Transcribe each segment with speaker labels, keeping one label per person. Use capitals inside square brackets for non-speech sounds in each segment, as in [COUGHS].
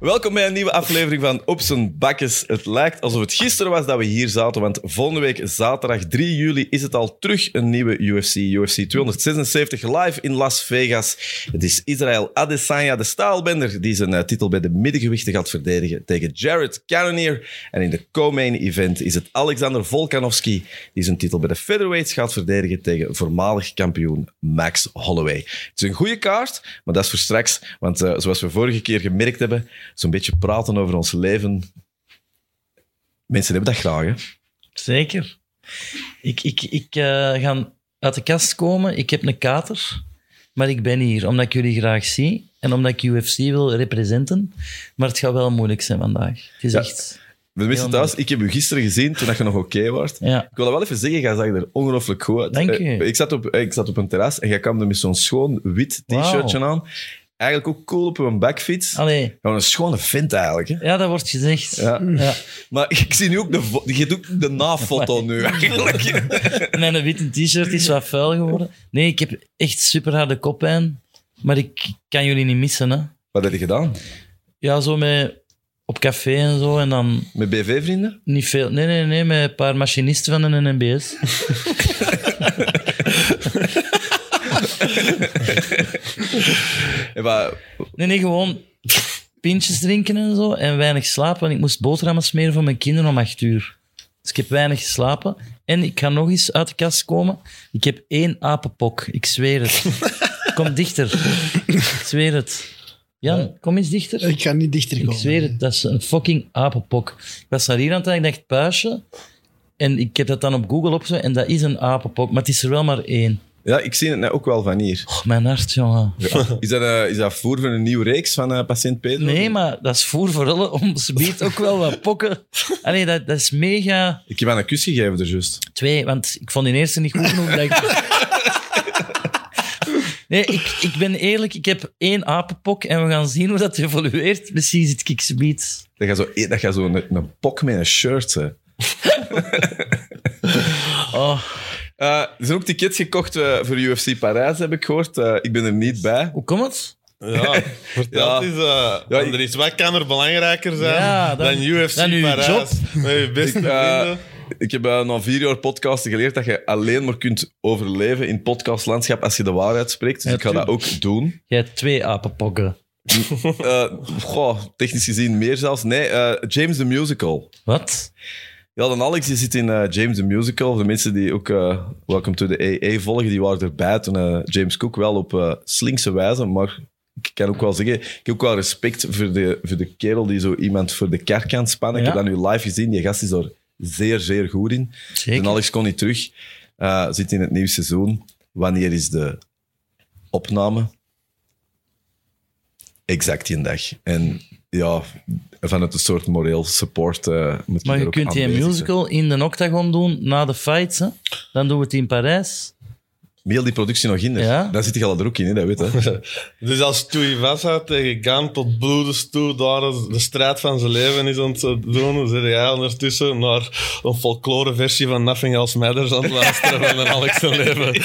Speaker 1: Welkom bij een nieuwe aflevering van Op z'n Bakkes. Het lijkt alsof het gisteren was dat we hier zaten, want volgende week zaterdag 3 juli is het al terug een nieuwe UFC. UFC 276 live in Las Vegas. Het is Israël Adesanya, de staalbender, die zijn eh, titel bij de middengewichten gaat verdedigen tegen Jared Cannonier. En in de co-main event is het Alexander Volkanovski, die zijn titel bij de featherweights gaat verdedigen tegen voormalig kampioen Max Holloway. Het is een goede kaart, maar dat is voor straks. Want eh, zoals we vorige keer gemerkt hebben, zo'n beetje praten over ons leven. Mensen hebben dat graag, hè?
Speaker 2: Zeker. Ik, ik, ik eh, ga uit de kast komen. Ik heb een kater. Maar ik ben hier omdat ik jullie graag zie. En omdat ik UFC wil representen. Maar het gaat wel moeilijk zijn vandaag. Het is
Speaker 1: Ja.
Speaker 2: echt...
Speaker 1: We wisten
Speaker 2: Heel
Speaker 1: thuis, ik heb u gisteren gezien toen dat je nog oké was.
Speaker 2: Ja.
Speaker 1: Ik wil dat wel even zeggen, jij zag er ongelooflijk goed uit.
Speaker 2: Dank
Speaker 1: Eh,
Speaker 2: je.
Speaker 1: Ik zat, op, eh, ik zat op een terras en jij kwam er met zo'n schoon wit t-shirtje aan. Eigenlijk ook cool op een backfiets.
Speaker 2: Allee.
Speaker 1: Gewoon een schone vent eigenlijk. Hè?
Speaker 2: Ja, dat wordt gezegd.
Speaker 1: Ja.
Speaker 2: Ja.
Speaker 1: Maar [LAUGHS] ik zie nu ook de, vo- je doet ook de nafoto
Speaker 2: [LAUGHS]
Speaker 1: nu eigenlijk.
Speaker 2: Mijn witte t-shirt is wat vuil geworden. Nee, ik heb echt super harde koppijn. Maar ik kan jullie niet missen, hè.
Speaker 1: Wat heb je gedaan?
Speaker 2: Ja, zo met... Op café en zo. En dan
Speaker 1: Met BV-vrienden?
Speaker 2: Niet veel. Nee, nee, nee, met een paar machinisten van een NBS.
Speaker 1: En wat-
Speaker 2: Nee, nee, gewoon pintjes drinken en zo. En weinig slapen, want ik moest boterhammen smeren voor mijn kinderen om acht uur. Dus ik heb weinig geslapen. En ik ga nog eens uit de kast komen. Ik heb één apenpok, ik zweer het. Kom dichter. Ik zweer het. Jan, kom eens dichter.
Speaker 3: Ik ga niet dichter
Speaker 2: Ik
Speaker 3: komen.
Speaker 2: zweer het, dat is een fucking apenpok. Ik was naar hier aan het denken, ik dacht puisje. En ik heb dat dan op Google opgezocht en dat is een apenpok. Maar het is er wel maar één.
Speaker 1: ja, ik zie het nou ook wel van
Speaker 2: [LAUGHS]
Speaker 1: hier.
Speaker 2: Oh, mijn hart, jongen.
Speaker 1: Is dat, eh, is dat voer voor een nieuwe reeks van eh, patiënt Pedro?
Speaker 2: Nee, maar dat is voer voor alle om ze biedt ook wel wat pokken. Allee, dat, dat is mega
Speaker 1: Ik heb aan een kus gegeven er juist.
Speaker 2: twee, want ik vond die eerste niet goed genoeg. dat ik- Nee, ik, ik ben eerlijk, ik heb één apenpok en we gaan zien hoe dat evolueert. Misschien zit ik ze biedt.
Speaker 1: Dat je zo, e- dat je zo een, een pok met een shirt hè.
Speaker 2: Oh,
Speaker 1: Eh, er zijn ook tickets gekocht eh, voor UFC Parijs, heb ik gehoord. Eh, ik ben er niet bij.
Speaker 2: hoe komt het?
Speaker 4: Ja, vertel
Speaker 1: Ja.
Speaker 4: het eens. eh,
Speaker 1: Ja, ik-
Speaker 4: Andries, wat kan er belangrijker zijn
Speaker 2: Ja, dan-
Speaker 4: dan, UFC
Speaker 2: dan uw
Speaker 4: Parijs?
Speaker 2: job.
Speaker 4: Met je beste
Speaker 1: Ik, eh,
Speaker 4: vrienden.
Speaker 1: Ik heb eh, na vier jaar podcasten geleerd dat je alleen maar kunt overleven in podcastlandschap als je de waarheid spreekt. Dus
Speaker 2: Ja,
Speaker 1: ik ga dat ook doen.
Speaker 2: Jij hebt twee apenpokken.
Speaker 1: Eh, goh, technisch gezien meer zelfs. Nee, eh, James the Musical.
Speaker 2: Wat?
Speaker 1: Ja, dan Alex die zit in eh, James the Musical. Voor de mensen die ook eh, Welcome to the AA volgen, die waren erbij toen eh, James Cook wel op eh, slinkse wijze, maar ik kan ook wel zeggen, ik heb ook wel respect voor de, voor de kerel die zo iemand voor de kar kan spannen. Ik
Speaker 2: Ja.
Speaker 1: heb dat nu live gezien, die gast is daar zeer, zeer goed in. En
Speaker 2: Zeker.
Speaker 1: Alex kon niet terug, Eh, zit in het nieuwe seizoen. Wanneer is de opname? Exact die dag. En ja, vanuit een soort moreel support eh, moet je
Speaker 2: Maar
Speaker 1: er
Speaker 2: je
Speaker 1: ook
Speaker 2: kunt die
Speaker 1: aanwezig zijn.
Speaker 2: musical in de octagon doen na de fights. Hè? Dan doen we het in Parijs.
Speaker 1: Meel die productie nog in. hè.
Speaker 2: Ja.
Speaker 1: Daar zit je al er ook in, hè, dat weet
Speaker 2: [LAUGHS]
Speaker 1: je.
Speaker 4: Dus als Tuivasa tegen Gaan tot bloedens toe daar is de strijd van zijn leven is aan het eh, doen, dan zit jij ondertussen naar een folklore versie van Nothing Else Matters aan het luisteren van een Alex zijn leven.
Speaker 2: [LAUGHS]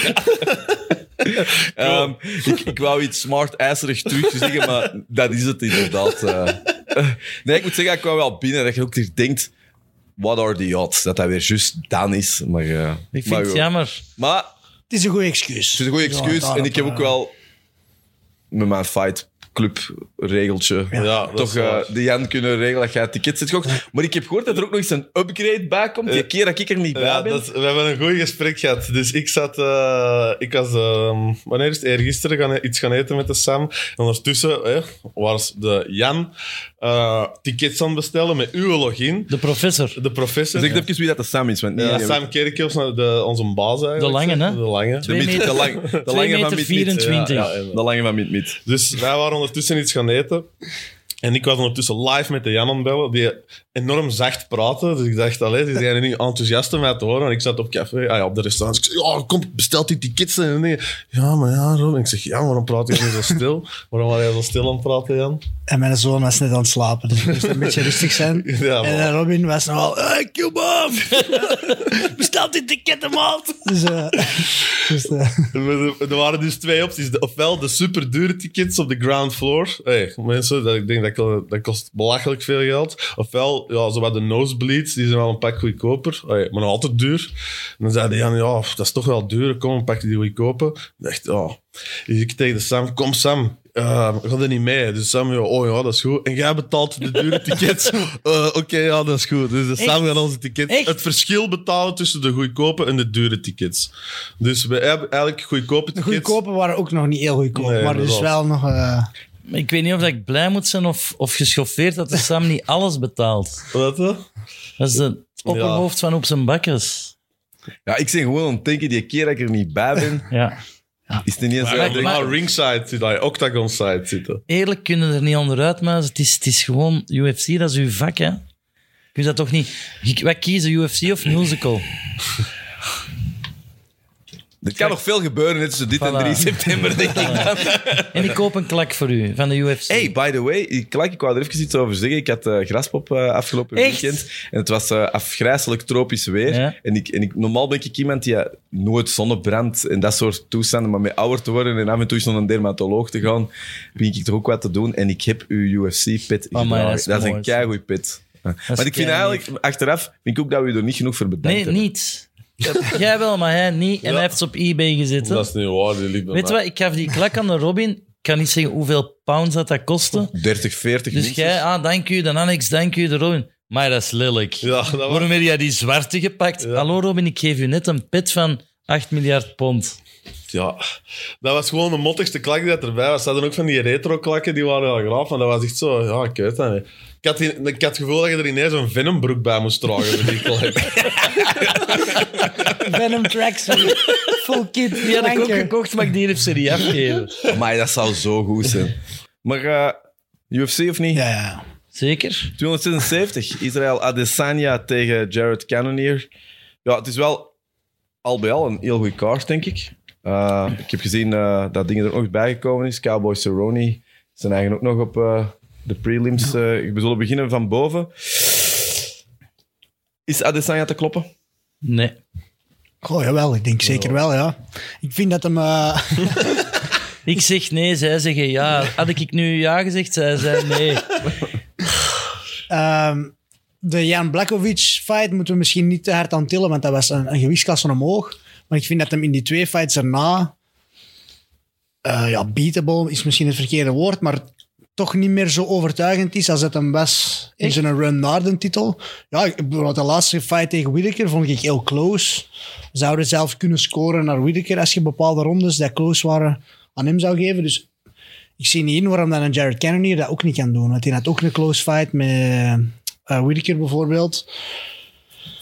Speaker 1: Ehm, ik, ik wou iets smart ijzerig terug zeggen, maar dat is het inderdaad. eh. [LAUGHS] Nee, ik moet zeggen, ik kwam wel binnen dat je ook hier denkt... What are the odds? Dat dat weer juist dan is. Maar, eh,
Speaker 2: Ik vind
Speaker 1: maar,
Speaker 2: het
Speaker 1: ja.
Speaker 2: jammer.
Speaker 1: maar
Speaker 3: Het is een goede excuus. eh,
Speaker 1: het is een goede excuus. en ik heb ook wel met mijn fight club regeltje
Speaker 4: Ja, dat
Speaker 1: toch
Speaker 4: is waar.
Speaker 1: eh, de Jan kunnen regelen dat jij tickets hebt gekocht. Maar ik heb gehoord dat er ook nog eens een upgrade bij komt. Die keer dat ik er niet bij
Speaker 4: Ja,
Speaker 1: ben.
Speaker 4: dat, we hebben een goed gesprek gehad. Dus ik zat... eh, ik was... ehm, wanneer is het? Eergisteren gaan, e- iets gaan eten met de Sam. En ondertussen eh, was de Jan eh, tickets aan het bestellen met uw login.
Speaker 2: De Dus professor.
Speaker 4: De professor.
Speaker 1: Zeg Dus even wie dat de Sam is. Want niet
Speaker 4: Ja,
Speaker 1: iedereen
Speaker 4: Sam Kerkhoffs, de, onze baas eigenlijk.
Speaker 2: De lange, hè?
Speaker 4: De lange.
Speaker 1: De,
Speaker 2: Twee
Speaker 1: miet-
Speaker 2: meter-
Speaker 1: de, lang, de
Speaker 2: twee
Speaker 1: lange
Speaker 2: meter
Speaker 1: van Miet Miet.
Speaker 2: 24.
Speaker 1: Ja, ja, de lange van Miet Miet.
Speaker 4: Dus wij waren ondertussen iets gaan eten. En ik was ondertussen live met de Jan aan het bellen, die enorm zacht praatte. Dus ik dacht, allee, ze zijn niet enthousiast om mij te horen. En ik zat op café, ah ja, op de restaurant. Dus ik zeg, ja, kom, bestel die tickets. En die, ja, maar ja, Ron. En ik zeg, ja, waarom praat je nu zo stil? [LAUGHS] waarom was jij zo stil aan het praten, Jan?
Speaker 3: En mijn zoon was net aan het slapen, dus ik moest een beetje rustig
Speaker 1: [LAUGHS]
Speaker 3: zijn.
Speaker 4: Ja,
Speaker 3: en eh,
Speaker 4: maar-
Speaker 3: Robin was nogal... Hey, come Bestel die ticket, maat! Dus, eh, dus, eh,
Speaker 4: [LAUGHS] Er- Er waren dus twee opties. De- Ofwel de superdure tickets op de ground floor. Hey, mensen, dat, ik denk dat dat, kan- dat kost belachelijk veel geld. Ofwel, ja, zowat de nosebleeds, die zijn wel een pak goedkoper, Allee, maar nog altijd duur. En dan zei hij, ja, ja, dat is toch wel duur, kom, een pakje die goedkoper. Ik dacht, oh. Dus ik tegen de Sam, kom Sam, eh, we gaan er niet mee. Dus Sam, ja, oh ja, dat is goed. En jij betaalt de
Speaker 2: [LAUGHS]
Speaker 4: dure tickets. Eh, Oké, ja, dat is goed. Dus de Sam gaat onze tickets.
Speaker 2: Echt?
Speaker 4: Het verschil betalen tussen de goedkope en de dure tickets. Dus we hebben eigenlijk goedkope
Speaker 3: De
Speaker 4: tickets.
Speaker 3: goedkope waren ook nog niet heel goedkoop,
Speaker 4: Nee,
Speaker 3: maar dus
Speaker 4: inderdaad.
Speaker 3: wel nog... eh,
Speaker 2: Maar Ik weet niet of dat ik blij moet zijn of, of geschoffeerd dat de Sam niet alles betaalt.
Speaker 4: Wat, hè?
Speaker 2: Dat is het opperhoofd van op zijn bakkers.
Speaker 1: Ja, ik zeg gewoon aan het denken, die keer dat ik er niet bij ben,
Speaker 2: Ja.
Speaker 1: is het niet eens...
Speaker 4: Maar,
Speaker 1: dat ik
Speaker 4: maar,
Speaker 1: denk,
Speaker 4: ringside zitten, allee, octagon side zitten.
Speaker 2: Eerlijk kunnen er niet onderuit, maar het is, het is gewoon UFC, dat is uw vak, hè? Kun je dat toch niet? Je- Wat kiezen, UFC of musical?
Speaker 1: Er kan nog veel gebeuren hè, tussen dit en
Speaker 2: Voilà.
Speaker 1: 3 september, denk ik.
Speaker 2: En ik koop een klak voor u van de UFC.
Speaker 1: Hey, by the way, ik, Klak, ik wou er even iets over zeggen. Ik had eh, graspop eh, afgelopen
Speaker 2: Echt?
Speaker 1: weekend. En het was eh, afgrijselijk tropisch weer.
Speaker 2: Ja.
Speaker 1: En, ik, en ik, normaal ben ik iemand die eh, nooit zonnebrand en dat soort toestanden. Maar met ouder te worden en af en toe eens naar een dermatoloog te gaan, begin ik toch ook wat te doen. En ik heb uw UFC-pit
Speaker 2: Oh, maar
Speaker 1: gedragen.
Speaker 2: dat
Speaker 1: Dat is,
Speaker 2: is mooi,
Speaker 1: een keigoed pit. Ja. Maar ik vind
Speaker 2: keigoed.
Speaker 1: eigenlijk, achteraf, vind ik ook dat we er niet genoeg voor bedankt
Speaker 2: nee,
Speaker 1: hebben.
Speaker 2: niet. Jij wel, maar hij niet. En hij heeft ze op eBay gezet. hè?
Speaker 4: Dat is niet waar, die liep bij
Speaker 2: Weet je
Speaker 4: mij.
Speaker 2: wat, ik gaf die klak aan de Robin. Ik kan niet zeggen hoeveel pounds dat, dat kostte.
Speaker 1: 30, 40
Speaker 2: Dus
Speaker 1: minstens.
Speaker 2: jij, ah, dank u, dan Annex, dank u, de Robin. Maar dat is lelijk.
Speaker 4: Ja, dat was...
Speaker 2: Waarom heb jij die zwarte gepakt? Hallo Robin, ik geef u net een pit van 8 miljard pond.
Speaker 4: Ja, dat was gewoon de mottigste klak die dat erbij was. Ze hadden ook van die retro-klakken, die waren wel graaf, maar dat was echt zo... Ja, ik weet dat niet. Ik had, die- ik had het gevoel dat je er ineens een Venombroek bij moest dragen voor die klak.
Speaker 3: Venom Tracks, full kit,
Speaker 2: Die had ik ook
Speaker 3: flanker.
Speaker 2: gekocht, maar ik die heeft ze niet afgegeven.
Speaker 1: Maar dat zou zo goed
Speaker 2: [LAUGHS]
Speaker 1: zijn. Maar eh, UFC of niet?
Speaker 3: Ja, ja.
Speaker 2: Zeker?
Speaker 1: 276, Israël Adesanya tegen Jared Cannonier. Ja, het is wel al bij al een heel goede kaart, denk ik. Eh, ik heb gezien eh, dat dingen er ook nog bij gekomen is. Cowboy Cerrone zijn eigen ook nog op eh, de prelims. eh we zullen beginnen van boven. Is Adesanya te kloppen?
Speaker 2: Nee.
Speaker 3: Goh, jawel, ik denk zeker wel, ja. Ik vind dat hem... eh,
Speaker 2: Ik zeg nee, zij zeggen ja. Had ik nu ja gezegd, zij zei nee.
Speaker 3: Ehm, de Jan Blakovic fight moeten we misschien niet te hard aan tillen, want dat was een, een gewichtsklasse omhoog. Maar ik vind dat hem in die twee fights erna, eh, ja, beatable is misschien het verkeerde woord, maar toch niet meer zo overtuigend is als het hem was in
Speaker 2: Echt?
Speaker 3: zijn run naar de titel. Ja, ik bedoel, de laatste fight tegen Whittaker vond ik heel close. We Zouden zelf kunnen scoren naar Whittaker als je bepaalde rondes die close waren aan hem zou geven. Dus ik zie niet in waarom dan een Jared Cannonier dat ook niet kan doen. Want hij had ook een close fight met eh, eh, Whittaker bijvoorbeeld.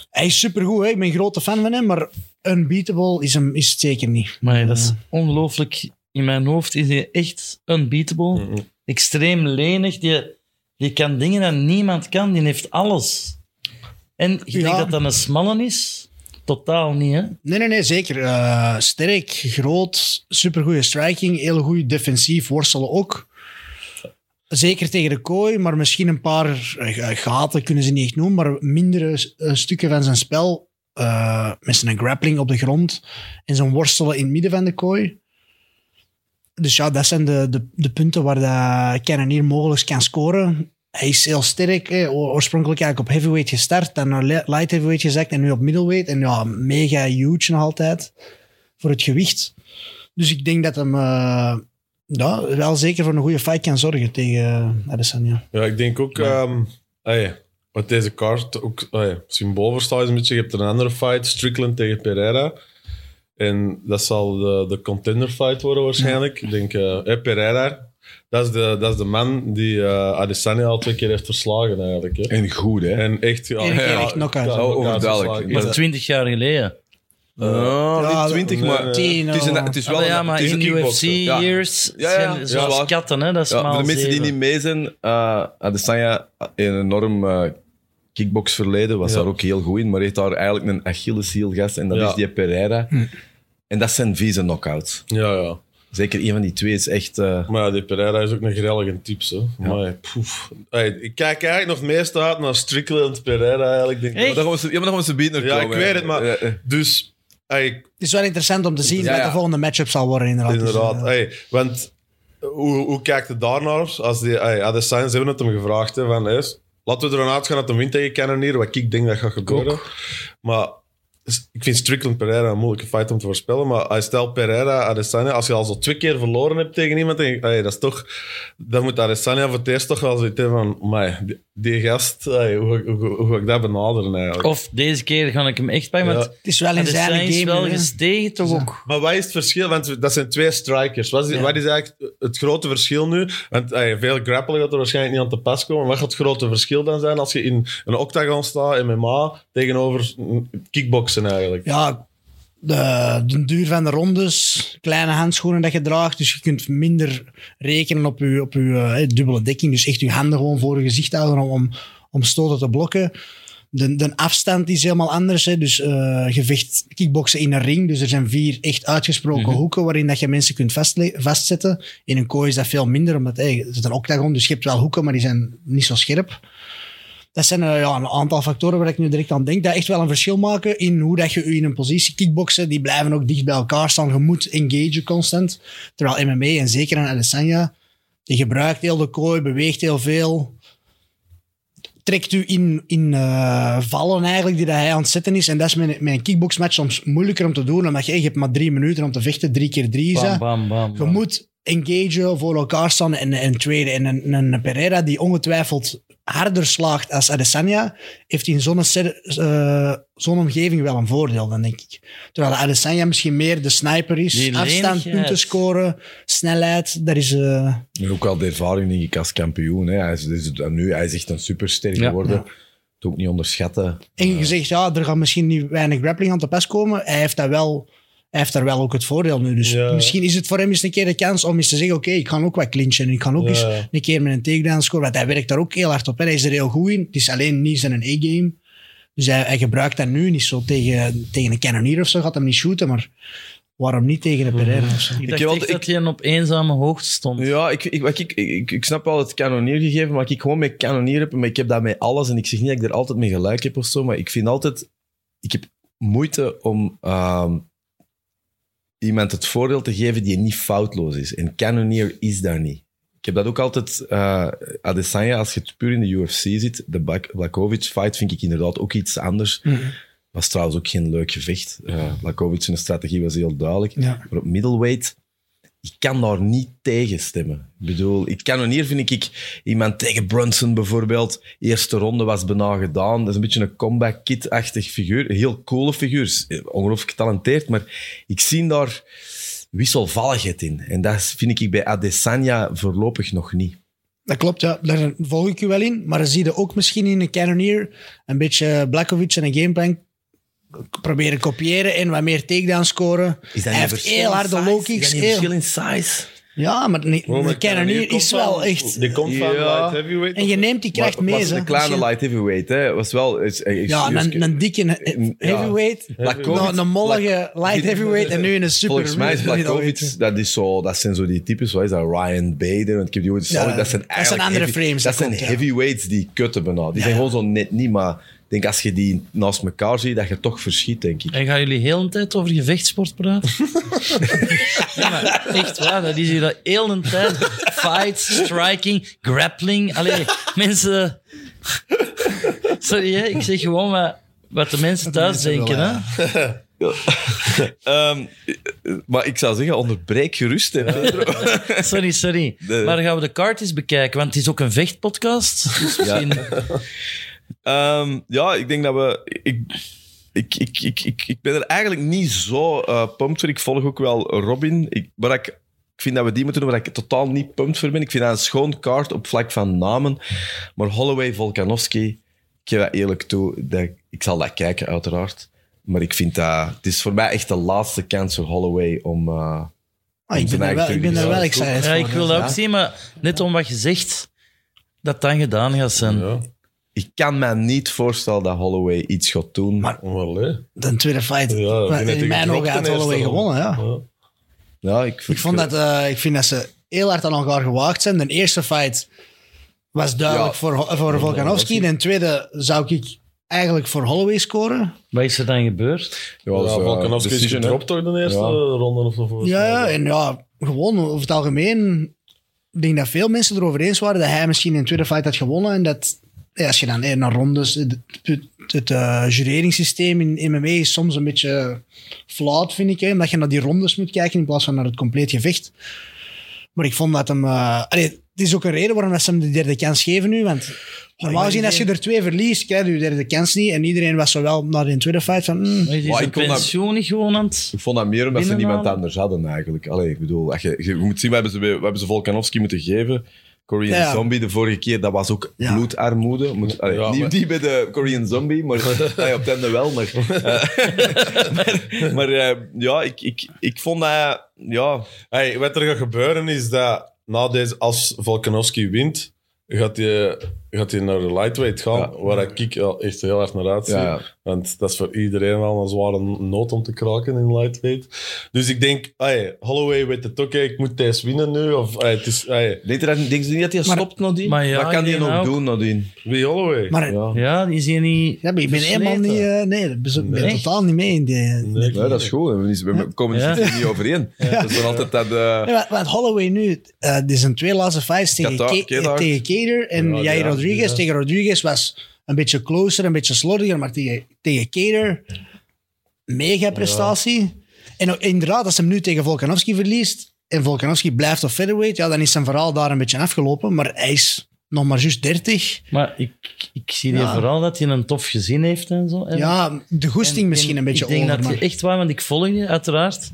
Speaker 3: Hij is supergoed, hè? ik ben een grote fan van hem, maar unbeatable is, hem, is het zeker niet.
Speaker 2: Maar dat is ongelooflijk. In mijn hoofd is hij echt unbeatable. Extreem lenig. Die, die kan dingen dat niemand kan. Die heeft alles. En je
Speaker 3: Ja.
Speaker 2: denkt dat dat een smalle is? Totaal niet, hè?
Speaker 3: Nee, nee, nee, zeker. Eh, sterk, groot, supergoeie striking, heel goed defensief, worstelen ook. Zeker tegen de kooi, maar misschien een paar eh, gaten kunnen ze niet echt noemen, maar mindere eh, stukken van zijn spel. eh, met zijn grappling op de grond en zijn worstelen in het midden van de kooi. Dus ja, dat zijn de, de, de punten waar dat Cannonier mogelijk kan scoren. Hij is heel sterk. Hè. O- Oorspronkelijk eigenlijk op heavyweight gestart, dan naar li- light heavyweight gezakt en nu op middleweight. En ja, mega huge nog altijd voor het gewicht. Dus ik denk dat hem eh, ja, wel zeker voor een goede fight kan zorgen tegen eh, Adesanya.
Speaker 4: Ja, ik denk ook... ehm allee, wat deze kaart ook allee, symbool voor staat is een beetje... Je hebt een andere fight, Strickland tegen Pereira. En dat zal de, de contender fight worden waarschijnlijk. Ik denk, eh, eh, Pereira, dat is, de, dat is de man die eh, Adesanya al twee keer heeft verslagen eigenlijk. Hè.
Speaker 1: En goed, hè?
Speaker 4: En echt, ja,
Speaker 3: Eén keer
Speaker 4: ja,
Speaker 3: echt knock-out.
Speaker 4: ja,
Speaker 1: Oh, overduidelijk.
Speaker 4: verslagen.
Speaker 1: Maar
Speaker 2: Maar twintig jaar geleden.
Speaker 3: Ja,
Speaker 1: niet 20,
Speaker 4: nee,
Speaker 1: maar
Speaker 4: nee.
Speaker 1: het is, een, het is wel
Speaker 2: Ah,
Speaker 1: een,
Speaker 2: ja, maar
Speaker 1: het is
Speaker 2: in
Speaker 1: een
Speaker 2: UFC
Speaker 1: kickbokser. Ja.
Speaker 2: years
Speaker 1: Ja, ja.
Speaker 2: zijn
Speaker 1: Ja,
Speaker 2: zoals
Speaker 1: waar.
Speaker 2: katten, hè? Dat is
Speaker 1: Ja,
Speaker 2: maal
Speaker 1: voor de mensen
Speaker 2: zeven.
Speaker 1: die niet mee zijn, eh Adesanya in een enorm eh, kickboxverleden was
Speaker 4: Ja.
Speaker 1: daar ook heel goed in, maar heeft daar eigenlijk een Achilleshiel gast en dat
Speaker 4: Ja.
Speaker 1: is die Pereira.
Speaker 2: Hm.
Speaker 1: En dat zijn vieze knockouts.
Speaker 4: Ja, ja.
Speaker 1: Zeker een van die twee is echt... eh,
Speaker 4: Maar ja, die Pereira is ook een grellige type, zo. Maar poef. Hey, ik kijk eigenlijk nog meest uit naar Strickland Pereira eigenlijk. Denk ik.
Speaker 2: Echt?
Speaker 1: maar daar gaan we ze- ja, maar daar gaan we ze bieden
Speaker 4: Ja, ik weet het, maar...
Speaker 1: Ja, ja.
Speaker 4: Dus, hey,
Speaker 3: Het is wel interessant om te zien
Speaker 1: Ja,
Speaker 3: wat
Speaker 1: ja.
Speaker 3: de volgende matchup zal worden inderdaad. Dus,
Speaker 4: inderdaad.
Speaker 3: eh,
Speaker 4: hey, want hoe, hoe kijkt het daarnaar? Als die, ay, Adesanya, ze hebben het hem gevraagd. Hè, van, hey, laten we ervan uitgaan dat hem wint tegen Cannonier, wat ik denk dat gaat gebeuren. Maar s- ik vind Strickland Pereira een moeilijke fight om te voorspellen. Maar ay, stel Pereira, Adesanya, als je al zo twee keer verloren hebt tegen iemand, dan, ay, dat is toch, dan moet Adesanya voor het eerst toch wel zoiets hebben van, "Amai, die, die gast, ay, hoe, hoe, hoe, hoe ga ik dat benaderen eigenlijk?
Speaker 2: Of deze keer ga ik hem echt bij, want
Speaker 4: Ja.
Speaker 3: Het is wel in zijn
Speaker 2: Adesanya
Speaker 3: game. eh.
Speaker 2: is wel
Speaker 3: hè.
Speaker 2: gestegen toch ook.
Speaker 4: Maar wat is het verschil? Want dat zijn twee strikers. Wat is,
Speaker 2: Ja.
Speaker 4: wat is eigenlijk het grote verschil nu? Want ey, veel grappelen gaat er waarschijnlijk niet aan te pas komen. Wat gaat het grote verschil dan zijn als je in een octagon staat, MMA, tegenover mm, kickboksen eigenlijk?
Speaker 3: Ja, de, de duur van de rondes, kleine handschoenen dat je draagt. Dus je kunt minder rekenen op je, op je eh, dubbele dekking. Dus echt je handen gewoon voor je gezicht houden om, om, om stoten te blokken. De, de afstand is helemaal anders. Hè. Dus eh, je vecht kickboksen in een ring. Dus er zijn vier echt uitgesproken hoeken waarin dat je mensen kunt vastle- vastzetten. In een kooi is dat veel minder, omdat hey, het is een octagon. Dus je hebt wel hoeken, maar die zijn niet zo scherp. Dat zijn eh, ja, een aantal factoren waar ik nu direct aan denk. Dat echt wel een verschil maken in hoe dat je je in een positie kickboksen. Die blijven ook dicht bij elkaar staan. Je moet engagen constant. Terwijl MMA en zeker een Adesanya, die gebruikt heel de kooi, beweegt heel veel. Trekt u in, in eh, vallen eigenlijk die dat hij aan het zetten is. En dat is met, een- met een kickboxmatch soms moeilijker om te doen. Omdat je, je hebt maar drie minuten om te vechten. Drie keer drie is
Speaker 2: Bam,
Speaker 3: dat.
Speaker 2: bam, bam.
Speaker 3: Je
Speaker 2: bam.
Speaker 3: moet engagen voor elkaar staan en een tweede. En een, een Pereira die ongetwijfeld harder slaagt als Adesanya, heeft in zo'n ser- eh, zo'n omgeving wel een voordeel, dan denk ik. Terwijl Adesanya misschien meer de sniper is.
Speaker 2: Die
Speaker 3: afstand,
Speaker 2: lenigheid.
Speaker 3: punten scoren, snelheid, dat is... eh,
Speaker 5: En ook al de ervaring denk ik als kampioen. Hè. Hij, is, is het- nu, hij is echt een superster
Speaker 2: Ja.
Speaker 5: geworden. Het ook niet onderschatten.
Speaker 3: en je zegt, ja, er gaat misschien niet weinig grappling aan te pas komen. Hij heeft, dat wel, hij heeft daar wel ook het voordeel nu. Dus
Speaker 4: Ja.
Speaker 3: misschien is het voor hem eens een keer de kans om eens te zeggen, oké, ik ga ook wat clinchen. Ik ga ook
Speaker 4: Ja.
Speaker 3: eens een keer met een takedown scoren. Want hij werkt daar ook heel hard op. Hè. Hij is er heel goed in. Het is alleen niet zijn E-game. Dus hij, hij gebruikt dat nu niet zo tegen, tegen een canonier of zo. Gaat hem niet shooten, maar waarom niet tegen een Pereira of zo?
Speaker 2: Ik dacht
Speaker 1: heb
Speaker 2: echt
Speaker 1: altijd-
Speaker 2: dat hij op eenzame hoogte stond.
Speaker 1: Ja, ik, ik, wat ik, ik, ik snap wel het kanoniergegeven, maar wat ik gewoon met kanonier heb, maar ik heb dat met alles en ik zeg niet dat ik er altijd mee gelijk heb of zo, maar ik vind altijd, ik heb moeite om ehm, iemand het voordeel te geven die niet foutloos is. En kanonier is daar niet. Ik heb dat ook altijd, eh Adesanya, als je het puur in de UFC ziet, de Bak- Blakovic fight vind ik inderdaad ook iets anders. Was trouwens ook geen leuk gevecht. Eh Blakovic zijn strategie was heel duidelijk.
Speaker 3: Ja.
Speaker 1: Maar op middleweight, ik kan daar niet tegen stemmen. Ik bedoel, ik kan hier, vind ik, ik, iemand tegen Brunson bijvoorbeeld, eerste ronde was bijna gedaan. Dat is een beetje een comeback kid-achtig figuur. Een heel coole figuur, Eh, ongelooflijk getalenteerd. Maar ik zie daar wisselvalligheid in. En dat vind ik bij Adesanya voorlopig nog niet.
Speaker 3: Dat klopt, ja. Daar volg ik u wel in. Maar dan zie je ook misschien in een Cannoneer een beetje Blakovic en een gameplan k- proberen kopiëren en wat meer takedown scoren.
Speaker 1: Is dat
Speaker 3: Hij heeft heel harde low kicks. heel-
Speaker 1: verschil in size?
Speaker 3: Ja, maar
Speaker 1: Oh,
Speaker 3: een,
Speaker 4: Wow, maar
Speaker 3: een Cannoneer
Speaker 4: komt
Speaker 3: is
Speaker 4: van-
Speaker 3: wel echt...
Speaker 4: Die komt van
Speaker 1: Ja.
Speaker 4: light heavyweight.
Speaker 3: En je neemt die kracht
Speaker 1: Maar
Speaker 3: mee.
Speaker 1: was
Speaker 3: hè.
Speaker 1: een kleine
Speaker 3: Misschien-
Speaker 1: light heavyweight, hè? Was wel... is- is-
Speaker 3: Ja,
Speaker 1: is-
Speaker 3: een, een dikke
Speaker 1: Ja.
Speaker 3: he- heavyweight.
Speaker 1: Blakovic-
Speaker 3: nou, een mollige light heavyweight en nu in een super.
Speaker 1: Volgens mij is
Speaker 3: middleweight.
Speaker 1: Blakovic, dat, is zo, dat zijn zo die types, wat is dat, Ryan Bader, want ik heb die ooit
Speaker 3: Ja,
Speaker 1: gezien, dat zijn
Speaker 3: dat zijn
Speaker 1: eigenlijk
Speaker 3: andere
Speaker 1: heavy-
Speaker 3: frames,
Speaker 1: Dat
Speaker 3: dat
Speaker 1: zijn
Speaker 3: klopt, ja.
Speaker 1: heavyweights die kutten bijna. Die zijn gewoon zo net niet, maar ik denk als je die naast elkaar ziet, dat je toch verschiet, denk ik.
Speaker 2: En gaan jullie heel een tijd over gevechtsport praten? ja, maar echt waar, dat is hier dat heel een tijd. Fight, striking, grappling. Allee, mensen... Sorry, hè? ik zeg gewoon wat, wat de mensen thuis
Speaker 3: mensen
Speaker 2: denken.
Speaker 3: willen,
Speaker 2: hè?
Speaker 1: Ehm, eh, maar ik zou zeggen, onderbreek gerust. Hè, [LAUGHS] Pedro.
Speaker 2: Sorry, sorry.
Speaker 1: Nee.
Speaker 2: Maar dan gaan we de kaart eens bekijken, want het is ook een vechtpodcast. Dus misschien...
Speaker 1: Ehm, ja, ik denk dat we. Ik, ik, ik, ik, ik, ik ben er eigenlijk niet zo eh pumped voor. Ik volg ook wel Robin. Ik, maar ik, ik vind dat we die moeten doen waar ik totaal niet pumped voor ben. Ik vind dat een schoon kaart op vlak van namen. Maar Holloway, Volkanovski, ik geef dat eerlijk toe. Dat, ik zal dat kijken, uiteraard. Maar ik vind dat... Het is voor mij echt de laatste kans voor Holloway om... eh,
Speaker 3: Ah, ik ben er wel, ik ben er wel excited
Speaker 2: Ja,
Speaker 3: voor,
Speaker 2: ik wil
Speaker 3: hè.
Speaker 2: dat ook zien, maar net om wat je zegt, dat dan gedaan gaat zijn.
Speaker 4: Ja,
Speaker 1: ik kan me niet voorstellen dat Holloway iets gaat doen.
Speaker 3: Maar-
Speaker 4: wel hè. Ja,
Speaker 3: De tweede fight.
Speaker 4: ik denk
Speaker 3: Maar
Speaker 4: dat die
Speaker 3: in mijn
Speaker 4: gedropt
Speaker 3: ogen had
Speaker 4: in eerste
Speaker 3: Holloway
Speaker 4: ronde.
Speaker 3: gewonnen. Ja.
Speaker 4: Ja.
Speaker 1: ja, ik,
Speaker 3: Ik, vond dat, eh, ik vind dat ze heel hard aan elkaar gewaagd zijn. De eerste fight was duidelijk
Speaker 1: Ja.
Speaker 3: voor, Ho- voor Volkanovski. De tweede zou ik eigenlijk voor Holloway scoren.
Speaker 2: Wat is er dan gebeurd?
Speaker 5: Ja,
Speaker 4: Ja,
Speaker 5: dus, eh,
Speaker 4: Volkanovski is
Speaker 5: decision, hè.
Speaker 4: gedropt toch de eerste
Speaker 5: Ja.
Speaker 4: ronde of zo. volgens
Speaker 3: Ja,
Speaker 4: mij.
Speaker 3: ja, en ja, gewoon over het algemeen ik denk dat veel mensen erover eens waren dat hij misschien een tweede fight had gewonnen. En dat ja, als je dan eh, naar rondes. Het, het, het, eh, jureringssysteem in MMA is soms een beetje flauw, vind ik. Hè, omdat je naar die rondes moet kijken in plaats van naar het compleet gevecht. Maar ik vond dat hem. eh, allee, het is ook een reden waarom dat ze hem de derde kans geven nu. Want normaal gezien, als je er twee verliest, krijg je de derde kans niet. En iedereen was zo wel naar de tweede fight van. mm,
Speaker 2: Maar is die
Speaker 5: Maar
Speaker 2: zijn
Speaker 5: ik kon dat-
Speaker 2: pensioen niet gewoon aan het...
Speaker 5: Ik vond dat meer omdat ze
Speaker 2: Binnenhalen.
Speaker 5: niemand anders hadden eigenlijk. Allee, ik bedoel, als je, je moet zien, we hebben, ze, we hebben ze Volkanovski moeten geven. Korean
Speaker 3: Ja.
Speaker 5: Zombie de vorige keer, dat was ook
Speaker 3: Ja.
Speaker 5: bloedarmoede. Moet, allee,
Speaker 4: Ja,
Speaker 5: niet
Speaker 4: maar-
Speaker 5: niet bij de Korean Zombie, maar
Speaker 3: [LAUGHS]
Speaker 5: allee, op het einde wel. Maar, eh, maar, maar, eh, ja, ik, ik, ik vond dat... Ja,
Speaker 4: Hey, wat er gaat gebeuren is dat na deze, als Volkanovski wint, gaat hij gaat hij naar de lightweight gaan,
Speaker 5: Ja.
Speaker 4: waar ik wel echt heel hard naar uitzie.
Speaker 5: Ja.
Speaker 4: Want dat is voor iedereen wel een zware nood om te kraken in lightweight. Dus ik denk, hey, Holloway weet het ook, hey, ik moet deze winnen nu. Of, hey, het is, hey,
Speaker 5: denk je dat, denk je niet dat hij
Speaker 3: Maar-
Speaker 5: stopt nadien?
Speaker 2: maar ja, nou?
Speaker 5: Wat kan
Speaker 2: ik
Speaker 5: hij
Speaker 2: denk
Speaker 5: nog
Speaker 2: dat ook.
Speaker 5: doen nadien?
Speaker 4: wie Holloway?
Speaker 3: Maar
Speaker 5: Ja.
Speaker 2: Ja, die is hier niet...
Speaker 3: Ja, maar ik ben
Speaker 2: Versleten.
Speaker 3: helemaal niet... eh, nee, ik ben
Speaker 4: Nee.
Speaker 3: totaal niet mee in die... eh,
Speaker 4: Nee,
Speaker 5: Ja, dat is goed. We is- We komen
Speaker 2: Ja.
Speaker 5: er niet overeen. Dat is dan altijd dat... eh,
Speaker 3: Nee, want- want Holloway nu, eh die zijn twee laatste fights tegen,
Speaker 5: Kata-
Speaker 3: Ke-
Speaker 5: Kedar.
Speaker 3: tegen Kader en
Speaker 4: Ja,
Speaker 3: Jair
Speaker 4: ja,
Speaker 3: Rodriguez.
Speaker 4: ja.
Speaker 3: Tegen Rodriguez was een beetje closer, een beetje slordiger, maar tegen, tegen Kader, mega prestatie. En ook- inderdaad, als hem nu tegen Volkanovski verliest en Volkanovski blijft op featherweight, ja, dan is zijn verhaal daar een beetje afgelopen, maar hij is nog maar juist 30.
Speaker 2: Maar ik, ik zie die
Speaker 3: eh, Ja.
Speaker 2: vooral dat hij een tof gezin heeft en zo. En-
Speaker 3: Ja, de goesting
Speaker 2: En-
Speaker 3: misschien
Speaker 2: en
Speaker 3: een beetje
Speaker 2: Ik denk
Speaker 3: over,
Speaker 2: dat
Speaker 3: maar-
Speaker 2: je echt waar, want ik volg je uiteraard.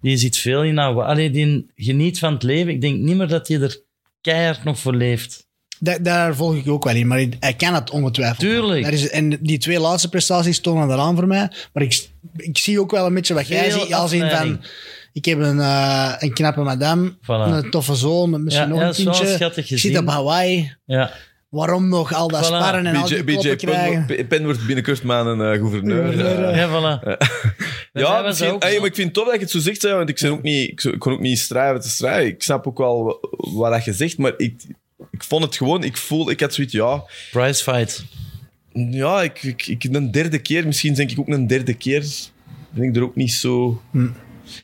Speaker 2: Die zit veel in nou, Allee, die geniet van het leven. Ik denk niet meer dat hij er keihard nog voor leeft.
Speaker 3: Da- daar volg ik ook wel in, maar hij kan het ongetwijfeld.
Speaker 2: Tuurlijk.
Speaker 3: Dat is, en die twee laatste prestaties tonen dat aan voor mij. Maar ik, ik zie ook wel een beetje wat jij
Speaker 2: Veel
Speaker 3: ziet. Als in van,
Speaker 2: afleiding.
Speaker 3: ik heb een, eh, een knappe madame,
Speaker 2: Voilà.
Speaker 3: een toffe zoon, misschien
Speaker 2: Ja,
Speaker 3: nog
Speaker 2: ja,
Speaker 3: een
Speaker 2: zo'n
Speaker 3: kindje.
Speaker 2: schattig
Speaker 3: ik zit
Speaker 2: gezin.
Speaker 3: op Hawaii.
Speaker 2: Ja,
Speaker 3: Waarom nog al dat
Speaker 2: Voilà.
Speaker 3: sparren en al
Speaker 5: BJ,
Speaker 3: die kloppen
Speaker 5: BJ
Speaker 3: krijgen?
Speaker 5: Penn, Penn wordt binnenkort maar een eh, gouverneur.
Speaker 3: Gouverneur,
Speaker 5: Eh,
Speaker 2: ja, voilà. Bij mij
Speaker 1: Ja,
Speaker 2: was
Speaker 1: misschien-
Speaker 2: dat ook
Speaker 1: hey,
Speaker 2: zo.
Speaker 1: maar ik vind het tof dat je het zo zegt, hè, want ik, ben ook niet, ik zou- ik kon ook niet strijden te strijden. Ik snap ook wel wa- wat dat je zegt, maar ik, ik vond het gewoon, ik voel, ik had zoiets, ja,
Speaker 2: Price fight.
Speaker 1: ja ik, ik, ik- een derde keer, misschien denk ik ook een derde keer, ben ik er ook niet zo... Ik,
Speaker 3: Hm.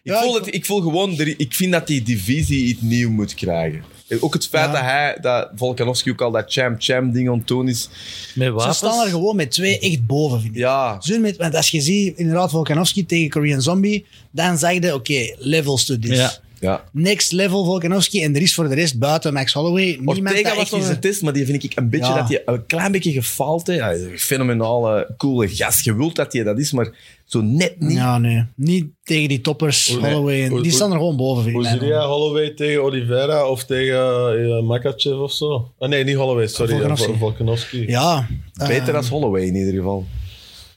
Speaker 3: Ja,
Speaker 1: voel
Speaker 3: ik-
Speaker 1: het, ik voel gewoon, er- ik vind dat die divisie iets nieuw moet krijgen. Ook het feit
Speaker 3: Ja.
Speaker 1: dat hij, dat Volkanovski ook al dat champ-champ-ding aan het doen is.
Speaker 2: Met
Speaker 3: Ze
Speaker 2: wapens.
Speaker 3: staan er gewoon met twee echt boven, vind ik.
Speaker 1: Ja,
Speaker 3: Zo met- want als je ziet, inderdaad, Volkanovski tegen Korean Zombie, dan zeg je, oké, levels to this.
Speaker 2: Ja.
Speaker 5: Ja.
Speaker 3: Next level Volkanovski en er is voor de rest buiten Max Holloway niemand
Speaker 1: Ortega
Speaker 3: dat
Speaker 1: was
Speaker 3: echt
Speaker 1: nog
Speaker 3: is.
Speaker 1: een test, maar die vind ik een beetje
Speaker 3: Ja.
Speaker 1: dat hij een klein beetje gefaald heeft. Hij is een fenomenale, coole gast. Je wilt dat hij dat is, maar zo net niet.
Speaker 3: Ja, nee. Niet tegen die toppers,
Speaker 4: nee.
Speaker 3: Holloway. en-
Speaker 4: Hoe-
Speaker 3: die
Speaker 4: hoe-
Speaker 3: staan er gewoon boven, vind ik.
Speaker 4: Hoe zie
Speaker 3: mij.
Speaker 4: jij Holloway tegen Oliveira of tegen eh, Makachev of zo? Ah, nee, niet Holloway, sorry. eh,
Speaker 3: Volkanovski.
Speaker 4: Vol- Volkanovski.
Speaker 3: Ja.
Speaker 1: Beter
Speaker 3: eh,
Speaker 1: als Holloway in ieder geval.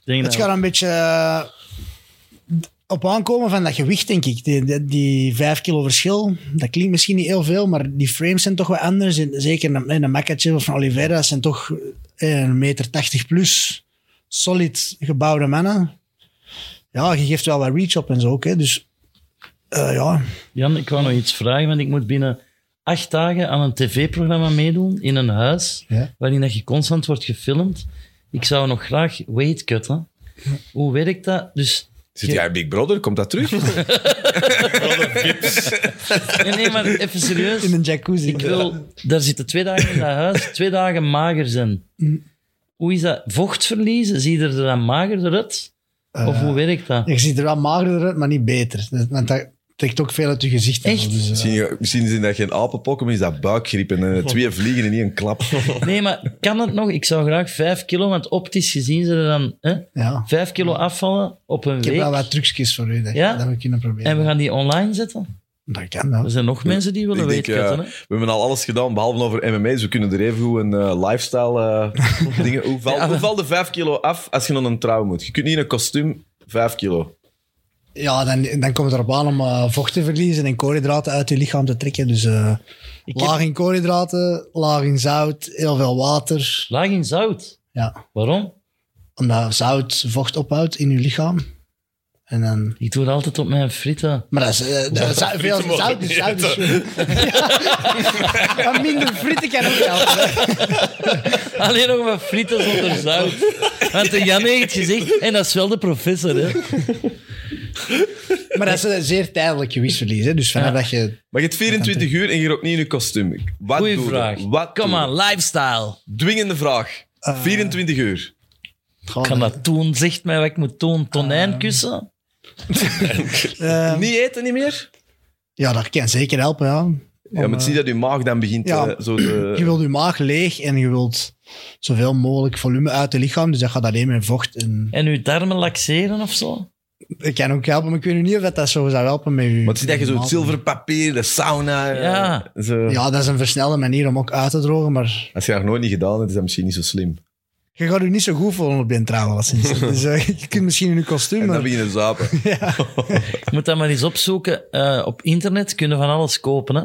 Speaker 2: Ik denk
Speaker 3: Het
Speaker 2: dat-
Speaker 3: gaat een beetje eh, op aankomen van dat gewicht, denk ik. Die, die, die vijf kilo verschil, dat klinkt misschien niet heel veel, maar die frames zijn toch wat anders. En zeker een, een Makachev of een Oliveira zijn toch eh, een meter tachtig plus solid gebouwde mannen. Ja, je geeft wel wat reach op en zo ook, hè. Dus eh, ja,
Speaker 2: Jan, ik wou nog iets vragen, want ik moet binnen acht dagen aan een tv-programma meedoen in een huis
Speaker 3: Ja.
Speaker 2: waarin dat je constant wordt gefilmd. Ik zou nog graag weight cutten. Hoe werkt dat? Dus,
Speaker 5: Zit jij Big Brother? Komt dat
Speaker 1: [LAUGHS]
Speaker 5: terug?
Speaker 2: nee, nee, maar even serieus.
Speaker 3: in een jacuzzi.
Speaker 2: Ik wil, daar zitten twee dagen in dat huis, twee dagen mager zijn.
Speaker 3: Mm.
Speaker 2: Hoe is dat? Vocht verliezen? Zie je er dan magerder uit?
Speaker 3: Eh,
Speaker 2: Of hoe werkt dat?
Speaker 3: Je ziet er wel magerder uit, maar niet beter. Dat- Want dat trekt ook veel uit je gezicht. en
Speaker 2: Echt?
Speaker 3: zo, Dus, eh,
Speaker 5: Misschien, misschien zijn dat geen apenpokken, maar is dat buikgriep en
Speaker 1: [LAUGHS]
Speaker 5: eh, twee vliegen in één klap.
Speaker 2: Nee, maar kan het nog? Ik zou graag vijf kilo, want optisch gezien ze er dan hè,
Speaker 3: ja.
Speaker 2: vijf kilo afvallen op een
Speaker 3: Ik heb wel
Speaker 2: week.
Speaker 3: wat trucjes voor u, dat,
Speaker 2: Ja?
Speaker 3: dat we kunnen proberen.
Speaker 2: En we gaan die online zetten.
Speaker 3: Dat kan, ja.
Speaker 2: Er zijn nog mensen die willen
Speaker 5: Ik denk,
Speaker 2: weten.
Speaker 5: eh,
Speaker 2: hè?
Speaker 5: we hebben al alles gedaan, behalve over MMA. Dus we kunnen er even goed een eh, lifestyle
Speaker 1: [LAUGHS]
Speaker 5: eh dingen... Hoe val,
Speaker 2: Ja, maar-
Speaker 5: hoe val de vijf kilo af als je naar een trouw moet? Je kunt niet in een kostuum vijf kilo.
Speaker 3: Ja, dan, dan komt het erop aan om eh, vocht te verliezen en koolhydraten uit je lichaam te trekken. Dus eh,
Speaker 2: Ik heb-
Speaker 3: laag in koolhydraten, laag in zout, heel veel water.
Speaker 2: Laag in zout.
Speaker 3: Ja,
Speaker 2: Waarom?
Speaker 3: omdat zout vocht ophoudt in je lichaam. En dan...
Speaker 2: Ik doe het altijd op mijn frieten.
Speaker 3: Maar dat is, eh, dat is veel
Speaker 4: frieten mogen
Speaker 3: zout,
Speaker 4: niet
Speaker 3: is zout is Ja. [LAUGHS] Maar minder frieten kan ook helpen.
Speaker 2: Alleen nog wat frieten
Speaker 1: [LAUGHS]
Speaker 2: zonder zout. Want de Jan heeft gezegd, en dat is wel de professor, hè.
Speaker 3: Maar dat is een zeer tijdelijk gewichtsverlies. Hè? Dus vanaf dat je...
Speaker 1: Maar je hebt 24 uur en je rookt niet in je kostuum. Wat
Speaker 2: Goeie
Speaker 1: doe je?
Speaker 2: vraag.
Speaker 1: Wat
Speaker 2: Kom
Speaker 1: doe je?
Speaker 2: aan, lifestyle.
Speaker 1: Dwingende vraag.
Speaker 3: Eh,
Speaker 1: 24 uur.
Speaker 2: Ik
Speaker 1: Oh,
Speaker 2: kan dat doen, zegt mij wat ik moet doen. Tonijn kussen?
Speaker 3: Eh,
Speaker 1: Niet eten niet meer?
Speaker 3: ja, dat kan zeker helpen, ja.
Speaker 1: Ja, maar het is niet dat je maag dan begint
Speaker 3: eh, ja.
Speaker 1: eh, zo te...
Speaker 3: Je wilt je maag leeg en je wilt zoveel mogelijk volume uit je lichaam. Dus dat gaat alleen met vocht. En...
Speaker 2: En uw darmen laxeren of zo?
Speaker 3: Dat kan ook helpen, maar ik weet nu niet of dat, dat zo zou helpen met je...
Speaker 1: Want het is dat je zo het
Speaker 3: maag.
Speaker 1: zilverpapier, de sauna... eh,
Speaker 2: Ja.
Speaker 1: Zo.
Speaker 3: Ja, dat is een versnelde manier om ook uit te drogen, maar...
Speaker 1: Als je dat nog nooit niet gedaan hebt, is dat misschien niet zo slim.
Speaker 3: Je gaat je niet zo goed voelen op de trouwen. als het
Speaker 1: [LAUGHS]
Speaker 3: is. Dus eh, je kunt misschien in je kostuum,
Speaker 1: En dan
Speaker 3: maar...
Speaker 1: begin je te
Speaker 3: [LAUGHS]
Speaker 1: zapen.
Speaker 2: Je moet dat maar eens opzoeken. eh, op internet kunnen van alles kopen. Hè?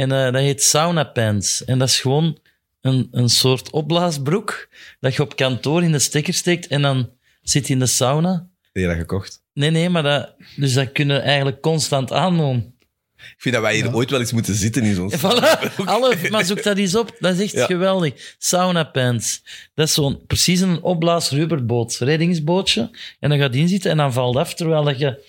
Speaker 2: En eh, dat heet sauna pants. En dat is gewoon een, een soort opblaasbroek dat je op kantoor in de stekker steekt en dan zit je in de sauna.
Speaker 1: Heb je dat gekocht?
Speaker 2: Nee, nee, maar dat, dus dat kunnen we eigenlijk constant aandoen.
Speaker 1: Ik vind dat wij hier ooit wel eens moeten zitten in zo'n...
Speaker 2: En Voilà, alle, maar zoek dat eens op. Dat is echt
Speaker 1: Ja.
Speaker 2: geweldig. Sauna pants. Dat is zo'n, precies een opblaas rubberboot, reddingsbootje. En dan gaat je inzitten en dan valt af terwijl dat je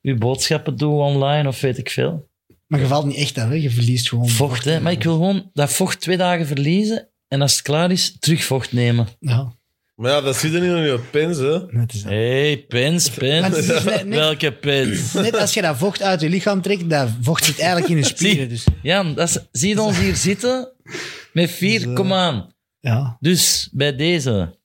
Speaker 2: je boodschappen doet online of weet ik veel.
Speaker 3: Maar je valt niet echt aan, hè. je verliest gewoon...
Speaker 2: Vocht, hè. Maar ik wil gewoon dat vocht twee dagen verliezen en als het klaar is, terug vocht nemen.
Speaker 3: Ja,
Speaker 4: Maar ja, dat zit er niet in je pens, hè.
Speaker 3: net is dat.
Speaker 2: hey, pens,
Speaker 3: Maar het
Speaker 2: pens.
Speaker 3: is
Speaker 2: [LAUGHS]
Speaker 3: dus net- net-
Speaker 2: Welke pens?
Speaker 3: Net als je dat vocht uit je lichaam trekt, dat vocht zit eigenlijk in je
Speaker 1: [LAUGHS]
Speaker 3: spieren. Dus,
Speaker 2: Jan, dat is, zie je ons hier zitten met vier, kom aan.
Speaker 3: ja.
Speaker 2: Dus bij deze,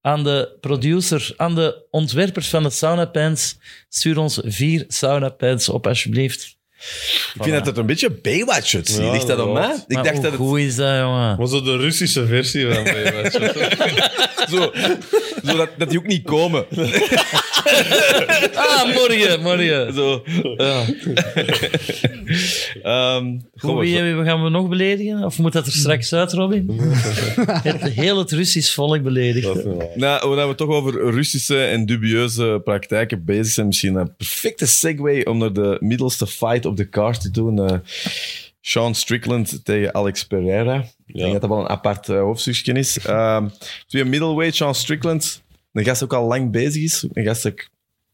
Speaker 2: aan de producer, aan de ontwerpers van de sauna pens, stuur ons vier sauna pens op alsjeblieft.
Speaker 1: Ik vind dat het een beetje Baywatch uitziet.
Speaker 4: Ja,
Speaker 1: Ligt dat om mij?
Speaker 4: inderdaad.
Speaker 1: Ik
Speaker 2: Maar
Speaker 1: dacht
Speaker 2: hoe
Speaker 1: dat het
Speaker 2: goed is dat, jongen?
Speaker 4: Maar zo de Russische versie van [LAUGHS] Baywatch.
Speaker 1: zo... zo dat, dat die ook niet
Speaker 2: [LAUGHS]
Speaker 1: komen.
Speaker 2: Ah, morgen, morgen.
Speaker 1: Zo. Ja. [LAUGHS] Ehm,
Speaker 2: Hoe,
Speaker 1: goh,
Speaker 2: wie, wie gaan we nog beledigen? Of moet dat er straks uit, Robin? het, heel het Russisch volk beledigd.
Speaker 1: Nou, omdat we toch over Russische en dubieuze praktijken bezig zijn, misschien een perfecte segue om naar de middelste fight op de kaart te doen. Eh, Sean Strickland tegen Alex Pereira. Ik denk dat dat wel een apart eh, hoofdstukje is. Ehm, twee middleweight, Sean Strickland. Een gast die ook al lang bezig is. Een gast dat ik,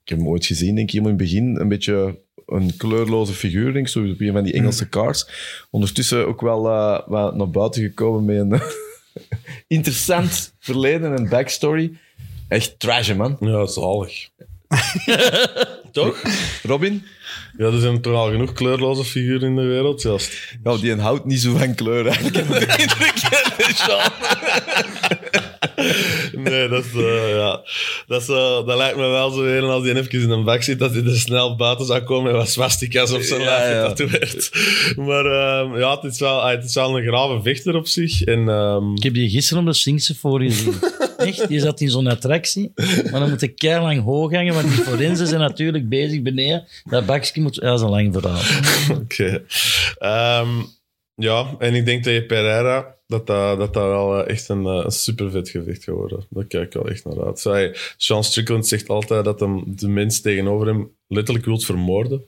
Speaker 1: ik heb hem ooit gezien, denk ik, helemaal in het begin. Een beetje een kleurloze figuur, denk ik, zoals op een van die Engelse cars. Ondertussen ook wel eh, wel naar buiten gekomen met een interessant verleden en backstory. Echt trash, man.
Speaker 4: Ja, zalig.
Speaker 1: Toch? Robin?
Speaker 4: Ja, er zijn toch al genoeg kleurloze figuren in de wereld, zelfs.
Speaker 1: Ja, die houdt niet zo van kleur eigenlijk. Ik heb de indruk dat de Sean-
Speaker 4: Nee, dat, is, eh, ja. dat, is, eh, dat lijkt me wel zo weer. En als die even in een bak zit, dat hij er snel buiten zou komen met wat swastikas op zijn
Speaker 1: Ja,
Speaker 4: lijf
Speaker 1: ja.
Speaker 4: getatoeëerd. Maar ehm, ja, het is, wel, het is wel een grave vechter op zich. En, ehm,
Speaker 2: Ik heb je gisteren op de Sphinxen voor gezien. Echt, je zat in zo'n attractie, maar dan moet ik lang hoog hangen, want die forensen zijn natuurlijk bezig beneden. Dat bakje moet... Ja, dat is een lang verhaal.
Speaker 4: [LAUGHS] Oké. Ehm, ja, en ik denk tegen Pereira dat dat, dat dat wel eh, echt een, eh, een super vet gevecht gaat worden. Daar kijk ik wel echt naar uit. Zij, Sean Strickland zegt altijd dat hem de mens tegenover hem letterlijk wilt vermoorden.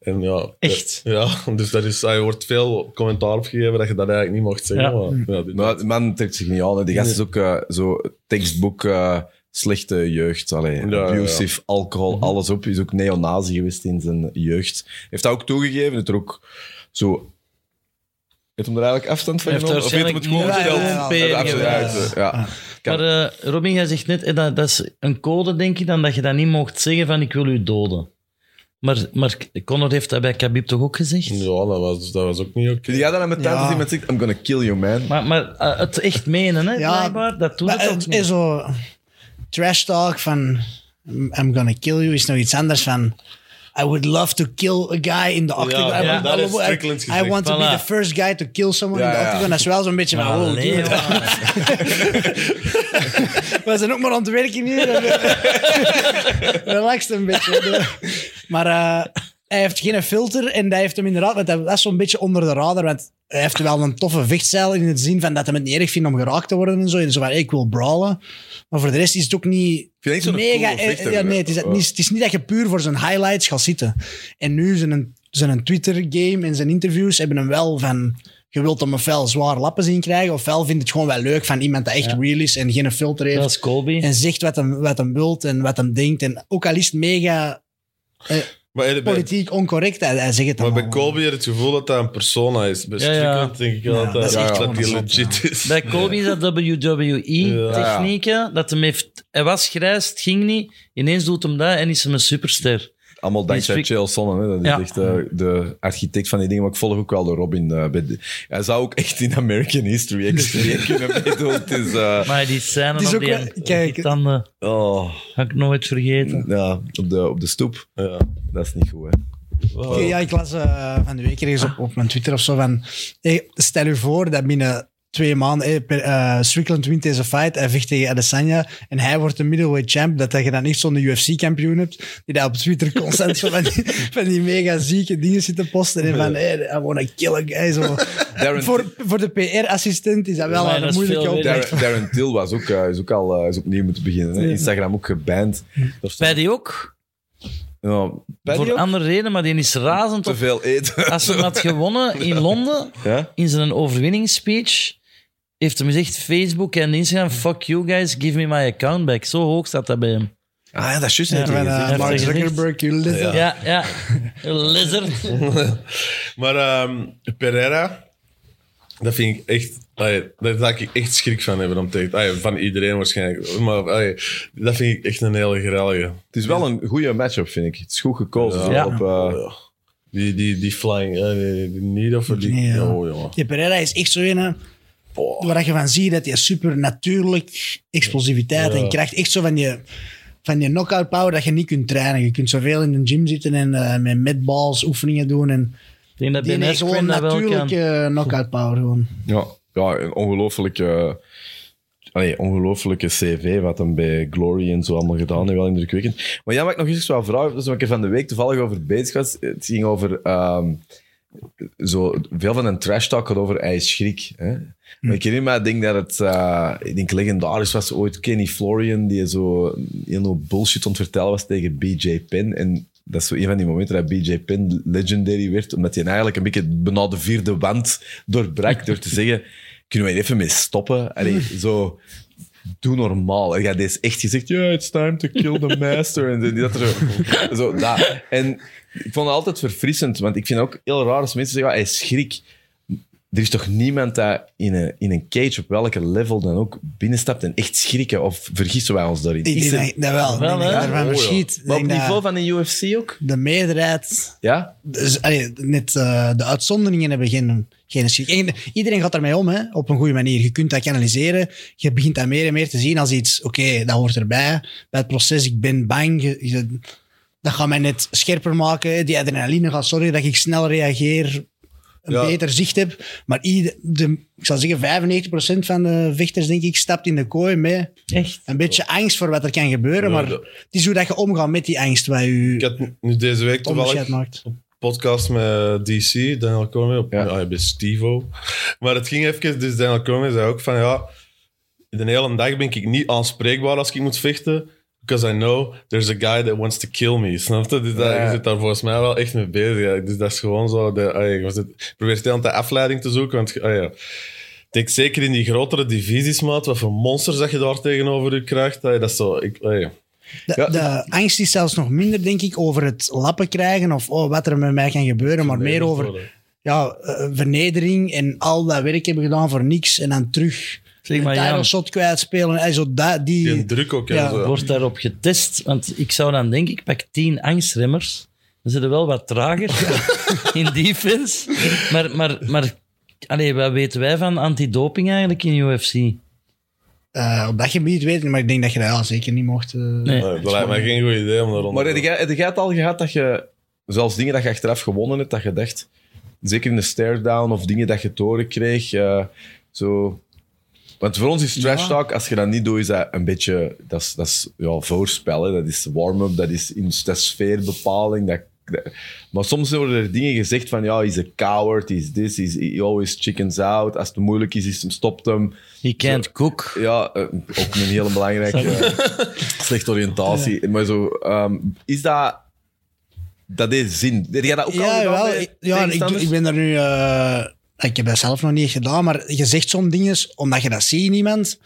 Speaker 4: En ja,
Speaker 2: Echt?
Speaker 4: Ja, dus daar is, hij wordt veel commentaar op gegeven dat je dat eigenlijk niet mocht zeggen.
Speaker 2: Ja.
Speaker 4: Maar, ja, dit-
Speaker 1: Maar de man trekt zich niet aan. hè. Die gast is ook eh, zo tekstboek eh, slechte jeugd. Allee,
Speaker 4: Ja,
Speaker 1: abusive, alcohol, alles op. Is ook neonazi geweest in zijn jeugd. Heeft dat ook toegegeven. Dat er ook zo... Heeft hem er eigenlijk afstand van
Speaker 2: Hij heeft
Speaker 1: genomen? Of heeft hem het gewoon
Speaker 2: waarschijnlijk
Speaker 1: verteld?
Speaker 3: niet
Speaker 1: Ja,
Speaker 2: gewoon
Speaker 1: absoluut.
Speaker 2: peren
Speaker 1: Ja, ja.
Speaker 2: Maar eh, Robin, jij zegt net, eh, dat, dat is een code, denk ik, dan dat je dat niet mocht zeggen van ik wil u doden. Maar, maar Connor heeft dat bij Khabib toch ook gezegd?
Speaker 4: ja, dat was, dat was ook niet oké.
Speaker 1: Vind jij dat dan met tijd
Speaker 3: Ja.
Speaker 1: als iemand zegt, I'm gonna kill you, man?
Speaker 2: Maar, maar eh, het echt menen, hè,
Speaker 3: Ja,
Speaker 2: blijkbaar, dat doet
Speaker 3: Maar
Speaker 2: het ook
Speaker 3: het
Speaker 2: niet.
Speaker 3: is zo... Trash talk van... I'm gonna kill you is nog iets anders van... I would love to kill a guy in the octagon.
Speaker 4: Ja,
Speaker 3: I
Speaker 4: ja,
Speaker 3: would-
Speaker 4: dat
Speaker 3: I
Speaker 4: heeft
Speaker 3: would-
Speaker 4: Strickland
Speaker 3: I
Speaker 4: gezegd.
Speaker 3: want to be
Speaker 2: Voilà.
Speaker 3: the first guy to kill someone
Speaker 1: Ja,
Speaker 3: in the
Speaker 1: ja.
Speaker 3: octagon. Dat is wel zo'n beetje van...
Speaker 2: Maar
Speaker 3: Wow,
Speaker 2: nee,
Speaker 3: dude.
Speaker 2: man.
Speaker 3: We zijn ook maar aan het werken hier. Relaxed een beetje. Maar eh, hij heeft geen filter en dat heeft hem inderdaad... want Dat is zo'n beetje onder de radar, want hij heeft wel een toffe vechtstijl in het zin van dat hij het niet erg vindt om geraakt te worden en zo. En zo van, hey, ik wil brawlen. Maar voor de rest is het ook niet
Speaker 1: vind het niet zo'n
Speaker 3: mega...
Speaker 1: coole vechter,
Speaker 3: eh, ja, nee, het is,
Speaker 1: hè.
Speaker 3: dat niet, het is niet dat je puur voor zijn highlights gaat zitten. En nu zijn, zijn Twitter-game en zijn interviews hebben hem wel van... Je wilt hem ofwel zwaar lappen zien krijgen, ofwel vindt het gewoon wel leuk van iemand dat echt real is en geen filter heeft
Speaker 2: Dat is Colby.
Speaker 3: en zegt wat hem, wat hem wilt en wat hem denkt. En ook al is het mega
Speaker 4: Maar, eh, bij-
Speaker 3: politiek oncorrect. Hij, hij zegt het
Speaker 4: maar
Speaker 3: dan
Speaker 4: bij
Speaker 3: allemaal.
Speaker 4: Colby heb je het gevoel dat hij een persona is. Bij
Speaker 2: Ja, ja.
Speaker 4: Strickland denk ik wel
Speaker 3: Ja,
Speaker 4: dat, hij-
Speaker 3: dat is echt
Speaker 4: dat
Speaker 3: gewoon
Speaker 4: hij
Speaker 3: een
Speaker 4: legit
Speaker 3: zot,
Speaker 4: is.
Speaker 2: Bij Kobe is dat WWE-technieken. Dat hem heeft, hij was grijs, het ging niet. Ineens doet hem dat en is hem een superster.
Speaker 1: Allemaal dankzij
Speaker 2: Die is fik-
Speaker 1: Chael Sonnen. Hè. Dat is
Speaker 2: Ja.
Speaker 1: echt eh, de architect van die dingen. Maar ik volg ook wel de Robin. eh, bij de- hij zou ook echt in American History
Speaker 2: [LAUGHS]
Speaker 1: X3 kunnen meedoen. Het is... eh,
Speaker 2: Maar die scène
Speaker 3: Het is
Speaker 2: op
Speaker 3: ook
Speaker 2: die
Speaker 3: wel-
Speaker 2: hand- op
Speaker 3: kijk. Mm.
Speaker 2: die tanden
Speaker 1: oh,
Speaker 2: ga ik nooit vergeten.
Speaker 1: ja, op, de, op de stoep.
Speaker 4: Ja.
Speaker 1: Dat is niet goed, hè.
Speaker 3: Ja, Ja, ik las eh, van de week ergens op, op mijn Twitter of zo van... hey, stel u voor dat binnen twee maanden... hey, per- eh, Strickland wint deze fight, hij vecht tegen Adesanya en hij wordt de middleweight champ, dat je dan echt zo'n UFC-kampioen hebt die daar op Twitter constant zo van,
Speaker 4: [LAUGHS]
Speaker 3: die, van die mega zieke dingen zit te posten en van, hey, I wanna kill a guy. Zo.
Speaker 1: Darren-
Speaker 3: Voor, voor de PR-assistent is dat wel
Speaker 2: Ja, dat
Speaker 3: een
Speaker 2: is
Speaker 3: moeilijke
Speaker 2: veel
Speaker 3: opdracht.
Speaker 1: Darren, Darren Till was ook, eh, is ook al eh, is opnieuw moeten beginnen. Hè.
Speaker 3: Ja.
Speaker 1: Instagram ook geband.
Speaker 2: Paddy ook.
Speaker 1: Ja, Paddy
Speaker 2: voor
Speaker 1: ook
Speaker 2: andere reden, maar die is razend.
Speaker 1: te
Speaker 3: [LAUGHS]
Speaker 2: Op.
Speaker 1: veel eten.
Speaker 2: Als hij hem had gewonnen in Londen,
Speaker 1: Ja?
Speaker 2: in zijn overwinningsspeech, heeft hem gezegd: Facebook en Instagram, fuck you guys, give me my account back. Zo hoog staat dat bij hem.
Speaker 1: Ah ja, dat is juist. net
Speaker 3: Van,
Speaker 1: weer
Speaker 3: eh,
Speaker 1: gezien.
Speaker 2: heeft
Speaker 3: Mark
Speaker 2: hij gezegd.
Speaker 3: Zuckerberg, you lizard.
Speaker 2: eh, Ja, ja. Lizard.
Speaker 4: [LAUGHS] Maar ehm, Pereira, dat vind ik echt... Allee, daar zou ik echt schrik van hebben om tegen... allee, van iedereen waarschijnlijk. Maar allee, dat vind ik echt een hele grellige.
Speaker 1: [LAUGHS] Het is wel een goede matchup, vind ik. Het is goed gekozen. zo
Speaker 2: Ja.
Speaker 1: Op, eh,
Speaker 4: Oh, Die, die, die flying... eh, die, die niet of die...
Speaker 3: Nee, ja.
Speaker 4: Oh, jongen.
Speaker 3: Ja, Pereira is echt zo een... hè, Waar je van ziet dat hij super natuurlijk explosiviteit en kracht... Echt zo van je, van je knockout power dat je niet kunt trainen. Je kunt zoveel in de gym zitten en eh, met medballs oefeningen doen. En
Speaker 2: Ik denk dat
Speaker 3: die
Speaker 2: Ben
Speaker 3: heeft gewoon
Speaker 2: Askren dat wel kan.
Speaker 3: natuurlijke knockout power. Gewoon.
Speaker 1: Ja, ja een ongelooflijke, allee, ongelooflijke CV wat hem bij Glory en zo allemaal gedaan heeft. Wel indrukwekkend. Maar jij maakt nog eens wel vragen. Dat is wat ik er van de week toevallig over bezig was. Het ging over... ehm, zo, veel van een trash talk gaat over hij is schrik. Hè? Maar ik herinner me, ik denk dat het eh, ik denk legendarisch was ooit Kenny Florian, die zo heel veel bullshit aan het vertellen was tegen BJ Penn. En dat is zo een van die momenten dat BJ Penn legendary werd, omdat hij eigenlijk een beetje bijna de vierde wand doorbrak door te zeggen, [LAUGHS] kunnen wij er even mee stoppen? Allee, zo... Doe normaal. En ja, deze echt gezegd, ja, it's time to kill the master. En die dat er zo. zo dat. En ik vond het altijd verfrissend, want ik vind het ook heel raar als mensen zeggen, ja, hij is schrik. Er is toch niemand dat in een, in een cage op welke level dan ook binnenstapt en echt schrikken? Of vergissen wij ons daarin?
Speaker 3: Ik
Speaker 1: Is
Speaker 3: denk
Speaker 1: er-
Speaker 3: dat, dat wel. Ik
Speaker 2: Wel,
Speaker 3: denk
Speaker 2: hè?
Speaker 3: dat je daarvan
Speaker 1: Oh, ja.
Speaker 3: verschiet. Ik
Speaker 1: maar op
Speaker 3: denk dat
Speaker 1: niveau van de UFC ook?
Speaker 3: De meerderheid
Speaker 1: Ja?
Speaker 3: Dus, allee, net eh, de uitzonderingen hebben geen, geen schrik. En iedereen gaat daarmee om, hè, op een goede manier. Je kunt dat kanaliseren. Je begint dat meer en meer te zien als iets. Oké, dat hoort erbij. Bij het proces, ik ben bang. Je- je- dat gaat mij net scherper maken. hè. Die adrenaline gaat zorgen dat ik snel reageer. Een
Speaker 4: Ja.
Speaker 3: beter zicht heb. Maar ieder, de, ik zou zeggen, 95% van de vechters, denk ik, stapt in de kooi met
Speaker 2: Echt.
Speaker 3: een beetje angst voor wat er kan gebeuren.
Speaker 4: Ja,
Speaker 3: Maar
Speaker 4: dat-
Speaker 3: het is hoe dat je omgaat met die angst waar
Speaker 4: Ik
Speaker 3: je
Speaker 4: had nu deze week
Speaker 3: het onderscheid
Speaker 4: toevallig...
Speaker 3: maakt.
Speaker 4: podcast met DC, Daniel Cormier, op, Ah,
Speaker 1: Ja.
Speaker 4: ja. bij Stevo. Maar het ging even, dus Daniel Cormier zei ook van ja, de hele dag ben ik niet aanspreekbaar als ik moet vechten. Because I know there's a guy that wants to kill me. Snap je? Dus dat,
Speaker 1: Ja.
Speaker 4: Je zit daar volgens mij wel echt mee bezig. ja. Dus dat is gewoon zo. De, ah, je zit- je probeert de hele tijd afleiding te zoeken. Want ah, ja. ik denk zeker in die grotere divisies, maat. Wat voor monsters dat je daar tegenover je krijgt. ah, dat is zo. Ik, ah, ja.
Speaker 3: De,
Speaker 1: Ja.
Speaker 3: de angst is zelfs nog minder, denk ik, over het lappen krijgen of oh, wat er met mij kan gebeuren, maar meer over ja, eh, vernedering en al dat werk hebben gedaan voor niks en dan terug
Speaker 2: Zeg
Speaker 3: een
Speaker 2: maar,
Speaker 3: title
Speaker 2: Jan.
Speaker 3: shot kwijtspelen. En zo dat, die,
Speaker 4: Die druk ook. hè,
Speaker 3: Ja.
Speaker 4: zo. Ah,
Speaker 2: Wordt daarop getest? Want ik zou dan denken, ik pak tien angstremmers. Dan zijn er wel wat trager [LAUGHS] in defense. Maar, maar, maar allee, wat weten wij van antidoping eigenlijk in UFC?
Speaker 3: eh, op dat gebied weet ik, maar ik denk dat je dat ja, zeker niet mocht. eh,
Speaker 2: Nee.
Speaker 4: Ah, dat lijkt mij geen goed idee om daaronder
Speaker 1: Maar heb jij, heb jij het al gehad dat je, zelfs dingen dat je achteraf gewonnen hebt, dat je dacht, zeker in de stare-down of dingen dat je toren kreeg, eh, zo... Want voor ons is trash
Speaker 3: Ja.
Speaker 1: talk, als je dat niet doet, is dat een beetje... Dat is, dat is ja, voorspel, hè. dat is warm-up, dat is, in- dat is sfeerbepaling. Dat, dat- maar soms worden er dingen gezegd van, ja, is a coward, is this, is he always chickens out. Als het moeilijk is, is hem, stopt hem.
Speaker 2: Je can't cook.
Speaker 1: Ja, eh, ook een hele belangrijke eh, slechte oriëntatie. Maar zo, ehm, is dat... Dat is zin. Heb jij dat ook al
Speaker 3: Ja,
Speaker 1: gedaan
Speaker 3: wel,
Speaker 1: bij
Speaker 3: ik- ja ik,
Speaker 1: tegenstanders?
Speaker 3: ik ben daar nu... eh, ik heb dat zelf nog niet echt gedaan, maar je zegt zo'n dingen omdat je dat ziet in iemand.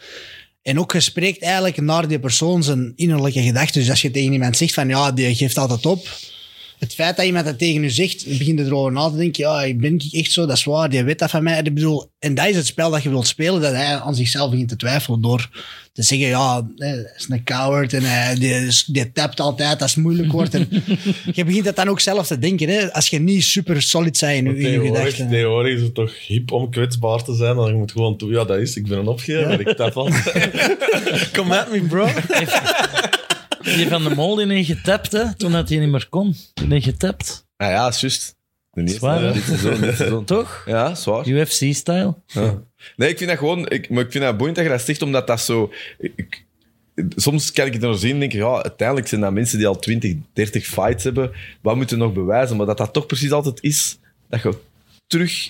Speaker 3: En ook je spreekt eigenlijk naar die persoon zijn innerlijke gedachten. Dus als je tegen iemand zegt van ja, die geeft altijd op. het feit dat iemand dat tegen u zegt, je begint erover na te denken. Ja, ik ben ik echt zo, dat is waar, die weet dat van mij. Ik bedoel, en dat is het spel dat je wilt spelen, dat hij aan zichzelf begint te twijfelen door te zeggen, ja, hij is een coward en hij, die, is- die tapt altijd als het moeilijk wordt. En [LAUGHS] je begint dat dan ook zelf te denken, hè, als je niet super solid bent in, je- in je
Speaker 4: Tegenwoordig,
Speaker 3: gedachten.
Speaker 4: tegenwoordig is het toch hip om kwetsbaar te zijn. Dan je moet gewoon toe. Ja, dat is. Ik ben een opgever. Ik tap al.
Speaker 3: [LAUGHS]
Speaker 4: Come at me, bro.
Speaker 2: Die van de mol die heeft getapt, hè, toen dat hij niet meer kon. Die heeft getapt.
Speaker 1: Ah ja, is juist. De eerste,
Speaker 2: Zwaar, hè?
Speaker 1: dit seizoen, dit seizoen.
Speaker 2: Toch?
Speaker 1: Ja, zwaar.
Speaker 2: UFC-style.
Speaker 1: Nee, ik vind dat gewoon... Ik, maar ik vind dat boeiend dat je dat sticht, omdat dat zo... Ik, soms kan ik het nog zien en denk ik, ja, uiteindelijk zijn dat mensen die al 20, 30 fights hebben. Wat moeten we nog bewijzen? Maar dat dat toch precies altijd is dat je terug...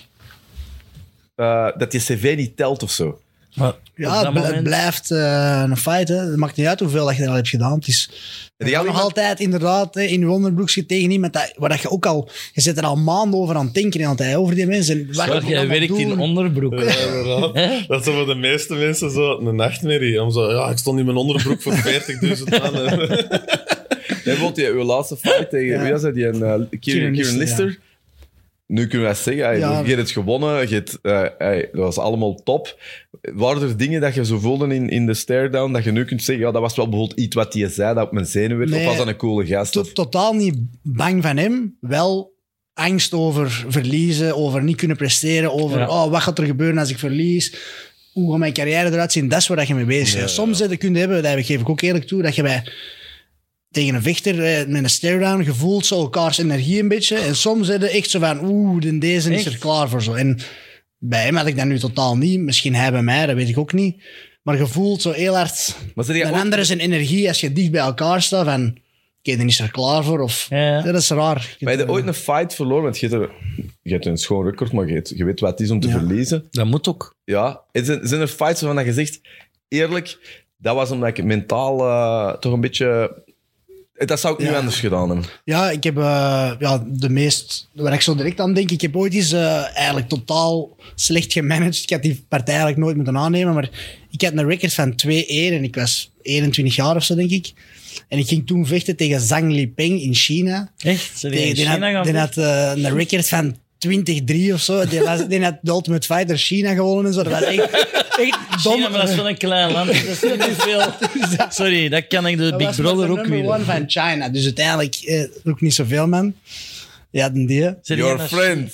Speaker 1: eh, dat je cv niet telt of zo.
Speaker 2: Maar op
Speaker 3: Ja,
Speaker 2: dat
Speaker 3: het, bl- het
Speaker 2: moment-
Speaker 3: blijft eh, een fight. Hè. Het maakt niet uit hoeveel dat je er al hebt gedaan. Het is
Speaker 1: Die
Speaker 3: je
Speaker 1: had
Speaker 3: kan nog
Speaker 1: iemand-
Speaker 3: altijd inderdaad hè, in je onderbroek zit tegen iemand dat, waar dat je ook al... Je zit er al maanden over aan het denken en aan het ei over die mensen. En wat
Speaker 2: Zorg,
Speaker 3: je
Speaker 2: jij
Speaker 3: allemaal
Speaker 2: werkt
Speaker 3: doet.
Speaker 2: in onderbroek.
Speaker 4: Ja, inderdaad.
Speaker 2: Hè?
Speaker 4: Dat is voor de meeste mensen zo een nachtmerrie. Om zo, ja, ik stond in mijn onderbroek voor 40.000 man. [LAUGHS]
Speaker 1: Nee, bijvoorbeeld die, uw laatste fight tegen...
Speaker 3: Ja.
Speaker 1: Wie was dat? Die, een, eh, Kieran, Kieran
Speaker 3: Lister,
Speaker 1: Lister. Nu kunnen we dat zeggen. hey,
Speaker 3: Ja.
Speaker 1: Je hebt het gewonnen. Je hebt, eh, hey, dat was allemaal top. Waren er dingen dat je zo voelde in, in de stare-down, dat je nu kunt zeggen, ja, dat was wel bijvoorbeeld iets wat hij zei, dat op mijn zenuwen werd,
Speaker 3: Nee.
Speaker 1: of was dat een coole gast?
Speaker 3: To-
Speaker 1: Of-
Speaker 3: totaal niet bang van hem. Wel angst over verliezen, over niet kunnen presteren, over
Speaker 2: Ja.
Speaker 3: oh, wat gaat er gebeuren als ik verlies. Hoe gaat mijn carrière eruit zien? Dat is waar dat je mee bezig bent. Soms heb je kunt hebben, dat geef ik ook eerlijk toe, dat je bij tegen een vechter eh, met een stare-down gevoelt zo elkaars energie een beetje. En soms zit je echt zo van, oeh, de- deze is
Speaker 2: Echt?
Speaker 3: er klaar voor zo. En bij hem had ik dat nu totaal niet. Misschien hij bij mij, dat weet ik ook niet. Maar je voelt zo heel hard
Speaker 1: maar zei jij
Speaker 3: een
Speaker 1: ook-
Speaker 3: andere zijn energie als je dicht bij elkaar staat en oké, dan is er klaar voor. Of,
Speaker 2: Ja, ja.
Speaker 3: Dat is raar.
Speaker 1: maar heb je ooit een fight verloren? Want je hebt, er- je hebt een schoon record, maar je, hebt- je weet wat het is om te
Speaker 3: Ja.
Speaker 1: verliezen.
Speaker 2: Dat moet ook.
Speaker 1: Ja. En Zijn, zijn er fights waarvan dat je zegt, eerlijk, dat was omdat ik mentaal eh, toch een beetje... Dat zou ik nu
Speaker 3: Ja.
Speaker 1: anders gedaan hebben.
Speaker 3: Ja, ik heb eh, ja, de meest... Waar ik zo direct aan denk, ik heb ooit eens eh, eigenlijk totaal slecht gemanaged. Ik had die partij eigenlijk nooit moeten aannemen, maar ik had een record van 2-1 en ik was 21 jaar of zo, denk ik. En ik ging toen vechten tegen Zhang Lipeng in China.
Speaker 2: Echt? Zijn die
Speaker 3: Die,
Speaker 2: in
Speaker 3: die
Speaker 2: China
Speaker 3: had,
Speaker 2: gaan
Speaker 3: die
Speaker 2: vechten?
Speaker 3: had eh, een record van 20-3 of zo. Die, was, die had de Ultimate Fighter China gewonnen en zo. Dat was echt, echt dom.
Speaker 2: China, maar dat is wel een klein land. Dat is niet veel. Sorry, dat kan ik de
Speaker 3: Dat
Speaker 2: Big
Speaker 3: was met
Speaker 2: Brother
Speaker 3: de
Speaker 2: ook
Speaker 3: number
Speaker 2: weer.
Speaker 3: one van China. Dus uiteindelijk eh, ook niet zoveel, man. Ja, dan die. Ja,
Speaker 2: Zijn die
Speaker 1: Your
Speaker 2: naar-
Speaker 1: friend.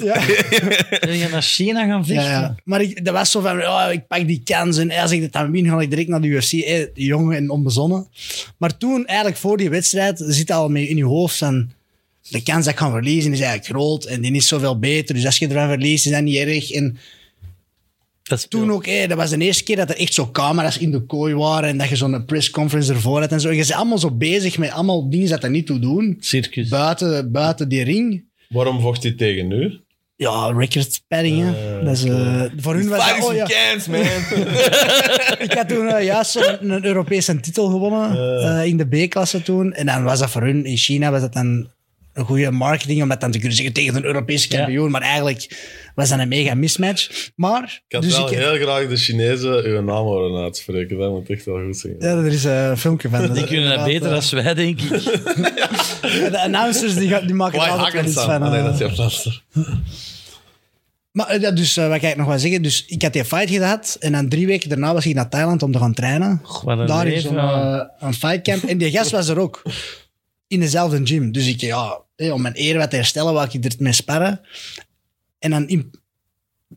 Speaker 2: Zijn die naar China gaan vechten?
Speaker 3: ja. Maar ik, dat was zo van, oh, ik pak die kans. En als ik dit dan win, ga ik direct naar de UFC. Eh, jong en onbezonnen. Maar toen, eigenlijk voor die wedstrijd, zit al mee in je hoofd van... De kans dat ik kan verliezen is eigenlijk groot. En die is zoveel beter. Dus als je ervan verliest, is dat niet erg. En
Speaker 2: Dat is
Speaker 3: toen ook, hé, dat was de eerste keer dat er echt zo camera's in de kooi waren en dat je zo'n pressconference ervoor had en zo. En je bent allemaal zo bezig met allemaal dingen dat er niet toe doen.
Speaker 2: Circus.
Speaker 3: Buiten, buiten die ring.
Speaker 4: Waarom vocht hij tegen nu?
Speaker 3: Ja, record padding, hè. Dat is, eh, voor hun was dat,
Speaker 1: Fighting
Speaker 3: oh ja,
Speaker 1: cans, man.
Speaker 3: [LAUGHS] ik had toen eh, juist zo'n- een, Europese titel gewonnen eh, in de B-klasse toen. En dan was dat voor hun, in China was dat dan een goede marketing om dat dan te kunnen zeggen tegen een Europese kampioen. Maar eigenlijk was dat een mega mismatch. Maar,
Speaker 4: Ik had
Speaker 3: dus
Speaker 4: wel
Speaker 3: ik,
Speaker 4: heel graag de Chinezen uw naam horen uitspreken. Dat moet echt wel goed zijn.
Speaker 3: ja, er is eh, een filmpje van.
Speaker 2: Die kunnen
Speaker 3: [LAUGHS]
Speaker 2: dat beter
Speaker 3: dan
Speaker 2: dan wij, denk ik.
Speaker 3: Ja, De announcers die, gaan- die maken er
Speaker 4: Why
Speaker 3: altijd wel iets
Speaker 4: Hakkensan?
Speaker 3: van.
Speaker 4: Ah,
Speaker 3: eh.
Speaker 4: Nee, dat is Japanser.
Speaker 3: Maar eh, ja, dus eh, wat kan ik nog wel zeggen? Dus ik had die fight gehad en dan drie weken daarna was ik naar Thailand om te gaan trainen.
Speaker 2: wat een
Speaker 3: Daar is
Speaker 2: leven,
Speaker 3: zo'n
Speaker 2: man.
Speaker 3: eh, een fightcamp. En die gast was er ook. In dezelfde gym. Dus ik, ja, hé, om mijn eer wat te herstellen, wou ik er mee sparren. En dan in,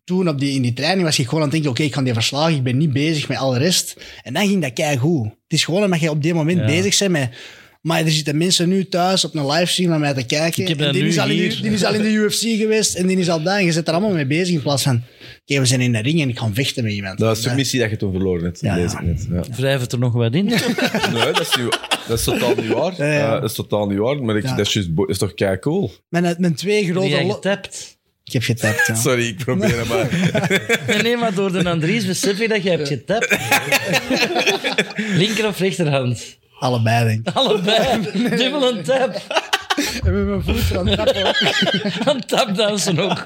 Speaker 3: toen op die, in die training was ik gewoon aan het denken, oké, ik kan die verslagen, ik ben niet bezig met al de rest. En dan ging dat keigoed. Het is gewoon omdat je op dit moment
Speaker 2: Ja.
Speaker 3: bezig bent met... Maar er zitten mensen nu thuis op een livestream naar mij te kijken.
Speaker 2: Ik heb
Speaker 3: En
Speaker 2: dat
Speaker 3: die,
Speaker 2: nu
Speaker 3: is al in,
Speaker 2: hier.
Speaker 3: die is al in de
Speaker 2: [LAUGHS]
Speaker 3: UFC geweest en die is al daar. En je zit er allemaal mee bezig in plaats van... Oké, we zijn in de ring en ik ga vechten met iemand.
Speaker 1: Dat was submissie dat je toen verloren hebt,
Speaker 3: Ja,
Speaker 1: lees
Speaker 3: ja.
Speaker 1: ik net. Ja.
Speaker 2: Wrijft er nog wat
Speaker 3: [LAUGHS]
Speaker 2: in?
Speaker 1: [LAUGHS] Nee, dat is, niet, dat is totaal niet waar.
Speaker 3: Ja, ja.
Speaker 1: Eh, dat is totaal niet waar, maar ik,
Speaker 3: Ja.
Speaker 1: dat is, juist bo- dat is toch kei cool.
Speaker 3: Mijn, mijn twee
Speaker 2: Die
Speaker 3: grote...
Speaker 2: jij
Speaker 3: lo-
Speaker 2: getapt.
Speaker 3: Ik heb
Speaker 1: [LAUGHS]
Speaker 3: getapt, ja.
Speaker 1: Sorry, ik probeer het maar.
Speaker 2: Nee, nee, maar door de Andries besef je dat je hebt
Speaker 3: [LAUGHS]
Speaker 2: getapt. Linker of rechterhand?
Speaker 3: Allebei, denk ik. [LAUGHS]
Speaker 2: Allebei. Dubbel een tap.
Speaker 3: Met mijn voeten aan het tappen.
Speaker 2: Van tapdansen ook.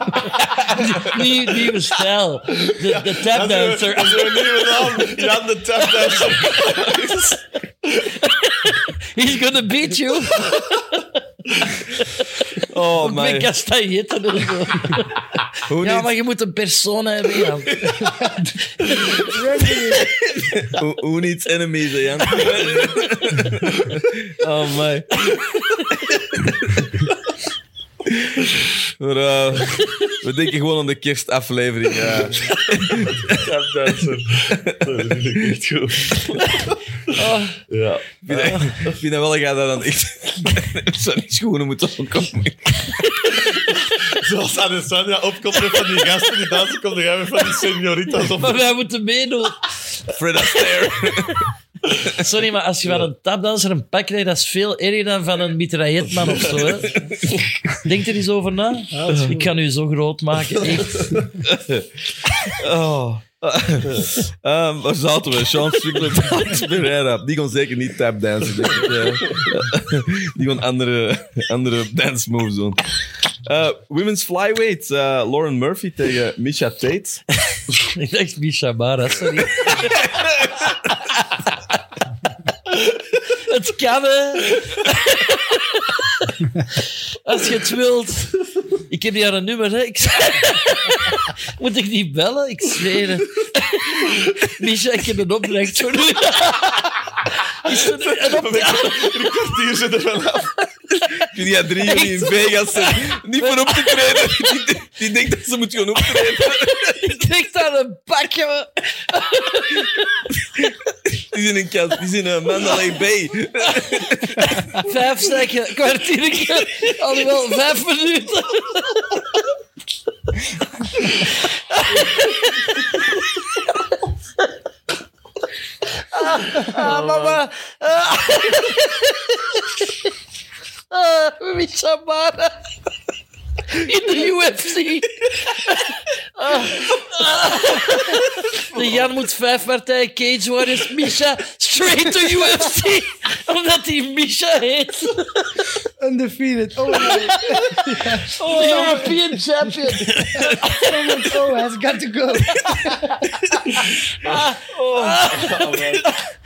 Speaker 2: [LAUGHS] Die- Nieuw, nieuwe stijl. De, de
Speaker 4: Dat
Speaker 2: tapdancer.
Speaker 4: is uw nieuwe naam. Jan de Tapdancer.
Speaker 2: He's gonna beat you.
Speaker 1: Oh,
Speaker 2: Ook met
Speaker 1: man.
Speaker 2: kastanjetten en zo.
Speaker 1: Hoe,
Speaker 2: Ja,
Speaker 1: niet-
Speaker 2: maar je moet een persoon hebben, Jan.
Speaker 1: who, who needs enemies, hè, Jan? [LAUGHS] [LAUGHS] oh, my. Maar, eh, we denken gewoon aan de kerstaflevering. eh. ja.
Speaker 4: Dat vind ik echt goed.
Speaker 3: Oh.
Speaker 4: Ja.
Speaker 1: Ik vind, dat- ik vind dat wel dat jij daar dan echt [LAUGHS] zo'n schoenen moet opkomen.
Speaker 4: Zoals Alessandra opkomt met van die gasten die dansen, komt er jij weer van die senioritas op.
Speaker 2: [LAUGHS] Maar wij moeten meedoen.
Speaker 1: Fred Astaire.
Speaker 2: Sorry, maar als je van een tapdanser een pak krijgt, dat is veel erger dan van een mitrailletman of zo.
Speaker 1: [LAUGHS]
Speaker 2: Hè? Denk er eens over na. Ik kan u zo groot maken. Echt.
Speaker 1: Oh. Ehm, waar zaten we?
Speaker 4: [LAUGHS]
Speaker 1: Sean Strickland, Alex Pereira. Die kon zeker niet tapdansen, denk ik. eh. [LAUGHS] Die kon andere, andere dance moves doen. Eh, women's flyweight. eh, Lauren Murphy tegen Misha
Speaker 4: [LAUGHS]
Speaker 1: Tate.
Speaker 2: [LAUGHS] Ik dacht Misha Mara, sorry. Het kan, hè. Als je het wilt. Ik heb hier een nummer, hè. Ik... Moet ik niet bellen? Ik zweer het. Misha, ik heb een opdracht voor u. Is er een opdracht?
Speaker 4: Hier zitten van af.
Speaker 1: Kun jij drie jullie in Vegas zijn? Niet voor op te treden. Die, die denkt dat ze moet gaan optreden.
Speaker 2: Ik kreeg daar een pak, jongen.
Speaker 1: Die is in een kast. Die is in een Mandalay Bay.
Speaker 2: Vijf seconden, kwartiertje, alhoewel vijf minuten. Ah, ah, mama. Ah. Ah, Misha Mara. In de UFC. Ah. Ah. De Jan moet vijf partijen Cage Warriors. Misha, straight to UFC. Omdat hij Misha heet.
Speaker 6: Undefeated. Oh, no.
Speaker 2: Oh, European champion.
Speaker 6: oh, has got to go.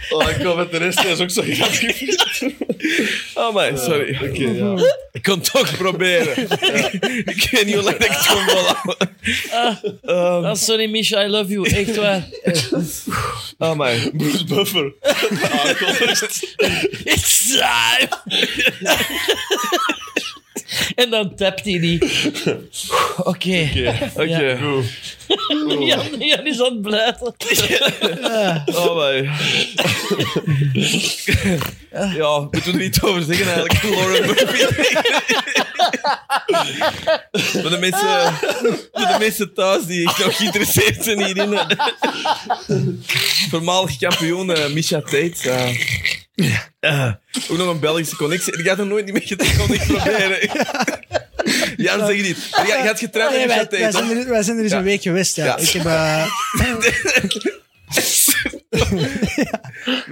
Speaker 4: Oh, ik kom met de rest, dat is ook zo Eh, grappig.
Speaker 1: Oh my, sorry. Ik kon het toch proberen. ik weet niet hoe lang ik het Ehm, kon volhouden.
Speaker 2: Ah, sorry, Misha, I love you. Echt waar.
Speaker 1: Oh my.
Speaker 4: Bruce Buffer.
Speaker 2: It's time. [LAUGHS] en dan tapt hij die. Oké. [LAUGHS]
Speaker 1: Oké.
Speaker 2: Jan, Jan is aan het [LAUGHS] blijten.
Speaker 1: Oh my. [LAUGHS] ja, moeten we er niet over zeggen eigenlijk. [LAUGHS] Lauren Murphy. voor, de mensen, voor de mensen thuis die ik nog geïnteresseerd zijn hierin. eh. Voormalig kampioen eh, Misha Tate. eh. Eh, ook nog een Belgische connectie. Ik had er nooit mee gedaan. Ik kon niet proberen.
Speaker 3: [LAUGHS]
Speaker 1: Jan, zeg je niet. Je je had getraind met
Speaker 3: Nee,
Speaker 1: Misha Tate.
Speaker 3: wij, wij, zijn
Speaker 1: hè?
Speaker 3: er, wij zijn er eens
Speaker 1: Ja.
Speaker 3: een week geweest. Ja.
Speaker 1: Ja.
Speaker 3: Ik heb, eh,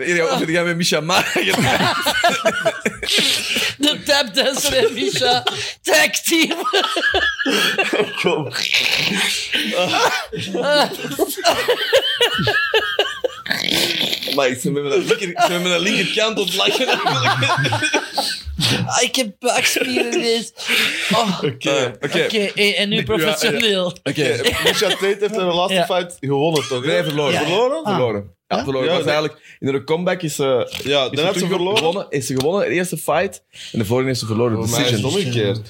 Speaker 1: Hier, Of je gaat met Misha Mara getraind.
Speaker 2: De tapdancer en Misha. Tag team.
Speaker 4: Kom.
Speaker 1: Maar ik ben met mijn linker, ik ben met mijn linkerkant op het lachen. [LAUGHS]
Speaker 2: Ah, ik heb buikspieren ineens. Oh, Oké,
Speaker 1: Eh, Oké,
Speaker 2: en, en nu professioneel.
Speaker 1: oké.
Speaker 4: Misha Tate heeft de laatste
Speaker 2: Ja.
Speaker 4: fight gewonnen, toch?
Speaker 1: Nee, verloren.
Speaker 3: Ja.
Speaker 1: Verloren? Verloren. Ja, verloren.
Speaker 4: Ah. Ja,
Speaker 1: was
Speaker 4: dat-
Speaker 1: eigenlijk, in de comeback is, eh is
Speaker 4: Ja, dan had ze
Speaker 1: terug
Speaker 4: verloren.
Speaker 1: Gewonnen, is ze gewonnen, de eerste fight. En de vorige is ze verloren,
Speaker 4: Maar hij is
Speaker 1: decision.
Speaker 4: omgekeerd.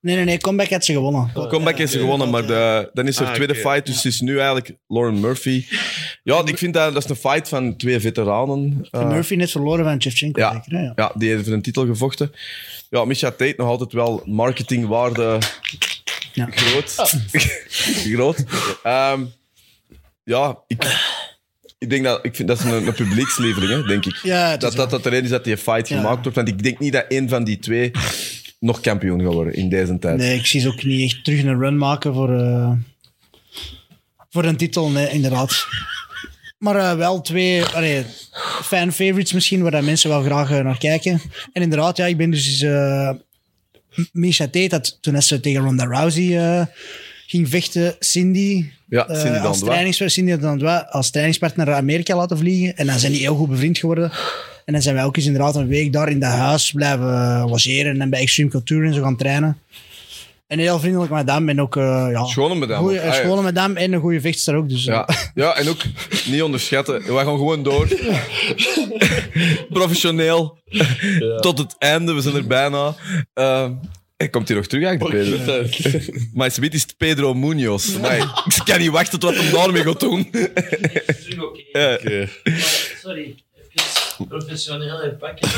Speaker 3: nee, nee, nee, comeback had ze gewonnen.
Speaker 1: De comeback is ze gewonnen, maar de, dan is er
Speaker 4: Ah,
Speaker 1: tweede
Speaker 4: oké.
Speaker 1: fight. Dus het is nu eigenlijk Lauren Murphy. Ja, ik vind dat, dat is een fight van twee veteranen. eh,
Speaker 3: Murphy net verloren van Shevchenko.
Speaker 1: Ja.
Speaker 3: zeker, hè? ja.
Speaker 1: Ja, die heeft voor een titel gevochten. Ja, Misha Tate nog altijd wel marketingwaarde
Speaker 3: Ja.
Speaker 1: groot. [LAUGHS] groot. Ehm, ja, ik, ik denk dat... Ik vind dat is een, een publiekslieveling, hè, denk ik.
Speaker 3: Ja, het is
Speaker 1: dat, dat dat de reden is dat die fight
Speaker 3: Ja.
Speaker 1: gemaakt wordt. Want ik denk niet dat één van die twee nog kampioen gaat worden in deze tijd.
Speaker 3: Nee, ik zie ze ook niet echt terug een run maken voor, eh, voor een titel, nee, inderdaad. Maar eh, wel twee allee, fan favorites misschien, waar dat mensen wel graag eh, naar kijken. En inderdaad, ja, ik ben dus... eh Misha Tate, dat, toen ze tegen Ronda Rousey eh, ging vechten, Cindy...
Speaker 1: Ja,
Speaker 3: eh,
Speaker 1: Cindy dan
Speaker 3: als,
Speaker 1: Dwa.
Speaker 3: trainingspartner, Cindy dan Dwa, als trainingspartner naar Amerika laten vliegen. En dan zijn die heel goed bevriend geworden. En dan zijn wij ook eens inderdaad een week daar in dat huis blijven eh, logeren en bij Extreme Culture en zo gaan trainen. En heel vriendelijk madame en ook... eh ja,
Speaker 1: Schone madame
Speaker 3: goeie-
Speaker 1: ook.
Speaker 3: eh,
Speaker 1: Ah, ja.
Speaker 3: schone madame en een goede vechtster ook. Dus, eh,
Speaker 1: Ja. [LAUGHS] ja, en ook niet onderschatten. We gaan gewoon door. Professioneel. Tot het einde. We zijn er bijna. Ehm, hij komt hier nog terug eigenlijk, Pedro. Maar ze is het Pedro Munoz. Amai, Ik kan niet wachten tot wat hem daarmee gaat doen. Eh.
Speaker 2: oké. Sorry, even professioneel herpakken.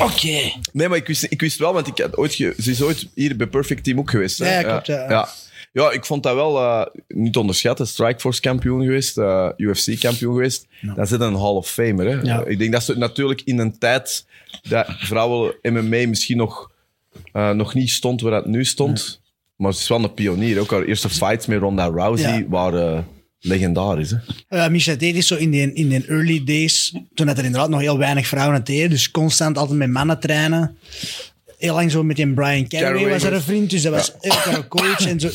Speaker 2: Oké.
Speaker 1: Nee, maar ik wist, ik wist wel, want ik had ooit ge- ze is ooit hier bij Perfect Team ook geweest. Hè?
Speaker 3: Ja, klopt, ja.
Speaker 1: ja. Ja, ik vond dat wel eh, niet te onderschatten. Strikeforce kampioen geweest, eh, UFC kampioen geweest. Dan zit een Hall of Famer. Hè?
Speaker 3: Ja.
Speaker 1: Ik denk dat ze natuurlijk in een tijd dat vrouwen MMA misschien nog, eh, nog niet stond waar het nu stond. Maar ze is wel een pionier. Ook haar eerste fights met Ronda Rousey
Speaker 3: Ja.
Speaker 1: waren legendarisch. Hè?
Speaker 3: [LAUGHS] Eh Misha deed is zo in de, in de early days, toen dat er inderdaad nog heel weinig vrouwen het deden, dus constant altijd met mannen trainen. Heel lang zo met die Brian Carraway
Speaker 1: Carraway
Speaker 3: was er een vriend, dus dat was echt wel een coach.
Speaker 1: [LAUGHS]
Speaker 3: En zo.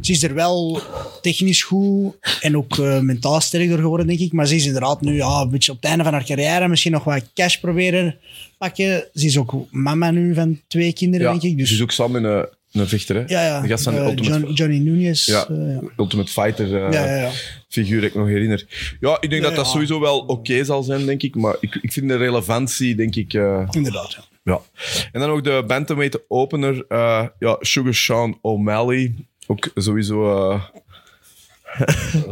Speaker 3: Ze is er wel technisch goed en ook eh, mentaal sterk door geworden, denk ik. Maar ze is inderdaad nu ja, een beetje op het einde van haar carrière misschien nog wat cash proberen pakken. Ze is ook mama nu van twee kinderen,
Speaker 1: Ja,
Speaker 3: denk ik.
Speaker 1: Ze is
Speaker 3: Dus,
Speaker 1: ook samen met een, een vechter. Hè?
Speaker 3: ja, ja.
Speaker 1: De gast van
Speaker 3: eh,
Speaker 1: Ultimate,
Speaker 3: John- Johnny Nunez.
Speaker 1: Ja.
Speaker 3: eh, ja.
Speaker 1: Ultimate Fighter. eh,
Speaker 3: Ja, ja, ja.
Speaker 1: figuur dat ik nog herinner. Ja, ik denk dat dat
Speaker 3: ja.
Speaker 1: sowieso wel oké zal zijn, denk ik. Maar ik, ik vind de relevantie, denk ik... eh,
Speaker 3: Inderdaad, ja.
Speaker 1: ja. En dan ook de bantamweight opener. eh, ja, Sugar Sean O'Malley. Ook sowieso... eh, [LAUGHS]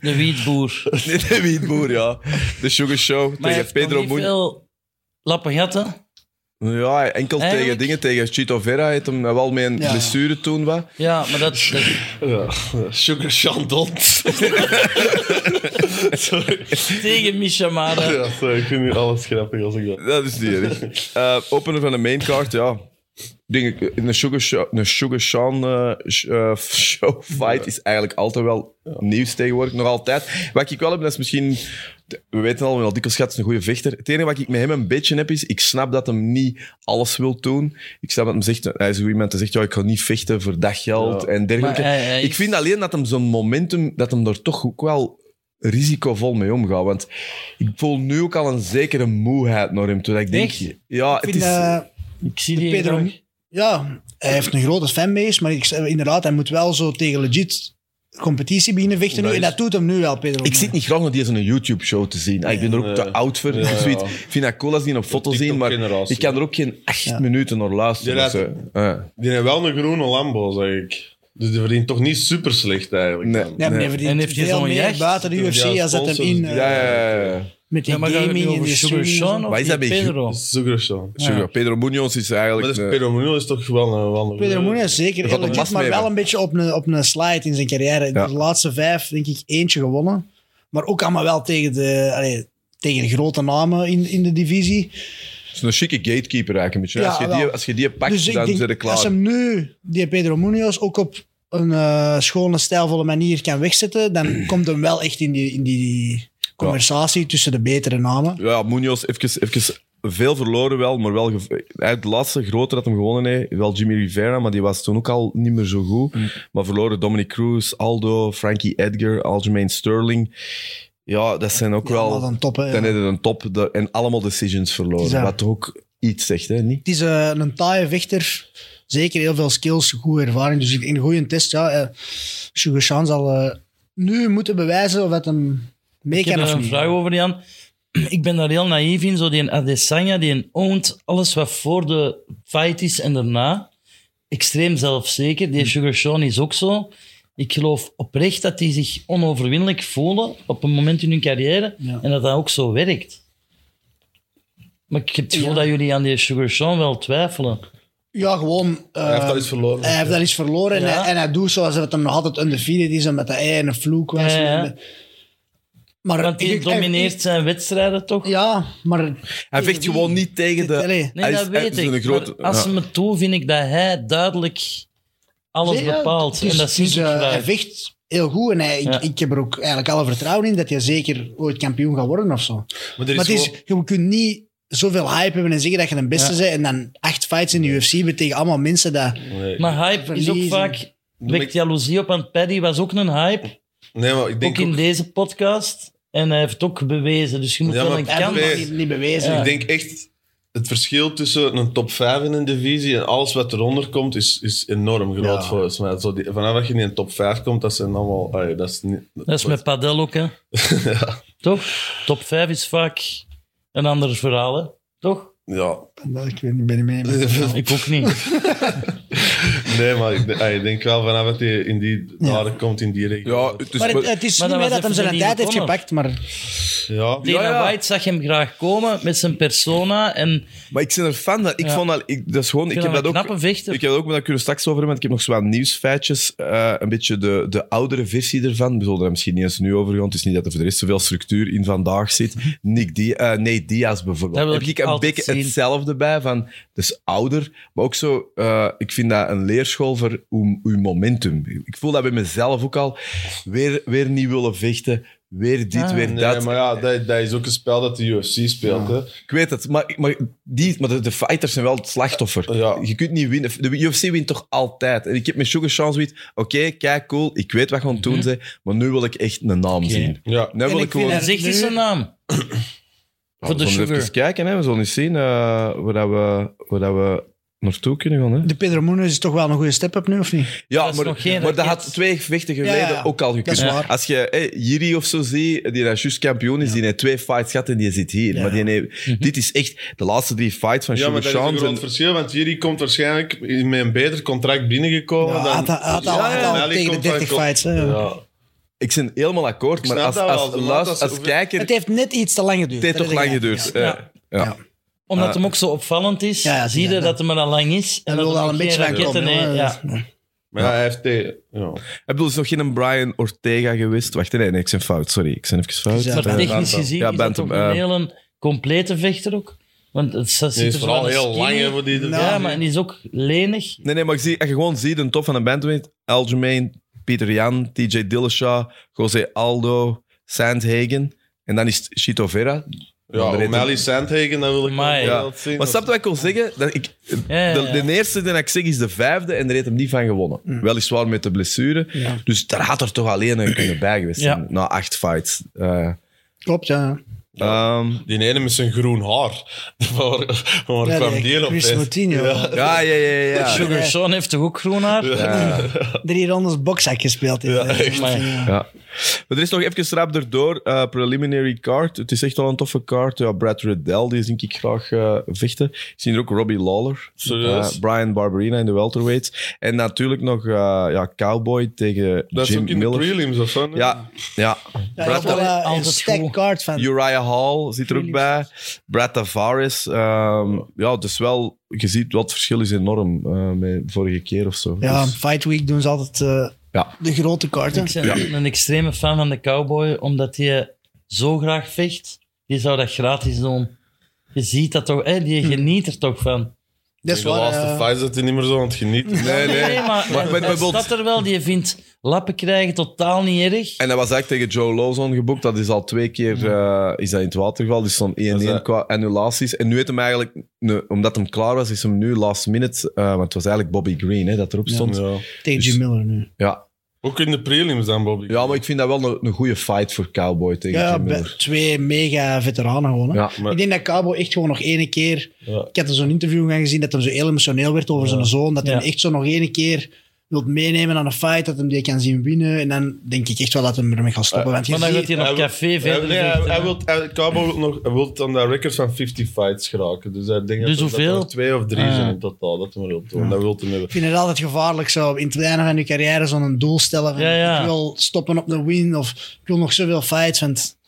Speaker 2: De wietboer.
Speaker 1: nee, de wietboer, ja. De Sugar Show
Speaker 2: Maar
Speaker 1: tegen Pedro Munoz.
Speaker 2: veel lappen gatten.
Speaker 1: Ja, enkel tegen
Speaker 2: Eigenlijk-
Speaker 1: dingen. Tegen Chito Vera heeft hem wel mee een
Speaker 3: Ja.
Speaker 1: blessure toen. Wat.
Speaker 2: Ja, maar dat... dat
Speaker 1: [LAUGHS]
Speaker 4: Ja. Sugar Chandon. sorry.
Speaker 2: tegen Michamara.
Speaker 4: Ja, sorry, ik vind nu alles grappig als ik dat...
Speaker 1: Dat is niet erg. Eh, opener van de maincard, ja. Denk ik, een Sugar, Sha- een Sugar Sean eh, sh- eh, [LAUGHS] show fight is eigenlijk altijd wel nieuws tegenwoordig. Nog altijd. Wat ik wel heb, dat is misschien... We weten al, we al dikwijls schat, is een goede vechter. Het enige wat ik met hem een beetje heb, is... Ik snap dat hem niet alles wil doen. Ik snap dat hem zegt... Hij is zo iemand die zegt, ja, ik ga niet vechten voor dat geld
Speaker 4: Ja.
Speaker 1: en dergelijke.
Speaker 2: Maar hij-
Speaker 3: eh,
Speaker 2: hij
Speaker 1: ik
Speaker 2: is-
Speaker 1: vind alleen dat hem zo'n momentum... Dat hem er toch ook wel risicovol mee omgaat. Want ik voel nu ook al een zekere moeheid naar hem toe. Dat ik denk...
Speaker 2: Echt?
Speaker 1: Ja,
Speaker 3: Ik
Speaker 1: het
Speaker 3: vind,
Speaker 1: is...
Speaker 3: eh,
Speaker 2: Ik zie die
Speaker 3: Pedro-
Speaker 2: nog.
Speaker 3: Ja, hij heeft een grote fanbase, maar ik, zeg, inderdaad, hij moet wel zo tegen legit competitie beginnen vechten nu. En dat doet hem nu wel, Pedro.
Speaker 1: Ik zit niet graag naar die zo'n YouTube-show te zien. Ah, ik ben er ook
Speaker 4: Nee.
Speaker 1: te oud voor.
Speaker 4: Ja, ja.
Speaker 1: Ik zoiets- ik vind dat cool als die op foto zien, maar
Speaker 4: TikTok-generatie.
Speaker 1: ik kan er ook geen acht minuten naar luisteren.
Speaker 4: Ja,
Speaker 1: of
Speaker 4: dat-
Speaker 1: zo. Ah, Ja.
Speaker 4: Die heeft wel een groene Lambo, zeg ik. Dus die verdient toch niet super slecht eigenlijk.
Speaker 1: Nee.
Speaker 4: dan.
Speaker 3: Ja, maar
Speaker 1: Nee.
Speaker 3: hij verdient
Speaker 2: En heeft hij
Speaker 3: veel
Speaker 2: zo'n
Speaker 3: meer
Speaker 2: jacht?
Speaker 3: buiten de
Speaker 4: Ja,
Speaker 3: UFC als dat hem
Speaker 4: sponsors.
Speaker 3: in eh,
Speaker 1: Ja, ja, ja, ja.
Speaker 3: met die
Speaker 2: Ja, maar gaan we het nu
Speaker 3: gaming en
Speaker 2: over
Speaker 3: de
Speaker 2: Sugar
Speaker 3: streaming. en zo.
Speaker 2: Sean of
Speaker 1: Maar is
Speaker 2: die
Speaker 1: dat bij
Speaker 2: Pedro?
Speaker 4: Sugar Sean.
Speaker 1: Sugar. Pedro Munoz is eigenlijk...
Speaker 4: Maar dus
Speaker 1: een-
Speaker 4: Pedro Munoz is toch wel een, wel een
Speaker 2: eh,
Speaker 3: Pedro Moon is zeker
Speaker 1: gaat
Speaker 3: heel
Speaker 1: nog
Speaker 3: legit,
Speaker 1: last
Speaker 3: maar
Speaker 1: mee
Speaker 3: wel
Speaker 1: hebben.
Speaker 3: een beetje op een, op een slide in zijn carrière.
Speaker 1: Ja.
Speaker 3: De laatste vijf, denk ik, eentje gewonnen. Maar ook allemaal wel tegen de, allee, tegen de grote namen in, in de divisie.
Speaker 1: is een chique gatekeeper eigenlijk. een beetje.
Speaker 3: Ja,
Speaker 1: als, je
Speaker 3: wel.
Speaker 1: die, als je die pakt,
Speaker 3: Dus ik
Speaker 1: dan
Speaker 3: denk,
Speaker 1: zijn ze klaar.
Speaker 3: als hem nu, die Pedro Munoz, ook op een eh, schone, stijlvolle manier kan wegzetten, dan komt hem wel echt in die, in die conversatie tussen de betere namen.
Speaker 1: Ja, Munoz, even, even veel verloren wel, maar wel... gev- Eigenlijk de laatste grote dat hem gewonnen heeft, wel Jimmy Rivera, maar die was toen ook al niet meer zo goed. Maar verloren Dominic Cruz, Aldo, Frankie Edgar, Aljamain Sterling. Ja, dat zijn ook wel...
Speaker 3: Wat een top, hè.
Speaker 1: Dan
Speaker 3: Het
Speaker 1: hebben een top de- en allemaal decisions verloren.
Speaker 3: Ja.
Speaker 1: Wat toch ook iets zegt, hè? Niet?
Speaker 3: is eh, een taaie vechter. Zeker heel veel skills, goede ervaring. Dus ik- in een goede test, ja. eh Sugar Sean zal eh, nu moeten bewijzen of het hem mee
Speaker 2: Ik heb
Speaker 3: kan
Speaker 2: er
Speaker 3: of
Speaker 2: een
Speaker 3: niet.
Speaker 2: vraag over, Jan. Ik ben daar heel naïef in. Zo die Adesanya, die oont alles wat voor de fight is en daarna. Extreem zelfzeker.
Speaker 3: Hm.
Speaker 2: Die Sugar Sean is ook zo. Ik geloof oprecht dat die zich onoverwinnelijk voelen op een moment in hun carrière.
Speaker 3: Ja.
Speaker 2: En dat dat ook zo werkt. Maar ik heb het gevoel dat jullie aan die Sugar Sean wel twijfelen.
Speaker 3: Ja, gewoon... eh,
Speaker 4: Hij heeft al iets verloren.
Speaker 3: Hij heeft daar iets verloren en,
Speaker 2: Ja.
Speaker 3: hij, en hij doet zoals het hem nog altijd undefeated is, omdat hij een vloek was.
Speaker 2: Ja, ja.
Speaker 3: Maar
Speaker 2: Want die
Speaker 3: ik-
Speaker 2: domineert zijn wedstrijden toch?
Speaker 3: Ja, maar
Speaker 1: Hij vecht gewoon niet tegen de.
Speaker 3: Allee.
Speaker 2: Nee,
Speaker 1: hij is-
Speaker 2: dat
Speaker 1: hij
Speaker 2: weet
Speaker 1: is
Speaker 2: ik.
Speaker 1: een grote-
Speaker 2: maar als
Speaker 1: ja.
Speaker 2: ze me toe, vind ik dat hij duidelijk alles
Speaker 3: Nee, ja,
Speaker 2: bepaalt.
Speaker 3: het is-
Speaker 2: en dat
Speaker 3: het
Speaker 2: zie
Speaker 3: is,
Speaker 2: ik
Speaker 3: eh,
Speaker 2: graag.
Speaker 3: Hij vecht heel goed en hij,
Speaker 2: Ja.
Speaker 3: ik, ik heb er ook eigenlijk alle vertrouwen in dat hij zeker ooit kampioen gaat worden of zo.
Speaker 4: Maar er is
Speaker 3: maar het is,
Speaker 4: gewoon-
Speaker 3: je kunt niet zoveel hype hebben en zeggen dat je de beste
Speaker 2: Ja.
Speaker 3: bent en dan acht fights in de UFC met tegen allemaal mensen dat...
Speaker 4: Nee.
Speaker 2: Maar hype is ook
Speaker 3: Verliezen.
Speaker 2: vaak...
Speaker 4: Doe
Speaker 2: Wekt
Speaker 4: ik-
Speaker 2: jaloezie op, want Paddy was ook een hype.
Speaker 4: nee, maar ik denk
Speaker 2: ook in
Speaker 4: ook-
Speaker 2: deze podcast. En hij heeft ook bewezen. Dus je moet
Speaker 4: Ja,
Speaker 2: wel
Speaker 4: maar
Speaker 2: een
Speaker 4: hij
Speaker 2: kans...
Speaker 4: bewezen.
Speaker 3: Niet, niet bewezen.
Speaker 4: Ik denk echt, het verschil tussen een top 5 in een divisie en alles wat eronder komt, is, is enorm
Speaker 3: Ja.
Speaker 4: groot volgens mij. Zo die, vanaf dat je in een top 5 komt, dat zijn allemaal... allee, dat is niet,
Speaker 2: Dat is met
Speaker 1: [LAUGHS]
Speaker 2: padel ook, hè. Toch? Top 5 is vaak een ander verhaal, hè. Toch?
Speaker 4: Ja.
Speaker 3: Ik weet niet, ben niet mee. met-
Speaker 2: Ik ook
Speaker 1: [LAUGHS]
Speaker 2: niet.
Speaker 4: nee, maar ik, allee, ik denk wel vanaf dat je in die daden komt, in die regio.
Speaker 1: Ja, het is
Speaker 3: Maar het,
Speaker 1: wel-
Speaker 3: het is
Speaker 2: Maar
Speaker 3: niet
Speaker 2: dat
Speaker 3: meer
Speaker 2: was
Speaker 3: dat hem
Speaker 2: even
Speaker 3: zijn
Speaker 2: niet
Speaker 3: tijd heeft
Speaker 2: begonnen.
Speaker 3: gepakt, maar
Speaker 4: ja.
Speaker 2: Dana
Speaker 1: ja.
Speaker 2: White zag hem graag komen met zijn persona. En
Speaker 1: Maar ik ben er fan van. Ik
Speaker 2: Ja.
Speaker 1: vond dat... Ik, dat is gewoon... Ik,
Speaker 2: ik
Speaker 1: heb dat ook...
Speaker 2: knappe vechter.
Speaker 1: Ik heb dat ook, maar daar kunnen we straks over hebben. want Ik heb nog zo wat nieuwsfeitjes. eh, een beetje de, de oudere versie ervan. We zullen er misschien niet eens nu over gaan. Het is niet dat er voor de rest zoveel structuur in vandaag zit. Nick Di eh, nee, Diaz bijvoorbeeld.
Speaker 2: Dat wil
Speaker 1: heb
Speaker 2: ik
Speaker 1: ik een
Speaker 2: altijd
Speaker 1: beetje
Speaker 2: zien.
Speaker 1: hetzelfde bij. Van, dus ouder. Maar ook zo... eh, ik vind dat een leerschool voor uw, uw momentum. Ik voel dat bij mezelf ook al. Weer, weer niet willen vechten. Weer dit,
Speaker 2: Ah.
Speaker 1: weer
Speaker 4: Nee,
Speaker 1: dat.
Speaker 4: maar ja, dat, dat is ook een spel dat de UFC speelt. Hè.
Speaker 1: Ik weet het, maar, maar, die, maar de, de fighters zijn wel het slachtoffer.
Speaker 4: Ja.
Speaker 1: Je kunt niet winnen. De UFC wint toch altijd. En ik heb met Sugar Sean zoiets, oké, kijk, cool, ik weet wat we aan het doen zijn, maar nu wil ik echt een naam zien.
Speaker 4: Ja.
Speaker 1: Nu wil ik,
Speaker 3: ik vind
Speaker 1: gewoon...
Speaker 3: dat-
Speaker 2: Zeg
Speaker 3: Nu-
Speaker 2: eens zijn naam.
Speaker 1: Ja,
Speaker 2: eh, voor de
Speaker 1: we zullen
Speaker 2: Sugar.
Speaker 1: even kijken, hè. we zullen eens zien eh, waar, dat we, waar dat we naartoe kunnen gaan. Hè.
Speaker 3: de Pedro Munoz is toch wel een goede step-up nu, of niet?
Speaker 1: Ja,
Speaker 2: Dat is
Speaker 1: maar,
Speaker 2: nog geen
Speaker 1: maar dat
Speaker 2: raket.
Speaker 1: had twee gevechten geleden
Speaker 3: Ja, ja.
Speaker 1: ook al gekund.
Speaker 3: Dat is waar.
Speaker 1: Als je eh, Jiri of zo ziet, die dat juist kampioen is, die heeft twee fights gehad en die zit hier.
Speaker 3: Ja.
Speaker 1: Maar die heeft- dit is echt de laatste drie fights van
Speaker 4: Ja, maar
Speaker 1: Sugar
Speaker 4: dat Dus is een
Speaker 1: Sean.
Speaker 4: groot
Speaker 1: zijn-
Speaker 4: verschil, want Jiri komt waarschijnlijk met een beter contract binnengekomen
Speaker 3: Ja,
Speaker 4: Oh, dan...
Speaker 3: had, had al,
Speaker 4: Ja,
Speaker 3: had al
Speaker 4: en Ali
Speaker 3: tegen de
Speaker 4: komt van
Speaker 3: 30
Speaker 4: Col-
Speaker 3: fights. hè.
Speaker 4: Ja.
Speaker 1: Ik ben helemaal akkoord, maar
Speaker 4: snap
Speaker 1: als,
Speaker 4: dat
Speaker 1: als,
Speaker 4: wel, maar
Speaker 1: luister-
Speaker 4: dat is
Speaker 1: als
Speaker 4: over-
Speaker 1: kijker
Speaker 3: Het heeft net iets te lang geduurd.
Speaker 1: het heeft
Speaker 3: dat
Speaker 1: toch lang
Speaker 3: weet ik, ja.
Speaker 1: geduurd.
Speaker 3: Ja.
Speaker 1: Eh,
Speaker 2: Ja.
Speaker 1: ja.
Speaker 2: Omdat
Speaker 1: Ah.
Speaker 2: hem ook zo opvallend is,
Speaker 3: Ja, ja,
Speaker 2: zie je
Speaker 3: ja,
Speaker 2: dat hem er al lang is.
Speaker 3: Hij
Speaker 2: dat
Speaker 3: wilde
Speaker 2: hem
Speaker 3: al een
Speaker 2: geen
Speaker 3: beetje aan
Speaker 2: raketten
Speaker 3: komen.
Speaker 2: heeft.
Speaker 3: hè.
Speaker 2: Ja.
Speaker 4: Maar ja, hij heeft... tegen- Ja.
Speaker 1: Ik bedoel, er is nog geen Brian Ortega geweest. Wacht, nee, nee, ik ben fout. Sorry, ik ben even fout. Eh,
Speaker 3: Ja.
Speaker 2: Maar
Speaker 3: Bentham.
Speaker 2: technisch gezien
Speaker 1: Ja,
Speaker 2: is dat
Speaker 1: Bentham,
Speaker 2: toch een
Speaker 1: eh.
Speaker 2: hele complete vechter ook. Want het zit
Speaker 4: Die
Speaker 2: er
Speaker 4: is
Speaker 2: zo
Speaker 4: vooral
Speaker 2: aan een
Speaker 4: heel
Speaker 2: skinny.
Speaker 4: lang hè, voor die...
Speaker 2: Ja, maar die is ook lenig.
Speaker 1: Nee, nee, maar ik zie, als je gewoon ziet, een top van een bandwidth. Aljamain, Peter Jan, TJ Dillashaw, José Aldo, Sandhagen. En dan is het Chito Vera.
Speaker 4: Ja, O'Malley Sandhagen, dat wil ik
Speaker 2: Maar,
Speaker 4: wel
Speaker 2: ja.
Speaker 4: wel zien.
Speaker 1: Maar snap je wat ik wil zeggen? Dat ik,
Speaker 2: Ja, ja,
Speaker 1: De,
Speaker 2: ja.
Speaker 1: de eerste die ik zeg is de vijfde en daar heeft hem niet van gewonnen.
Speaker 4: Mm.
Speaker 1: Weliswaar met de blessure. Dus daar had er toch alleen een kunnen bij geweest
Speaker 2: Ja.
Speaker 1: zijn, na acht fights. Eh,
Speaker 3: Klopt, ja.
Speaker 1: ehm,
Speaker 4: Die ene met zijn groen haar. [LAUGHS] Waar, waar
Speaker 3: Ja,
Speaker 4: kwam
Speaker 3: die
Speaker 4: die op?
Speaker 3: Chris
Speaker 4: hè?
Speaker 3: Moutinho.
Speaker 1: ja, ja, ja,
Speaker 4: [LAUGHS]
Speaker 1: ja.
Speaker 2: Sugar Sean heeft toch ook groen haar?
Speaker 3: Drie rondes boksak gespeeld. heeft.
Speaker 4: Ja, echt.
Speaker 2: Maar-
Speaker 1: Ja. Maar er is nog even rap erdoor. eh, preliminary card. Het is echt al een toffe card. Ja, Brad Riddell, die zie ik graag eh, vechten. Ik zie hier ook Robbie Lawler.
Speaker 4: Serieus?
Speaker 1: Eh, Brian Barberina in de welterweights. En natuurlijk nog eh, ja, Cowboy tegen
Speaker 4: Dat is
Speaker 1: Jim
Speaker 4: ook in
Speaker 1: Miller.
Speaker 4: de prelims of zo. nee?
Speaker 1: ja, ja.
Speaker 3: Ja,
Speaker 1: Brad-
Speaker 3: dat is wel, eh, een
Speaker 2: altijd
Speaker 3: stack
Speaker 2: goed.
Speaker 3: card van.
Speaker 1: Uriah Hall zit er ook bij. Brad Tavares. ehm, ja, dus wel, je ziet wat het verschil is enorm eh, met vorige keer of zo.
Speaker 3: Ja,
Speaker 1: Dus-
Speaker 3: Fight Week doen ze altijd eh,
Speaker 1: Ja.
Speaker 3: de grote kaarten.
Speaker 2: Ik ben een extreme fan van de cowboy, omdat hij zo graag vecht. Die zou dat gratis doen. Je ziet dat toch, hè?
Speaker 3: Hm.
Speaker 2: die geniet er toch van.
Speaker 3: Dat
Speaker 4: In
Speaker 3: is
Speaker 4: de
Speaker 3: waar.
Speaker 4: laatste
Speaker 3: eh,
Speaker 4: fights dat hij niet meer zo aan het genieten. is.
Speaker 1: nee, nee.
Speaker 2: maar,
Speaker 1: Maar
Speaker 2: hij-
Speaker 1: met-
Speaker 2: hij
Speaker 1: met-
Speaker 2: staat er wel. Die vindt lappen krijgen totaal niet erg.
Speaker 1: En dat was eigenlijk tegen Joe Lozon geboekt. Dat is al twee keer eh, is dat in het water gevallen. Dus zo'n 1-1
Speaker 4: dat-
Speaker 1: qua annulaties. En nu heeft hem eigenlijk, nu- omdat hem klaar was, is hem nu last minute. eh, want het was eigenlijk Bobby Green hè, dat erop stond. Ja.
Speaker 4: Ja.
Speaker 3: tegen Jim Miller nu.
Speaker 1: Ja.
Speaker 4: Ook in de prelims dan, Bobby.
Speaker 1: maar ik vind dat wel een, een goede fight voor Cowboy tegen
Speaker 3: Ja,
Speaker 1: Jim
Speaker 3: bij-
Speaker 1: Miller.
Speaker 3: twee mega veteranen gewoon. hè.
Speaker 1: Ja.
Speaker 4: Maar-
Speaker 3: Ik denk dat Cabo echt gewoon nog ene keer...
Speaker 4: Ja.
Speaker 3: Ik had er zo'n interview gaan gezien dat hij zo heel emotioneel werd over zijn zoon. Dat
Speaker 2: Ja.
Speaker 3: hij echt zo nog ene keer wilt meenemen aan een fight. Dat hij die kan zien winnen. En dan denk ik echt wel dat hij ermee gaat stoppen. Want je
Speaker 2: Maar dan gaat
Speaker 3: ziet-
Speaker 2: hij nog
Speaker 4: Hij wil-
Speaker 2: café verder.
Speaker 4: Hij, nee, hij,
Speaker 2: vechten,
Speaker 4: hij
Speaker 2: hè.
Speaker 4: wil, hij, Cowboy wil nog, hij wil aan dat record van 50 fights geraken. Dus hij denkt
Speaker 2: Dus
Speaker 4: dat, er- dat er
Speaker 2: hoeveel?
Speaker 4: nog twee of drie
Speaker 2: Ah.
Speaker 4: zijn in totaal. Dat hij maar wil doen. Dat wil hij hebben.
Speaker 3: Ik vind het altijd gevaarlijk zo in het einde van je carrière zo'n doel stellen. Van,
Speaker 2: Ja, ja.
Speaker 3: Ik wil stoppen op de win of ik wil nog zoveel fights. Want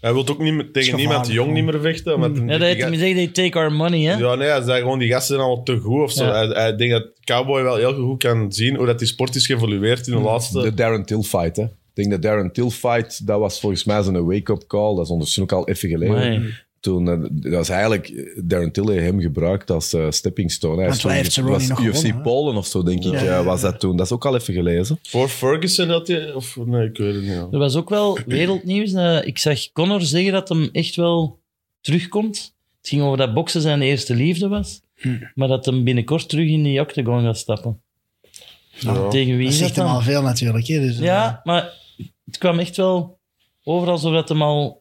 Speaker 4: Hij wil ook niet meer, tegen
Speaker 3: gevaarlijk,
Speaker 4: niemand jong
Speaker 3: man.
Speaker 4: niet meer vechten. omdat hij-
Speaker 2: Ja, dat heeft
Speaker 4: die
Speaker 2: hem
Speaker 4: ga-
Speaker 2: gezegd, they take our money, hè?
Speaker 4: ja, nee, hij zei gewoon, die gasten zijn allemaal te goed. Of zo.
Speaker 2: Ja.
Speaker 4: Hij, hij denkt dat Cowboy wel heel goed kan zien hoe dat die sport is geëvolueerd
Speaker 2: Mm.
Speaker 4: in de laatste...
Speaker 1: De Darren Till fight, hè. Ik denk dat Darren Till fight, dat was volgens mij zo'n wake-up call. Dat is ondertussen ook al even geleden.
Speaker 2: Amai.
Speaker 1: Toen, eh, dat was eigenlijk, eh, Darren Till heeft hem gebruikt als eh, stepping stone. Hij
Speaker 3: Want
Speaker 1: stond-
Speaker 3: waar heeft Cerrone
Speaker 1: was
Speaker 3: nog
Speaker 1: UFC
Speaker 3: gewonnen, hè?
Speaker 1: Polen of zo, denk ik, eh, was dat toen. Dat is ook al even gelezen.
Speaker 4: Voor Ferguson dat hij... Of, nee, ik weet het niet.
Speaker 2: Er was ook wel wereldnieuws. eh, ik zag Connor zeggen dat hem echt wel terugkomt. Het ging over dat boksen zijn eerste liefde was. Maar dat hem binnenkort terug in die octagon gaat stappen.
Speaker 4: Ja.
Speaker 2: Tegen wie
Speaker 3: dat
Speaker 2: is dat
Speaker 3: zegt hem al
Speaker 2: dan?
Speaker 3: veel natuurlijk. Hè, dus, eh,
Speaker 2: Ja, maar het kwam echt wel... overal alsof dat hem al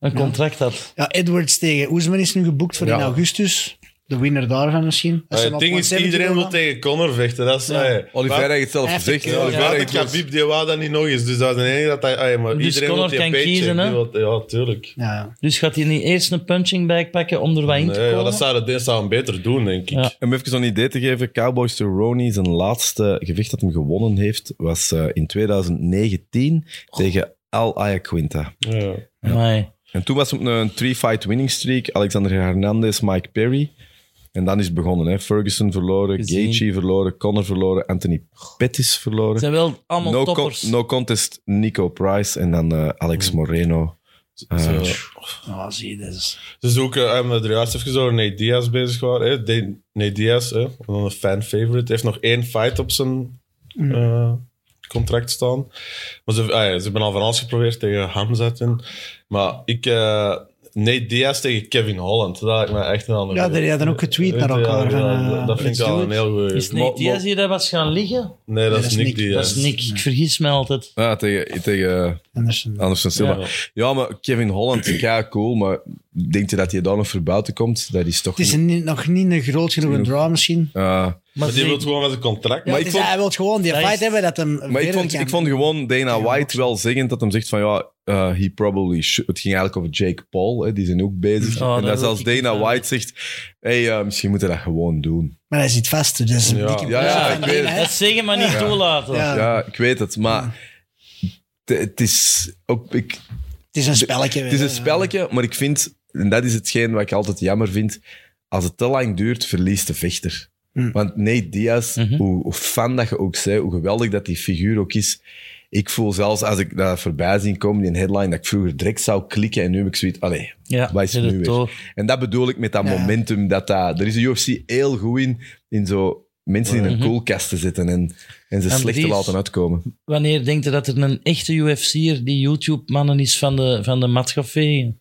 Speaker 2: een contract had.
Speaker 3: Ja, Edwards tegen Oesman is nu geboekt voor in
Speaker 4: Ja.
Speaker 3: augustus. De winner daarvan misschien. Als ze
Speaker 4: Het
Speaker 3: nog
Speaker 4: ding is,
Speaker 3: 170
Speaker 4: iedereen wil
Speaker 3: willen.
Speaker 4: tegen Connor vechten. Dat is,
Speaker 3: Ja.
Speaker 4: hey,
Speaker 1: Oliveira heeft het zelf
Speaker 3: Hij
Speaker 1: gezegd.
Speaker 3: heeft
Speaker 1: hè.
Speaker 3: het-
Speaker 4: Ja,
Speaker 1: Oliveira
Speaker 4: de
Speaker 1: heeft zelfs-
Speaker 4: Khabib, die wou dat niet nog eens. Dus dat is de enige dat hij... ah ja, maar
Speaker 2: Dus
Speaker 4: iedereen
Speaker 2: Conor
Speaker 4: wil die
Speaker 2: kan
Speaker 4: paycheck,
Speaker 2: kiezen, hè?
Speaker 4: die wil- ja, tuurlijk.
Speaker 3: Ja.
Speaker 2: Dus gaat hij niet eerst een punching bag pakken om er wat in te
Speaker 4: Nee,
Speaker 2: komen?
Speaker 4: ja, dat zou, dat zou hem beter doen, denk ik.
Speaker 2: Ja.
Speaker 1: Om even zo'n idee te geven, Cowboys to Ronnie, zijn laatste gevecht dat hem gewonnen heeft, was eh, in 2019 tegen Al Ayaquinta.
Speaker 4: Ja.
Speaker 2: Amai.
Speaker 1: En toen was het een three-fight winning streak. Alexander Hernandez, Mike Perry. En dan is het begonnen. Hè. Ferguson verloren,
Speaker 2: Gezien.
Speaker 1: Gaethje verloren, Connor verloren, Anthony Pettis
Speaker 2: Het
Speaker 1: verloren.
Speaker 2: zijn wel allemaal
Speaker 1: No, con-
Speaker 2: toppers.
Speaker 1: no contest, Nico Price en dan eh, Alex Moreno. Eh,
Speaker 4: Zo.
Speaker 3: Ah, zie je, dat is...
Speaker 4: Ze zoeken, um, er juist even zo Nate Diaz bezig waren. Hè? De- Nate Diaz, hè? dan een fan favorite, heeft nog één fight op zijn eh, contract staan. Maar ze, ah ja, ze hebben al van alles geprobeerd tegen Hamza. toen. Maar ik, eh Nate Diaz tegen Kevin Holland, dat lijkt me echt een andere.
Speaker 3: Ja, die hadden ook getweet naar elkaar,
Speaker 4: Ja,
Speaker 3: van, eh,
Speaker 4: dat- dat vind
Speaker 3: let's
Speaker 4: ik
Speaker 3: do
Speaker 4: al een
Speaker 3: it.
Speaker 4: heel goeie.
Speaker 1: Dus
Speaker 2: Is
Speaker 4: Maar-
Speaker 2: Nick Diaz
Speaker 4: maar-
Speaker 2: hier dat was gaan liggen?
Speaker 4: Nee, dat, is Nick Diaz.
Speaker 2: Dat is Nick. Ik vergis me altijd.
Speaker 1: Ja, tegen, tegen eh,
Speaker 3: Anderson.
Speaker 1: Anderson Silva. Ja.
Speaker 4: Ja.
Speaker 1: maar Kevin Holland, ja, cool. Maar denkt je dat hij daar nog voor buiten komt? Dat is toch...
Speaker 3: Het is een, niet- nog niet een groot genoeg een draw misschien.
Speaker 1: Eh,
Speaker 4: Maar die
Speaker 2: ze-
Speaker 4: wil gewoon met zijn contract.
Speaker 1: Maar
Speaker 3: Ja, maar
Speaker 1: ik
Speaker 3: is,
Speaker 1: vond-
Speaker 3: hij wil gewoon die
Speaker 2: Dat
Speaker 3: fight
Speaker 2: is-
Speaker 3: hebben dat hem
Speaker 1: Maar ik
Speaker 3: verder
Speaker 1: vond,
Speaker 3: kan.
Speaker 1: ik vond gewoon Dana
Speaker 3: Ja,
Speaker 1: White
Speaker 3: boxen.
Speaker 1: wel zeggend dat hem zegt van ja, eh, he probably should. Het ging eigenlijk over Jake Paul, hè, die zijn ook bezig.
Speaker 2: Oh,
Speaker 1: en
Speaker 2: dat
Speaker 1: dat
Speaker 2: wil
Speaker 1: zelfs
Speaker 2: ik
Speaker 1: Dana
Speaker 2: niet, eh.
Speaker 1: White zegt, hey, eh, misschien moeten we dat gewoon doen.
Speaker 3: Maar hij zit vast, dus dat is een
Speaker 4: Ja.
Speaker 3: dikke...
Speaker 1: Ja, ja, ik weet het.
Speaker 2: Dat zeggen maar niet toelaten.
Speaker 3: Ja.
Speaker 1: Ja, ik weet het, maar t- het is ook... Ik,
Speaker 3: Het is een spelletje. eh,
Speaker 1: het is
Speaker 3: hè.
Speaker 1: een spelletje, maar ik vind, en dat is hetgeen wat ik altijd jammer vind, als het te lang duurt, verliest de vechter.
Speaker 3: Hm.
Speaker 1: Want Nate Diaz,
Speaker 2: Mhm.
Speaker 1: hoe, hoe fan dat je ook zij, hoe geweldig dat die figuur ook is, ik voel zelfs als ik dat voorbij zien komen, die headline, dat ik vroeger direct zou klikken en nu heb ik zoiets, allee,
Speaker 2: Ja,
Speaker 1: wat is er
Speaker 2: zit
Speaker 1: nu
Speaker 2: het
Speaker 1: weer?
Speaker 2: door.
Speaker 1: En dat bedoel ik met dat
Speaker 3: Ja.
Speaker 1: momentum, dat dat, er is de UFC heel goed in, in zo mensen in een
Speaker 2: Mhm.
Speaker 1: koelkast te zetten en, en ze
Speaker 2: En
Speaker 1: slecht te
Speaker 2: Dries-
Speaker 1: laten uitkomen.
Speaker 2: Wanneer denkt u dat er een echte UFC'er die YouTube-mannen is van de, van de mat gaat vegen?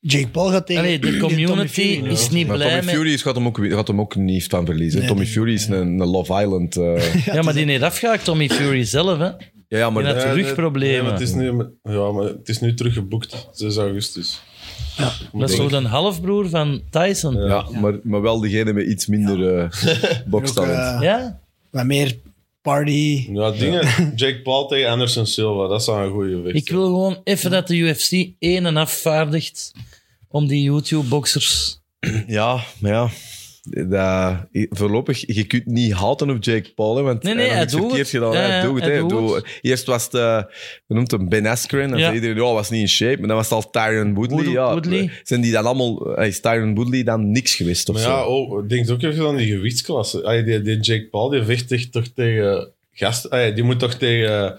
Speaker 3: Jake Paul gaat tegen...
Speaker 2: Allee, de
Speaker 3: tegen Tommy
Speaker 2: community
Speaker 3: Fury.
Speaker 2: is niet
Speaker 1: Maar
Speaker 2: blij
Speaker 1: Tommy
Speaker 2: met...
Speaker 1: Fury is, gaat, hem ook, gaat hem ook niet van verliezen.
Speaker 3: Nee,
Speaker 1: Tommy
Speaker 3: nee,
Speaker 1: Fury is een, een Love Island... eh,
Speaker 2: Ja, maar die heeft afgehaakt, Tommy Fury zelf. Hè.
Speaker 1: [LAUGHS] Ja, ja maar
Speaker 2: Ja,
Speaker 1: dat-
Speaker 2: dat-
Speaker 4: Ja,
Speaker 2: rugproblemen.
Speaker 4: nee, maar het is nu, ja, maar het is nu teruggeboekt, 6 augustus.
Speaker 2: Dat is toch een halfbroer van Tyson? Ja?
Speaker 1: ja, Maar, maar wel degene met iets minder [LAUGHS] eh
Speaker 3: Ook,
Speaker 1: bokstalent.
Speaker 3: eh, wat meer party...
Speaker 4: Ja, dingen. Jake Paul tegen Anderson Silva, dat zou een goede weg
Speaker 2: Ik wil gewoon even dat de UFC één en afvaardigt om die YouTube-boxers...
Speaker 1: Ja, maar ja. Dat, voorlopig, je kunt niet houten op Jake Paul, hè, want
Speaker 2: Nee, nee,
Speaker 1: heeft
Speaker 2: hij
Speaker 1: het
Speaker 2: doet
Speaker 1: verkeerd
Speaker 2: het.
Speaker 1: gedaan.
Speaker 2: Ja,
Speaker 1: hij
Speaker 2: ja,
Speaker 1: doet het,
Speaker 2: hij
Speaker 1: hè.
Speaker 2: doet
Speaker 1: Doe- Eerst was het, eh, we noemen hem Ben Askren, en
Speaker 2: Ja.
Speaker 1: zei iedereen, oh, was niet in shape, maar dan was het al Tyron Woodley.
Speaker 2: Wood-
Speaker 1: ja.
Speaker 2: Woodley.
Speaker 1: Zijn die dan allemaal, eh, is Tyron Woodley dan niks geweest of
Speaker 4: Maar
Speaker 1: zo?
Speaker 4: ja, oh, denk ook even aan die gewichtsklasse. Ay, die, die Jake Paul die vecht echt toch tegen gasten. ay, die moet toch tegen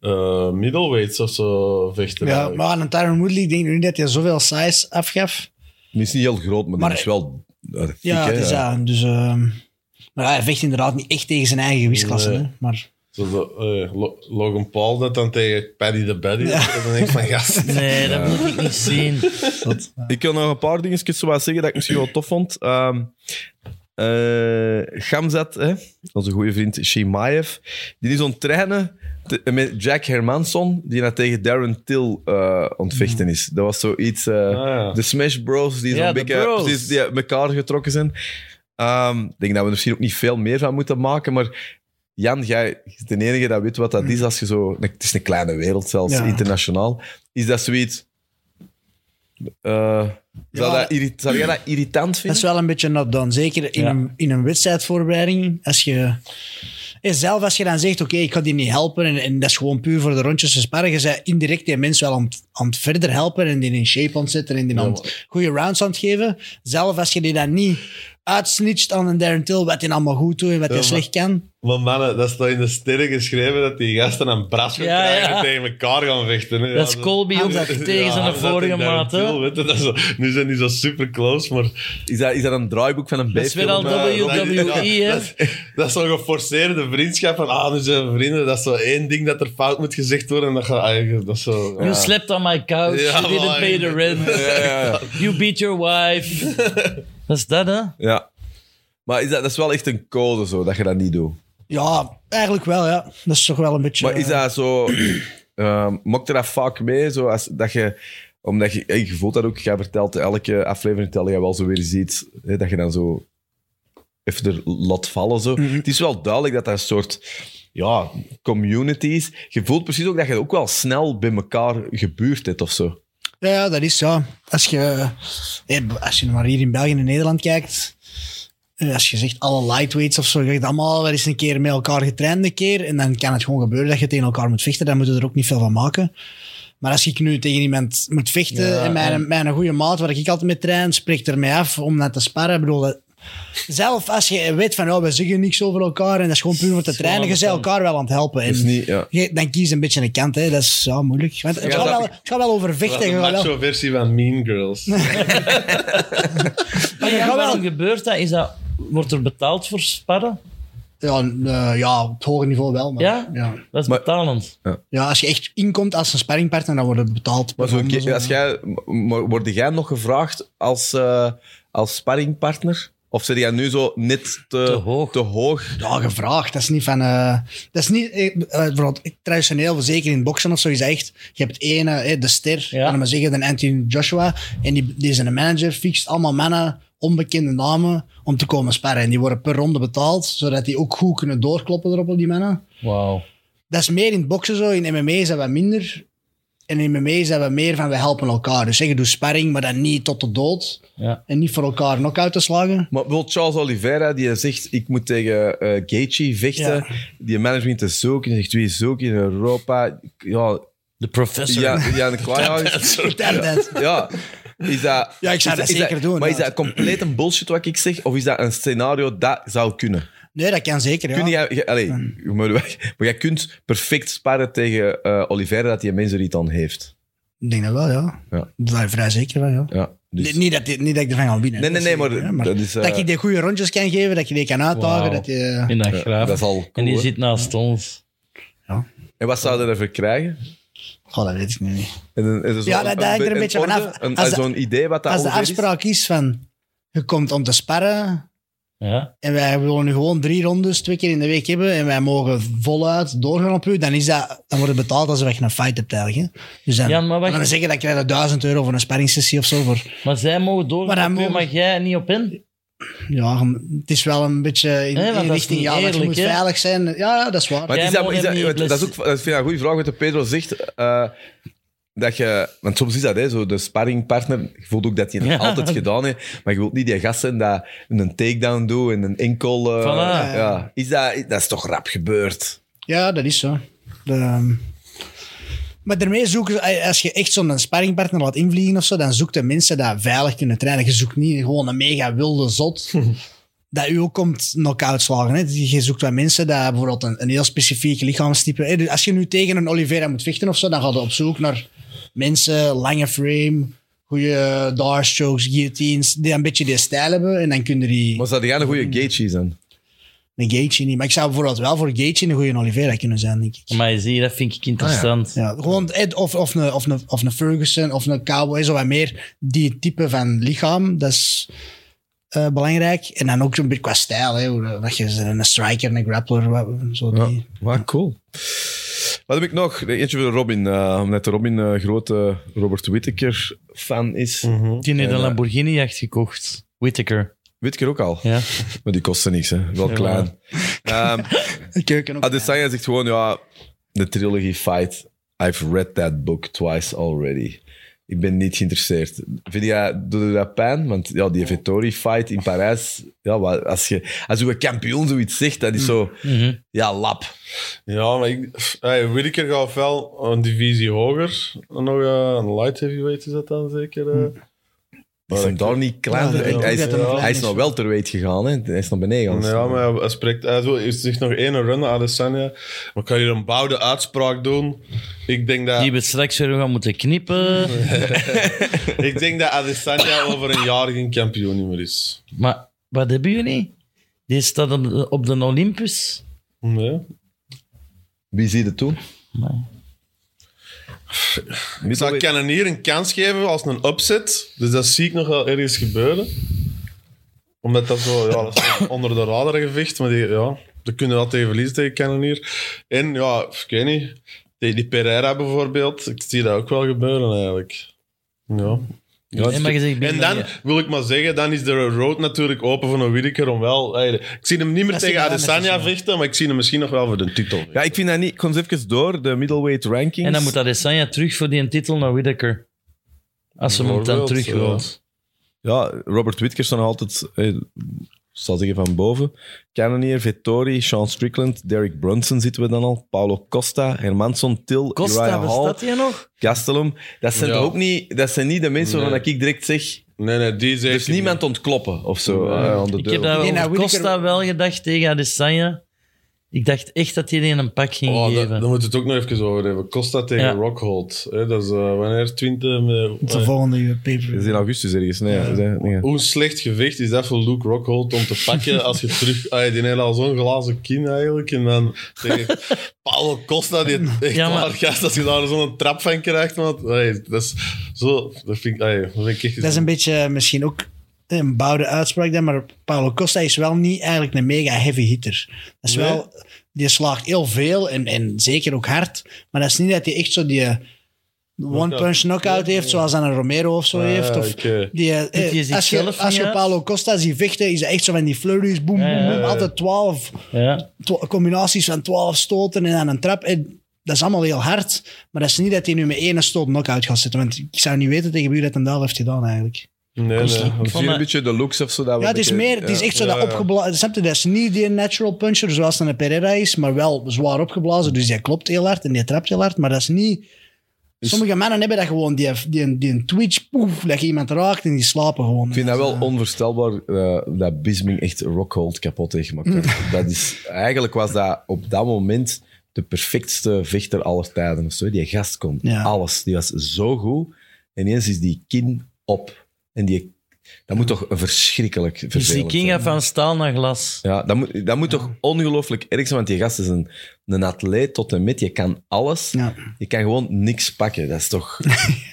Speaker 4: eh, middleweights of zo vechten.
Speaker 3: Ja,
Speaker 4: eigenlijk.
Speaker 3: maar aan een Tyron Woodley, ik denk nu niet dat hij zoveel size afgaf.
Speaker 1: Die is niet heel groot, maar,
Speaker 3: Maar-
Speaker 1: die is wel eh, dik,
Speaker 3: Ja,
Speaker 1: hè.
Speaker 3: het is dat. Dus, ehm, maar hij vecht inderdaad niet echt tegen zijn eigen gewichtsklasse.
Speaker 4: Nee.
Speaker 3: hè. Maar
Speaker 4: Zo de, eh, Lo- Logan Paul dat dan tegen Paddy the Baddy. En dan denk ik van
Speaker 2: [LAUGHS]
Speaker 4: gast.
Speaker 2: Nee, dat moet ik niet zien.
Speaker 1: Ik kan nog een paar dingetjes zo wat zeggen dat ik misschien wel tof vond. Ehm eh, Gamzat, hè, onze goede vriend Shimaev, die is aan het trainen te- met Jack Hermanson, die nou tegen Darren Till eh ontvechten is. Dat was zoiets... eh,
Speaker 4: ja.
Speaker 1: De Smash Bros, die zo'n
Speaker 2: Ah, Ja, de
Speaker 1: beetje
Speaker 2: bros.
Speaker 1: precies die uit elkaar getrokken zijn. Ehm, Ik denk dat we er misschien ook niet veel meer van moeten maken, maar... Jan, jij is de enige dat weet wat dat is als je zo... Het is een kleine wereld zelfs,
Speaker 3: Ja.
Speaker 1: internationaal. Is dat zoiets... Eh, zou,
Speaker 3: Ja.
Speaker 1: dat irri- zou jij dat irritant
Speaker 3: dat
Speaker 1: vinden?
Speaker 3: is wel een beetje not done. Zeker in,
Speaker 2: Ja.
Speaker 3: een, in een wedstrijdvoorbereiding. Als je, en zelf als je dan zegt, oké, ik ga die niet helpen. En, en dat is gewoon puur voor de rondjes te sparren. Je bent indirect die mensen wel aan, het- aan het verder helpen. En die in shape aan het zetten. En die aan het goede rounds aan het geven. Zelf als je die dan niet uitsnitcht aan een Darren Till. Wat hij allemaal goed doet en wat hij
Speaker 4: maar-
Speaker 3: slecht kan.
Speaker 4: Maar mannen, dat is toch in de sterren geschreven dat die gasten een bras gaan
Speaker 2: Ja,
Speaker 4: krijgen
Speaker 2: ja.
Speaker 4: en tegen elkaar gaan vechten. hè.
Speaker 2: Dat is
Speaker 4: [LAUGHS] Ja,
Speaker 2: Colby ook tegen zijn
Speaker 4: Hamzat en
Speaker 2: vorige
Speaker 4: Darren
Speaker 2: maat, hè.
Speaker 4: Till, weet je, dat is zo- nu zijn die zo super close, maar...
Speaker 1: Is dat, is dat een draaiboek van een
Speaker 2: Dat is
Speaker 1: B-film?
Speaker 2: weer al
Speaker 1: Eh,
Speaker 4: Ja, dat-
Speaker 2: WWE, E, hè.
Speaker 4: Dat, is- dat is zo'n geforceerde vriendschap van, ah, nu zijn we vrienden. Dat is zo één ding dat er fout moet gezegd worden en dat gaat eigenlijk... Dat is zo...
Speaker 2: You slept on my couch,
Speaker 4: Ja,
Speaker 2: you didn't
Speaker 4: man.
Speaker 2: pay the rent, you beat your wife. dat is dat, hè?
Speaker 1: Ja. Maar is dat, dat is wel echt een code zo, dat je dat niet doet.
Speaker 3: Ja, eigenlijk wel, ja. Dat is toch wel een beetje...
Speaker 1: Maar is
Speaker 3: eh,
Speaker 1: dat zo... [CLEARS THROAT] ehm mokte dat vaak mee, zo als, dat je, omdat je, eh, je voelt dat ook, jij vertelt elke aflevering, tel je wel zo weer ziet, hè, dat je dan zo even er laat vallen. Zo.
Speaker 3: Mhm.
Speaker 1: Het is wel duidelijk dat dat een soort ja, community is. Je voelt precies ook dat je ook wel snel bij elkaar gebuurd hebt of zo.
Speaker 3: Ja, ja, dat is zo. Als je, eh, als je maar hier in België en Nederland kijkt, eh, als je zegt alle lightweights of zo, je zegt allemaal wel eens een keer met elkaar getraind een keer, en dan kan het gewoon gebeuren dat je tegen elkaar moet vechten, dan moeten we er ook niet veel van maken. Maar als ik nu tegen iemand moet vechten, en mijn, mijn goede maat, waar ik altijd mee train, spreekt er mij af om dat te sparren. Ik bedoel, dat- zelf als je weet van, oh, we zeggen niks over elkaar, en dat is gewoon puur om te trainen, je bent elkaar wel aan het helpen. En
Speaker 1: Dus niet, ja.
Speaker 3: je- dan kies een beetje een kant, hè. dat is ja, moeilijk. Want het,
Speaker 1: Ja,
Speaker 3: gaat
Speaker 1: dat-
Speaker 3: wel, het gaat wel over
Speaker 4: Dat
Speaker 3: vechten.
Speaker 4: is
Speaker 3: je
Speaker 4: een
Speaker 3: gaat wel-
Speaker 4: macho-versie van Mean Girls.
Speaker 2: Maar
Speaker 3: je gaat
Speaker 2: ja,
Speaker 3: wel-
Speaker 2: waarom gebeurt dat? Is dat? Wordt er betaald voor sparren?
Speaker 3: Ja, eh, ja, op het hoger niveau wel. Maar,
Speaker 2: Ja?
Speaker 3: Ja.
Speaker 2: Dat is
Speaker 1: Maar-
Speaker 2: betalend.
Speaker 3: Ja, als je echt inkomt als een sparringpartner, dan wordt het betaald. per
Speaker 1: Maar zo,
Speaker 3: ronde, zo.
Speaker 1: als jij, maar word jij nog gevraagd als, eh, als sparringpartner? Of zit jij nu zo net te,
Speaker 2: Te hoog.
Speaker 1: te hoog?
Speaker 3: Ja, gevraagd. Dat is niet van... eh, dat is niet... eh, eh, bijvoorbeeld traditioneel, zeker in boksen of zo, is dat echt... Je hebt ene, eh, de ster,
Speaker 2: Ja.
Speaker 3: laten we maar zeggen, de Anthony Joshua. En die, die is een manager, fixt allemaal mannen, onbekende namen, om te komen sparren. En die worden per ronde betaald, zodat die ook goed kunnen doorkloppen erop op die mannen.
Speaker 2: Wauw.
Speaker 3: dat is meer in het boksen zo. In MMA is dat wat minder. En in MMA is dat wat meer van we helpen elkaar. Dus zeg, je doet sparring, maar dan niet tot de dood.
Speaker 2: Ja.
Speaker 3: En niet voor elkaar knock-out te slagen.
Speaker 1: Maar wil Charles Oliveira, die zegt, ik moet tegen eh Gaethje vechten.
Speaker 3: Ja.
Speaker 1: Die management is zoeken. Die zegt, wie is zoeken in Europa? Ja,
Speaker 2: De professor.
Speaker 1: ja, ja de
Speaker 3: [LAUGHS]
Speaker 1: Kwaaihuis.
Speaker 3: Damn that.
Speaker 1: Ja. Is dat,
Speaker 3: Ja, ik zou
Speaker 1: is
Speaker 3: dat
Speaker 1: is
Speaker 3: zeker doen,
Speaker 1: Maar
Speaker 3: ja.
Speaker 1: is dat compleet een bullshit wat ik zeg? Of is dat een scenario dat zou kunnen?
Speaker 3: Nee, dat kan zeker. Ja.
Speaker 1: Kun jij, jij- allee, maar, [LAUGHS] maar jij kunt perfect sparren tegen eh Oliveira dat die mensen die dan heeft.
Speaker 3: Ik denk dat wel, ja.
Speaker 1: Ja.
Speaker 3: Daar ben ik vrij zeker van, ja.
Speaker 1: Ja, dus-
Speaker 3: Nee, Niet, dat, die- niet dat ik ervan ga winnen.
Speaker 1: Nee, nee, nee, maar
Speaker 3: zeker, hè,
Speaker 1: dat is, eh,
Speaker 3: dat je die goede rondjes kan geven, dat je die kan uitdagen.
Speaker 2: Wauw.
Speaker 3: Dat je,
Speaker 2: In dat
Speaker 1: Ja,
Speaker 2: graaf.
Speaker 1: Dat is al
Speaker 2: en
Speaker 1: cool,
Speaker 2: die
Speaker 1: hè?
Speaker 2: zit naast ons.
Speaker 1: En wat zouden we ervoor krijgen?
Speaker 3: Goh, dat weet ik nu niet.
Speaker 1: En een- en zo-
Speaker 3: Ja, dat- dat hangt er een beetje
Speaker 1: orde?
Speaker 3: vanaf.
Speaker 1: Een-
Speaker 3: Als de-
Speaker 1: Zo'n idee wat dat
Speaker 3: Als de
Speaker 1: ongeveer is?
Speaker 3: afspraak is van, je komt om te sparren,
Speaker 2: Ja.
Speaker 3: en wij willen nu gewoon drie rondes twee keer in de week hebben en wij mogen voluit doorgaan op u, dan, is dat, dan wordt het betaald als we een fight hebt eigenlijk. hè. Dus dan,
Speaker 2: Ja, maar wacht.
Speaker 3: dan zeggen dat krijg je 1000 euro voor een sparringssessie of zo. Voor,
Speaker 2: Maar zij mogen
Speaker 3: Maar
Speaker 2: door,
Speaker 3: dan
Speaker 2: maar,
Speaker 3: mogen-
Speaker 2: mag jij niet op in.
Speaker 3: ja, het is wel een beetje in,
Speaker 2: Nee, want
Speaker 3: in
Speaker 2: dat is
Speaker 3: richting,
Speaker 2: niet
Speaker 3: ja, maar je
Speaker 2: eerlijk,
Speaker 3: moet
Speaker 2: hè?
Speaker 3: veilig zijn. Ja, ja, dat is waar.
Speaker 1: Maar het is
Speaker 2: Jij
Speaker 1: dat,
Speaker 2: mag
Speaker 1: is dat,
Speaker 2: hem
Speaker 1: dat
Speaker 2: niet
Speaker 1: is ook,
Speaker 2: blesseren.
Speaker 1: dat vind ik een goede vraag wat de Pedro zegt. eh, dat je, want soms is dat, hè, zo de sparringpartner. Je voelt ook dat hij het
Speaker 2: Ja.
Speaker 1: altijd gedaan heeft. Maar je wilt niet die gasten dat een takedown doen en een enkel. eh,
Speaker 2: Voilà.
Speaker 1: ja. is dat, dat is toch rap gebeurd?
Speaker 3: Ja, dat is zo. De- ehm, maar daarmee zoeken, ze- als je echt zo'n sparringpartner laat invliegen of zo, dan zoekt de mensen dat veilig kunnen trainen. Je zoekt niet gewoon een mega wilde zot dat u ook komt knock-out slagen. Hè. Je zoekt wel mensen dat bijvoorbeeld een, een heel specifiek lichaamstype. hè. Dus als je nu tegen een Oliveira moet vechten of zo, dan ga je op zoek naar mensen, lange frame, goede darstrokes, guillotines, die een beetje die stijl hebben. En dan kunnen die
Speaker 1: Maar zou jij een
Speaker 3: Mm.
Speaker 1: goede Gaethje zijn?
Speaker 3: een Gaethje niet. Maar ik zou bijvoorbeeld wel voor Gaethje een goede Oliveira kunnen zijn, denk ik.
Speaker 2: Maar je ziet, dat vind ik interessant.
Speaker 3: Ah, Ja, gewoon Ed of, of, een, of, een, of een Ferguson of een Cowboy, zo wat meer die type van lichaam. Dat is eh, belangrijk. En dan ook een beetje qua stijl. Hè, hoe, dat je een striker, een grappler, wat, zo die.
Speaker 1: Waar cool. Wat heb ik nog? Eentje voor Robin. eh omdat de Robin eh grote Robert Whittaker fan is.
Speaker 2: Die heeft
Speaker 1: En,
Speaker 2: een
Speaker 1: eh,
Speaker 2: Lamborghini-jacht gekocht. Whittaker.
Speaker 1: Whittaker ook al.
Speaker 2: Ja.
Speaker 1: Maar die kostte niks, hè? Wel
Speaker 2: Ja.
Speaker 1: klein. Ehm
Speaker 3: Keuken ook.
Speaker 1: Adesanya zegt gewoon, ja, de trilogy fight. I've read that book twice already. Ik ben niet geïnteresseerd. Vind jij, doet je dat pijn? Want ja, die Vettori fight in Parijs, ja, maar als je als je kampioen zoiets zegt, dat is zo,
Speaker 2: Mhm.
Speaker 1: ja, lap.
Speaker 4: Ja, maar ik, pff, hey, Whittaker gaat wel een divisie hoger. Nog eh, een light heavyweight is dat dan zeker. eh.
Speaker 1: Is hem daar niet klein?
Speaker 3: Ja,
Speaker 1: hij, is,
Speaker 3: dat hem klein
Speaker 1: hij is
Speaker 3: is.
Speaker 1: nog wel terweet gegaan, hè? hij is nog beneden gegaan.
Speaker 4: Ja, maar hij- hij spreekt. Hij wil- hij zegt nog één run, Adesanya. Maar kan hier een bouwde uitspraak doen? Ik denk dat,
Speaker 2: Die we straks weer gaan moeten knippen.
Speaker 4: ik denk dat Adesanya over een jaar geen kampioen niet meer is.
Speaker 2: Maar wat hebben jullie? Die staat op de, op de Olympus.
Speaker 4: Nee.
Speaker 1: Wie zie je toen?
Speaker 4: Ik zou Cannonier een kans geven als een upset. Dus dat zie ik nog wel ergens gebeuren. Omdat dat zo, [LAUGHS] ja, dat is een onder de radar gevecht. Maar die, ja, daar kunnen we altijd verliezen tegen Cannonier. En ja, ik weet niet. Tegen die Pereira bijvoorbeeld. Ik zie dat ook wel gebeuren eigenlijk. Ja. Ja,
Speaker 2: Nee, maar je zegt
Speaker 4: en dan
Speaker 2: binnen-
Speaker 4: wil ik maar zeggen, dan is de road natuurlijk open voor een Whittaker om wel... ey, Ik zie hem niet meer
Speaker 3: Dat zie
Speaker 4: tegen
Speaker 3: je wel met
Speaker 4: Adesanya
Speaker 3: Adesanya.
Speaker 4: vechten, maar ik zie hem misschien nog wel voor de titel.
Speaker 1: Ja, ik vind dat niet... Ik kom eens even door, de middleweight rankings.
Speaker 2: En dan moet Adesanya terug voor die titel naar Whittaker. Als ze hem dan
Speaker 4: Bijvoorbeeld,
Speaker 1: eh,
Speaker 2: terug
Speaker 4: ja.
Speaker 2: wil.
Speaker 1: Ja, Robert Whittaker staat nog altijd... Eh, zal zeggen van boven. Cannonier, Vettori, Sean Strickland, Derek Brunson zitten we dan al. Paulo Costa, Hermansson, Till,
Speaker 2: Costa,
Speaker 1: Uriah Hall,
Speaker 2: bestaat die nog?
Speaker 1: Gastelum. Dat zijn
Speaker 4: Ja.
Speaker 1: toch ook niet... Dat zijn niet de mensen waarvan
Speaker 4: Nee.
Speaker 1: ik direct zeg...
Speaker 4: Nee, nee, die
Speaker 1: Er
Speaker 4: zeker
Speaker 1: is Dus niemand ontkloppen of zo.
Speaker 4: Nee.
Speaker 1: eh, aan de
Speaker 2: Ik
Speaker 1: deur.
Speaker 2: heb daar
Speaker 3: Ik denk
Speaker 2: over
Speaker 3: dat Whittaker-
Speaker 2: Costa wel gedacht tegen Adesanya. Ik dacht echt dat hij die een pak ging
Speaker 4: Oh,
Speaker 2: geven.
Speaker 4: dat, dan moeten we het ook nog even over hebben. Costa tegen
Speaker 2: Ja.
Speaker 4: Rockhold. Hè, dat is eh, wanneer 20... met-
Speaker 3: De
Speaker 4: eh,
Speaker 3: volgende
Speaker 1: Dat is
Speaker 3: paper.
Speaker 1: in augustus ergens. Nee, dat is, eh, nee.
Speaker 4: hoe slecht gevecht is dat voor Luke Rockhold om te pakken als je
Speaker 3: [LAUGHS]
Speaker 4: terug... ah, die heeft al zo'n glazen kin eigenlijk. En dan tegen Paulo Costa, die echt
Speaker 2: Ja, maar-
Speaker 4: waar gast, als je daar zo'n trap van krijgt. Man, Ai, dat is zo... Dat vind ik, ai, dat vind ik echt...
Speaker 3: Dat is een beetje eh, misschien ook een bouwde uitspraak, dan, maar Paulo Costa is wel niet eigenlijk een mega heavy hitter. Dat is
Speaker 4: Nee.
Speaker 3: wel, die slaagt heel veel en, en zeker ook hard, maar dat is niet dat hij echt zo die one-punch knockout heeft, zoals aan een Romero of zo
Speaker 4: Ah,
Speaker 3: heeft. Of
Speaker 4: oké.
Speaker 3: die, eh,
Speaker 2: Doet hij
Speaker 3: als je,
Speaker 2: zichzelf
Speaker 3: als
Speaker 2: niet
Speaker 3: je
Speaker 2: uit?
Speaker 3: Paulo Costa ziet vechten, is dat echt zo van die flurries, boem,
Speaker 2: Ja,
Speaker 3: boem,
Speaker 2: ja,
Speaker 3: boem,
Speaker 4: ja.
Speaker 3: altijd 12
Speaker 2: Ja.
Speaker 3: twa- combinaties van 12 stoten en aan een trap. En dat is allemaal heel hard. Maar dat is niet dat hij nu met één stoot knock-out gaat zitten. Want ik zou niet weten tegen wie dat een daal heeft gedaan eigenlijk.
Speaker 4: Nee, nee.
Speaker 1: Misschien een beetje de looks of zo. Dat we
Speaker 3: Ja, het is
Speaker 1: een beetje-
Speaker 3: meer, het is
Speaker 1: ja.
Speaker 3: echt zo
Speaker 4: Ja,
Speaker 3: dat
Speaker 4: ja.
Speaker 3: opgeblazen. Snap je, dat is niet die natural puncher zoals een Pereira is, maar wel zwaar opgeblazen. Dus die klopt heel hard en die trapt heel hard. Maar dat is niet.
Speaker 1: Dus-
Speaker 3: Sommige mannen hebben dat gewoon, die, die, die een twitch, poef, dat je iemand raakt en die slapen gewoon.
Speaker 1: Ik vind dat wel onvoorstelbaar eh, dat Bisming echt Rockhold kapot heeft gemaakt.
Speaker 3: Mm.
Speaker 1: Dat is, eigenlijk was dat op dat moment de perfectste vechter aller tijden. Of zo. Die gast kon
Speaker 3: Ja.
Speaker 1: alles. Die was zo goed. En ineens is die kin op. En die, dat moet toch een verschrikkelijk
Speaker 2: Dus
Speaker 1: vervelend
Speaker 2: die ging
Speaker 1: zijn.
Speaker 2: gaat van staal naar glas.
Speaker 1: Ja, dat moet, dat moet toch ongelooflijk erg zijn, want die gast is een, een atleet tot en met. Je kan alles.
Speaker 3: Ja.
Speaker 1: Je kan gewoon niks pakken. Dat is toch...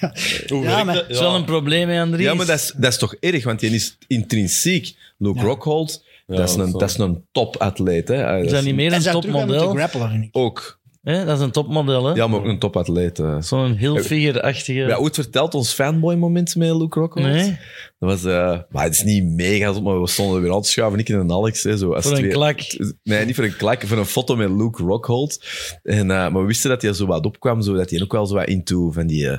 Speaker 4: Hoe
Speaker 3: Ja,
Speaker 4: werkt
Speaker 3: maar-
Speaker 4: dat?
Speaker 2: Dat is wel een probleem, hè, Andries.
Speaker 1: Ja, maar dat is, dat is toch erg, want die is intrinsiek. Luke Rockhold, dat, is
Speaker 4: dat
Speaker 1: een,
Speaker 4: is wel-
Speaker 1: dat is een topatleet. Hè. Ah,
Speaker 2: Is
Speaker 1: dat
Speaker 2: dat
Speaker 1: is
Speaker 2: niet meer
Speaker 3: En
Speaker 2: een
Speaker 3: zou terug gaan met de
Speaker 2: topmodel?
Speaker 3: grappler, vind ik.
Speaker 1: Ook.
Speaker 2: hè? Dat is een topmodel, hè?
Speaker 1: Ja, maar ook een topatleet. hè. Heb
Speaker 2: Zo'n heel achtige
Speaker 1: je ooit verteld ons fanboy-moment met Luke Rockhold?
Speaker 2: Nee,
Speaker 1: Dat was... eh, maar het is niet mega, maar we stonden weer aan te schuiven. Ik en Alex, hè, zo als
Speaker 2: voor een
Speaker 1: twee-
Speaker 2: klak.
Speaker 1: Nee, niet voor een klak, voor een foto met Luke Rockhold. En, eh, maar we wisten dat hij zo wat opkwam, zo, dat hij ook wel zo wat into van die eh,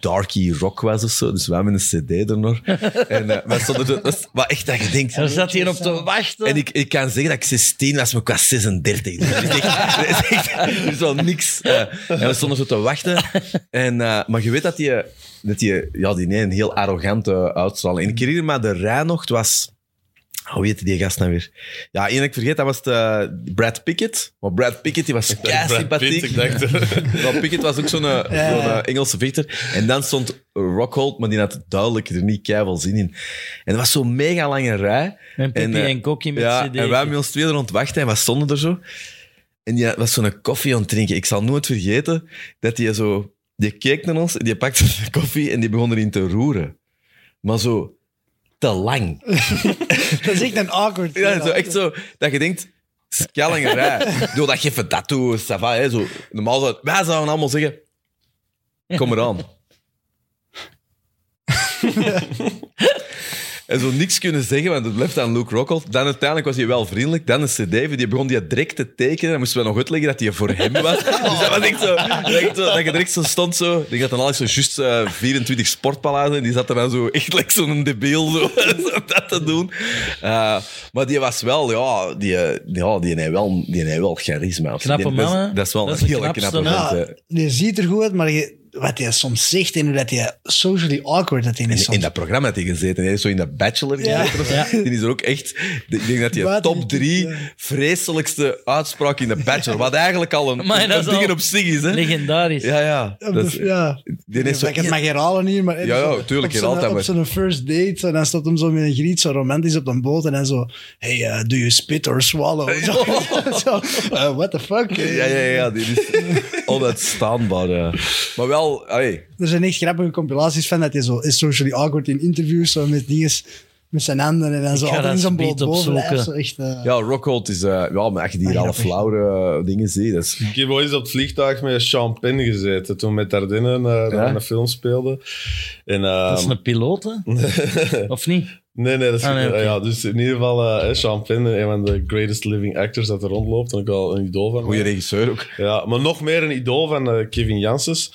Speaker 1: darky rock was of zo. Dus we hebben een cd er
Speaker 2: [LAUGHS]
Speaker 1: nog. en, eh, maar, stond er, zo- dat is- maar echt dat je denkt...
Speaker 2: Daar zat hij op te wachten.
Speaker 1: En ik, ik kan zeggen dat ik 16 was, maar ik was 36. [LAUGHS] Dus er is, echt, er is, echt, er is wel niks. eh. en we stonden zo te wachten. En, eh, maar je weet dat die, dat die, ja, die nee, een heel arrogante uitstraling. En ik herinner me de rij nog, het was... Hoe heette die gast nou weer? Ja, één dat ik vergeet, dat was de Brad Pickett. Maar Brad Pickett, die was kei
Speaker 4: Brad Pitt,
Speaker 1: sympathiek.
Speaker 4: ik dacht.
Speaker 2: [LAUGHS]
Speaker 1: Rob Pickett was ook zo'n eh, zo'n, eh, Engelse vechter. En dan stond Rockhold, maar die had duidelijk er niet keihard zin in. En dat was zo'n mega lange rij.
Speaker 2: en Pippi en,
Speaker 1: eh,
Speaker 2: Kokkie met
Speaker 1: ja,
Speaker 2: CD.
Speaker 1: en wij met ons tweeën rond wachten en wat stonden er zo? En die was zo'n koffie aan het drinken. Ik zal nooit vergeten dat die zo... Die keek naar ons, die pakte de koffie en die begon erin te roeren. Maar zo te lang.
Speaker 3: Dat is echt een awkward.
Speaker 1: Ja, zo, echt zo, dat je denkt, skellingerij. Doe dat geeft een tattoo, sava, hè, zo. Normaal zou, wij zouden allemaal zeggen, kom
Speaker 2: [LAUGHS]
Speaker 1: eraan. [LAUGHS] en zo niks kunnen zeggen, want het blijft aan Luke Rockhold. Dan uiteindelijk was hij wel vriendelijk. Dan is CD, die begon die direct te tekenen. Dan moesten we nog uitleggen dat hij voor hem
Speaker 2: [LAUGHS]
Speaker 1: was. Dus dat was echt zo, echt zo, dat je direct zo stond zo. Ik had dan al zo juist eh, 24 sportpalazen en die zat er dan zo echt like zo'n debiel zo, [LAUGHS] zo dat te doen. Eh, maar die was wel, ja, die, eh, ja, die heeft wel, die heeft wel charisma. of zo.
Speaker 2: Knappe
Speaker 1: Die- dat is-
Speaker 2: man, hè?
Speaker 1: Dat is wel
Speaker 2: Dat is
Speaker 1: een
Speaker 2: de
Speaker 1: hele
Speaker 2: knapste,
Speaker 1: knappe
Speaker 3: Ja,
Speaker 1: vent, hè.
Speaker 3: je ziet er goed uit, maar je, wat hij soms zegt en hoe dat hij socially awkward dat hij is.
Speaker 1: In,
Speaker 3: soms.
Speaker 1: in dat programma had hij gezeten. Hij is zo in de Bachelor
Speaker 3: Ja.
Speaker 1: gezeten. of zo. Die is er ook echt... Ik denk dat hij
Speaker 3: Wat een
Speaker 1: top
Speaker 3: type,
Speaker 1: drie
Speaker 3: ja.
Speaker 1: vreselijkste uitspraak in de Bachelor. Wat eigenlijk al een,
Speaker 2: Maar dat
Speaker 1: een
Speaker 2: is
Speaker 1: ding
Speaker 2: al
Speaker 1: op zich is. Hè?
Speaker 2: Legendarisch.
Speaker 1: Ja, ja.
Speaker 3: Op
Speaker 1: Dat is-
Speaker 3: de- ja.
Speaker 1: die is zo-
Speaker 3: ik het mag herhalen hier, maar...
Speaker 1: Ja, ja, tuurlijk,
Speaker 3: op zijn-
Speaker 1: herhaalt dat
Speaker 3: Op
Speaker 1: maar.
Speaker 3: zijn first date, en dan staat hem zo met een griet zo romantisch op een boot en hij zo... Hey, eh, do you spit or swallow? Zo, [LAUGHS] zo, eh, what the
Speaker 1: [LAUGHS]
Speaker 3: fuck?
Speaker 1: Ja, ja, ja. Die is onuitstaanbaar. ja. Maar wel... allee,
Speaker 3: Er zijn echt grappige compilaties van dat hij zo is socially awkward in interviews, zo met dingen... Met zijn handen en dan zo
Speaker 2: ga
Speaker 3: altijd in
Speaker 2: dat
Speaker 3: zijn
Speaker 2: speed
Speaker 3: bloot bovenlijf.
Speaker 2: opzoeken.
Speaker 3: Zo echt, eh,
Speaker 5: Ja, Rockhold is... eh, ja, maar als je die half flauwe eh, dingen ziet, dat is...
Speaker 4: Ik heb ooit eens op het vliegtuig met Sean Penn gezeten toen we met Dardenne naar,
Speaker 5: Ja?
Speaker 4: naar een film speelden. En, ehm,
Speaker 2: Dat is een piloot,
Speaker 1: [LAUGHS]
Speaker 2: hè? Of niet?
Speaker 4: Nee, nee, dat is
Speaker 2: Ah, nee,
Speaker 4: ja,
Speaker 2: oké.
Speaker 4: ja, Dus in ieder geval, eh, Sean Penn, een van de greatest living actors dat er rondloopt. En ook al een idool van.
Speaker 5: Goeie regisseur ook.
Speaker 4: Ja, maar nog meer een idool van eh, Kevin Janssens.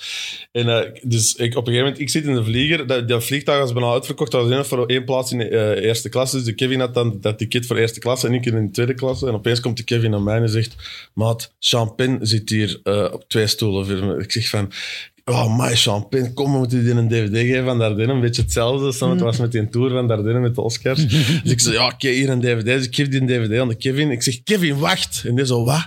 Speaker 4: En eh, dus ik, op een gegeven moment, ik zit in de vlieger. Dat, dat vliegtuig was bijna uitverkocht. Dat was alleen nog voor één plaats in eh, eerste klasse. Dus de Kevin had dan dat ticket voor eerste klasse en ik in de tweede klasse. En opeens komt de Kevin naar mij en zegt... Maat, Champagne zit hier eh, op twee stoelen. voor me." Ik zeg van... Oh my, Champagne, kom, we moeten die een dvd geven van Dardenne. Een beetje hetzelfde als het was met die tour van Dardenne met de Oscars. dus ik zei, ja, oké, hier een dvd. Dus ik geef die een dvd aan de Kevin. Ik zeg, Kevin, wacht. En die zo, wat?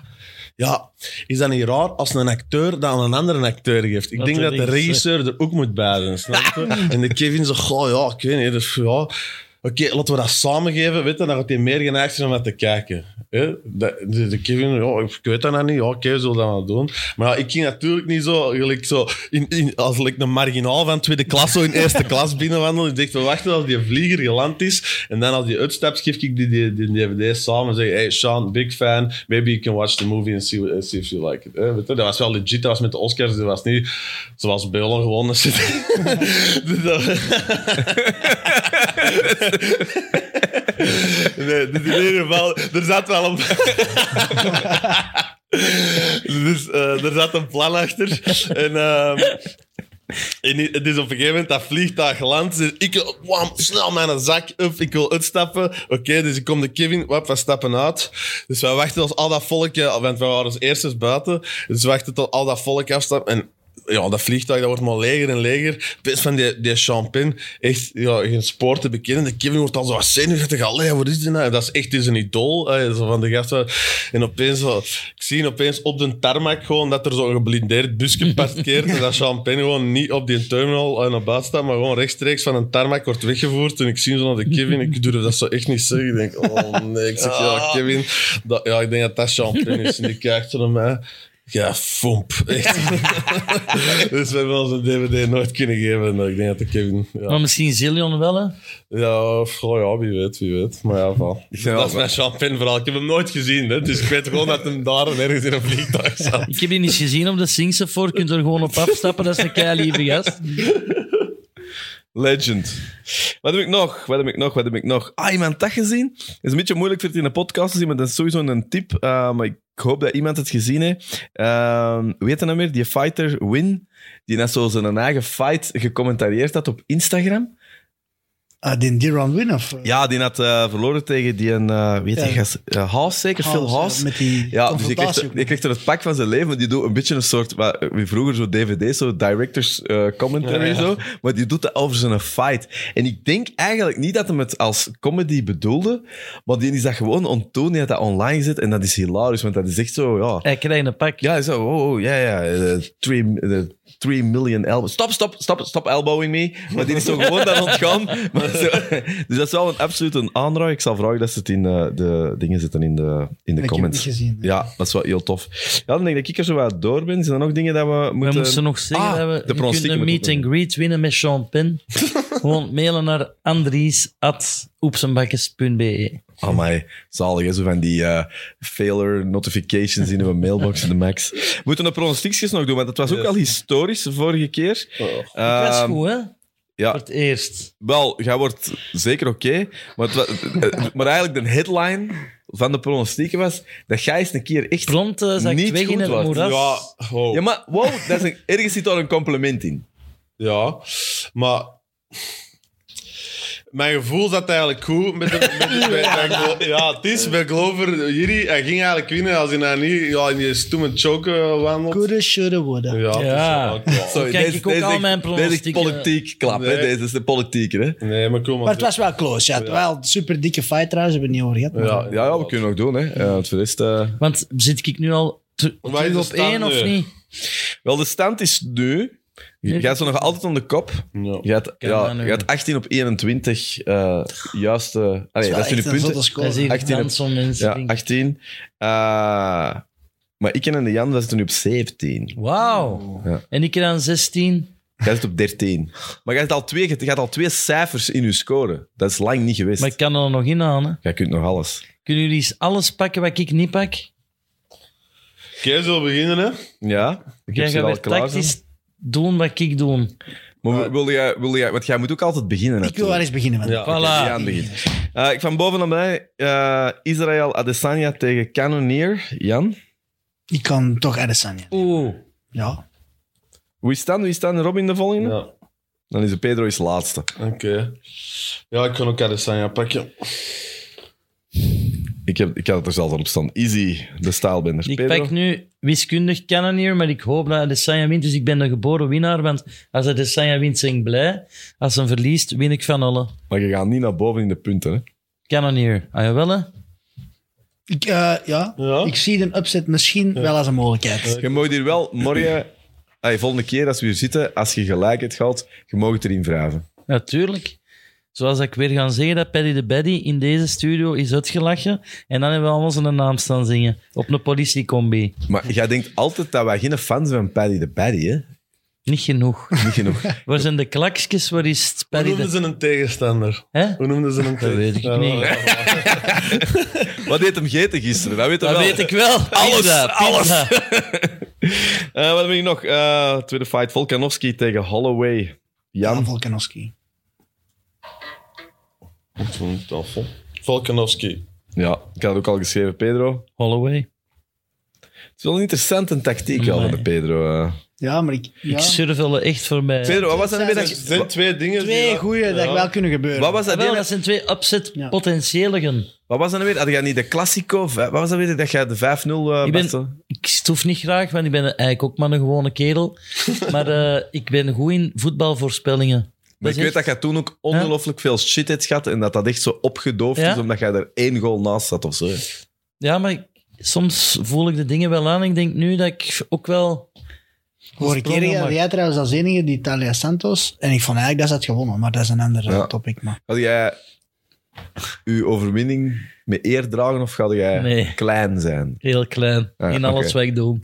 Speaker 4: Ja, is dat niet raar als een acteur dat aan een andere acteur geeft? Ik
Speaker 2: Dat
Speaker 4: denk
Speaker 2: de
Speaker 4: dat de
Speaker 2: regisseur-
Speaker 4: regisseur er ook moet bij zijn, snap je? En de Kevin zegt, goh, ja, ik weet niet, dus, ja. Oké, laten we dat samen geven, weet je, dan gaat hij meer geneigd zijn om dat te kijken. hè? De, de, de Kevin, ja, ik weet dat nog niet, ja, oké, we zullen dat wel doen. Maar ja, ik ging natuurlijk niet zo, gelijk zo in, in, als like, een marginaal van tweede klas zo in eerste klas binnenwandelen. Ik dacht, we wachten als die vlieger geland is. En dan als die uitstapt, geef ik die, die, die dvd samen en zeg hey Sean, big fan, maybe you can watch the movie and see, eh, see if you like it. Eh, weet je, dat was wel legit, dat was met de Oscars, dat was niet zoals Beulon gewonnen zit. Dus [LAUGHS] dat- Nee, dus in ieder geval, er zat wel een... [LAUGHS] dus eh, er zat een plan achter. En, ehm, en i- het is op een gegeven moment dat vliegtuig landt. Dus ik wam, snel mijn zak up, ik wil uitstappen. Oké, dus ik kom de Kevin, wap, we stappen uit. Dus wij wachten als al dat volkje, want we waren als eerstes buiten. Dus we wachten tot al dat volk afstapt. En ja, dat vliegtuig dat wordt maar leger en leger. Best van die, die champagne. Echt ja, geen spoor te bekennen. De Kevin wordt al zo wat zenuwachtig. Allee, wat is dit nou? Dat is echt dus een idool. eh, zo van de gast. waar- En opeens, zo, ik zie opeens op de tarmac gewoon dat er zo'n geblindeerd busje parkeert. en dat champagne gewoon niet op die terminal en naar buiten staat, maar gewoon rechtstreeks van een tarmac wordt weggevoerd. En ik zie zo naar de Kevin. Ik durf dat zo echt niet zeggen. Ik denk, oh nee. Ik zeg, ja, Kevin. Dat, ja, ik denk dat dat champagne is. En die kijkt zo naar mij. Ja, fomp. Echt. Dus we hebben onze DVD nooit kunnen geven. Nou, Ik denk dat de Kevin. Ja,
Speaker 2: Maar misschien Zillion wel, hè?
Speaker 4: ja, of- oh ja wie weet, wie weet. Maar ja, van.
Speaker 5: wel-
Speaker 4: Dat is mijn champagne verhaal. Ik heb hem nooit gezien, hè, dus ik weet gewoon dat hem daar en ergens in een vliegtuig zat.
Speaker 2: Ik heb die niet gezien op de Singse voor. Je kunt er gewoon op afstappen. Dat is een keilieve gast.
Speaker 1: Legend. Wat heb ik nog? Wat heb ik nog? Wat heb ik nog? Ah, iemand dat gezien? Het is een beetje moeilijk voor het in de podcast te zien, maar dat is sowieso een tip. Eh, maar ik hoop dat iemand het gezien heeft. Eh, weet je nou meer? Die fighter Win, die net zo zijn eigen fight gecommentarieerd had op Instagram.
Speaker 3: ah, die Diron Win of... eh,
Speaker 1: Ja, die had eh, verloren tegen die, een, eh, weet je,
Speaker 3: Ja.
Speaker 1: gast, eh, Haas zeker? Phil
Speaker 3: House,
Speaker 1: Haas.
Speaker 3: eh, Met die
Speaker 1: Ja, dus je
Speaker 3: confrontatie.
Speaker 1: krijgt, er, je krijgt er het pak van zijn leven, maar die doet een beetje een soort, wat, wie vroeger zo dvd's, zo directors eh, commentary zo, maar die doet dat over zijn fight. En ik denk eigenlijk niet dat hem het als comedy bedoelde, maar die is dat gewoon ontoon, die had dat online gezet en dat is hilarisch, want dat is echt zo, ja.
Speaker 2: Hij krijgt een pak.
Speaker 1: Ja, zo, oh, oh, ja, ja, eh, three, eh, three million elbow. Stop, stop, stop, stop elbowing me. Maar die is zo gewoon daar ontgaan. [LAUGHS] Maar zo- dus dat is wel een, absoluut een aanrader. Ik zal vragen dat ze het in eh, de dingen zetten in de, in de
Speaker 3: Ik heb het niet
Speaker 1: comments.
Speaker 3: gezien.
Speaker 1: Ja, dat is wel heel tof. Ja, dan denk ik dat ik er zo wat door ben. Zijn er nog dingen dat we
Speaker 2: We
Speaker 1: moeten...
Speaker 2: moesten nog zeggen
Speaker 1: Ah,
Speaker 2: dat
Speaker 1: de
Speaker 2: we, we
Speaker 1: pronostieken
Speaker 2: kunnen meet
Speaker 1: moeten
Speaker 2: and greet winnen met
Speaker 1: [LAUGHS]
Speaker 2: Sean Penn. Gewoon mailen naar andries.oepsenbakkes.be.
Speaker 1: Amai, zalig hè? Zo van die eh, failure notifications in mijn mailbox in de max. We moeten de pronostiekjes nog doen, want dat was ook al historisch de vorige keer.
Speaker 3: Oh.
Speaker 2: Dat is
Speaker 1: Ehm,
Speaker 2: goed, hè?
Speaker 1: ja.
Speaker 2: Voor het eerst.
Speaker 1: Wel, jij wordt zeker oké. maar, het wa- eh, maar eigenlijk de headline van de pronostieken was dat jij eens een keer echt...
Speaker 2: Prompt eh, zakt
Speaker 1: Niet
Speaker 2: weg
Speaker 1: goed
Speaker 2: in het
Speaker 1: wordt.
Speaker 2: moeras.
Speaker 4: Ja, oh.
Speaker 1: Ja,
Speaker 4: ja,
Speaker 1: maar wow, dat is een- ergens zit daar een compliment in.
Speaker 4: maar. Mijn gevoel zat eigenlijk goed met de, met de- met- met- Ja, het is bij Glover. Jiri, hij ging eigenlijk winnen als hij nou niet ja, in die stoeme choker wandelt.
Speaker 3: Coulda, shoulda, woulda.
Speaker 4: Ja, het is
Speaker 2: Ja.
Speaker 4: wel- ja.
Speaker 1: Sorry,
Speaker 2: Kijk, ik ook al
Speaker 1: echt-
Speaker 2: mijn
Speaker 1: Deze is echt
Speaker 2: pronostieken.
Speaker 1: politiek klap, hè?
Speaker 4: Nee.
Speaker 1: Deze is de politieker, hè?
Speaker 4: Nee, maar kom
Speaker 3: Maar het was wel close. Ja. Het was wel een super dikke fight trouwens, hebben we het niet over gehad. maar-
Speaker 4: Ja,
Speaker 1: Ja, ja, we kunnen nog doen, hè. Eh, want voor de rest... eh,
Speaker 2: Want zit ik nu al ter-
Speaker 4: Waar is
Speaker 2: terug
Speaker 4: de
Speaker 2: op
Speaker 4: stand
Speaker 2: één of
Speaker 4: nu?
Speaker 2: niet?
Speaker 1: Wel, de stand is nu. Jij gaat zo nog altijd om de kop.
Speaker 4: Ja.
Speaker 1: Je had,
Speaker 2: Ken
Speaker 1: ja,
Speaker 2: dat nu.
Speaker 1: je had 18 op 21 eh juiste. Ah, nee, dat
Speaker 3: Het
Speaker 1: is nu de
Speaker 3: is wel echt een
Speaker 1: punten.
Speaker 3: zotte
Speaker 2: Dat is hier
Speaker 3: score.
Speaker 1: 18 op-
Speaker 2: Danson, mensen.
Speaker 1: Ja, 18. Eh, maar ik en de Jan zitten nu op 17.
Speaker 2: Wauw.
Speaker 1: Ja.
Speaker 2: En ik er aan 16.
Speaker 1: Jij zit op 13. Maar jij hebt al twee, je hebt al twee cijfers in je score. Dat is lang niet geweest.
Speaker 2: Maar ik kan er nog in aan. Hè.
Speaker 1: Jij kunt nog alles.
Speaker 2: Kunnen jullie eens alles pakken wat ik niet pak?
Speaker 4: Kees wil beginnen, hè?
Speaker 1: Ja, ik heb
Speaker 2: Jij
Speaker 1: ze
Speaker 2: gaat
Speaker 1: al
Speaker 2: weer
Speaker 1: klaar.
Speaker 2: tactisch doen wat ik doe.
Speaker 1: Maar wil jij, wil jij, want jij moet ook altijd beginnen.
Speaker 3: Ik wil
Speaker 1: natuurlijk.
Speaker 3: wel eens beginnen met
Speaker 4: Ja.
Speaker 2: Voilà.
Speaker 1: Die aan begint. Eh, ik van boven naar beneden. Eh, Israël Adesanya tegen Cannonier. Jan,
Speaker 3: Ik kan toch Adesanya.
Speaker 2: Oeh.
Speaker 3: Ja.
Speaker 1: wie is dan? Wie is dan? Robin de volgende?
Speaker 4: Ja,
Speaker 1: Dan is de Pedro is laatste.
Speaker 4: oké. Ja, ik kan ook Adesanya pakken.
Speaker 1: Ik, heb, ik had het er zelfs al op staan. Easy, de staalbender.
Speaker 2: Ik
Speaker 1: Pedro?
Speaker 2: pak nu wiskundig Cannoneer, maar ik hoop dat Adesanya wint. Dus ik ben de geboren winnaar, want als Adesanya wint, ben ik blij. Als hij verliest, win ik van alle.
Speaker 1: Maar je gaat niet naar boven in de punten. Hè?
Speaker 2: Cannoneer, ah jawel hè?
Speaker 3: Ik, eh, ja.
Speaker 4: Ja.
Speaker 3: ik zie de upset misschien wel als een mogelijkheid.
Speaker 1: Je mag hier wel morgen, [COUGHS] ay, volgende keer als we hier zitten, als je gelijk hebt gehad, je mag het erin wrijven.
Speaker 2: Natuurlijk. Zoals ik weer ga zeggen, dat Paddy de Baddy in deze studio is uitgelachen. En dan hebben we allemaal zijn naam staan zingen. Op een politiecombi.
Speaker 1: Maar jij denkt altijd dat wij geen fans zijn van Paddy de Baddy, hè?
Speaker 2: Niet genoeg.
Speaker 1: Niet [LAUGHS] genoeg.
Speaker 2: Waar zijn de klaksjes? Waar is het
Speaker 4: Hoe
Speaker 2: Paddy
Speaker 4: noemden
Speaker 2: de...
Speaker 4: ze een tegenstander?
Speaker 2: Hè?
Speaker 4: Hoe noemden ze een tegenstander?
Speaker 2: weet ik niet.
Speaker 1: Wat deed hem geten gisteren? Dat weet hij
Speaker 2: Dat
Speaker 1: wel.
Speaker 2: weet ik wel. Alles, alles.
Speaker 1: Eh, wat heb ik nog? Eh, tweede fight, Volkanovski tegen Holloway.
Speaker 3: Ja,
Speaker 1: Jan,
Speaker 3: Volkanovski.
Speaker 4: Tafel. Volkanovski.
Speaker 1: ja, ik had het ook al geschreven, Pedro.
Speaker 2: Holloway.
Speaker 1: Het is wel een interessante tactiek wel van de Pedro. eh.
Speaker 3: Ja, maar ik... Ja.
Speaker 2: Ik surf wel echt voorbij.
Speaker 1: Pedro, wat was dat nu weer dat
Speaker 4: Er
Speaker 1: je-
Speaker 4: zijn twee dingen. die-
Speaker 3: Twee goede dat
Speaker 4: Ja.
Speaker 3: wel kunnen gebeuren.
Speaker 1: Wat was dat,
Speaker 2: Wel,
Speaker 1: weer?
Speaker 2: dat zijn twee upset
Speaker 3: Ja.
Speaker 2: potentiëligen.
Speaker 1: wat was dat nou weer? Had jij niet de Classico? v- Wat was dat weer? Dat jij de 5-0 eh
Speaker 2: Ik ben-
Speaker 1: beste-
Speaker 2: Ik stoef niet graag, want ik ben eigenlijk ook maar een gewone kerel. Maar eh, ik ben goed in voetbalvoorspellingen.
Speaker 1: Maar
Speaker 2: Dat
Speaker 1: ik
Speaker 2: is
Speaker 1: weet
Speaker 2: echt-
Speaker 1: dat jij toen ook ongelooflijk veel shit hebt gehad en dat dat echt zo opgedoofd
Speaker 2: Ja?
Speaker 1: is omdat jij er één goal naast zat of zo.
Speaker 2: Ja, maar ik- soms voel ik de dingen wel aan. Ik denk nu dat ik ook wel...
Speaker 3: Vorige keer
Speaker 2: Sprongen,
Speaker 3: had
Speaker 2: maar-
Speaker 3: jij trouwens als enige die Talia Santos. En ik vond eigenlijk dat ze had gewonnen, maar dat is een ander eh,
Speaker 1: Ja.
Speaker 3: topic. Maar.
Speaker 1: Had jij uw overwinning met eer dragen of had jij
Speaker 2: Nee.
Speaker 1: klein zijn?
Speaker 2: Heel klein.
Speaker 1: Ah,
Speaker 2: in alles
Speaker 1: oké.
Speaker 2: wat ik doe.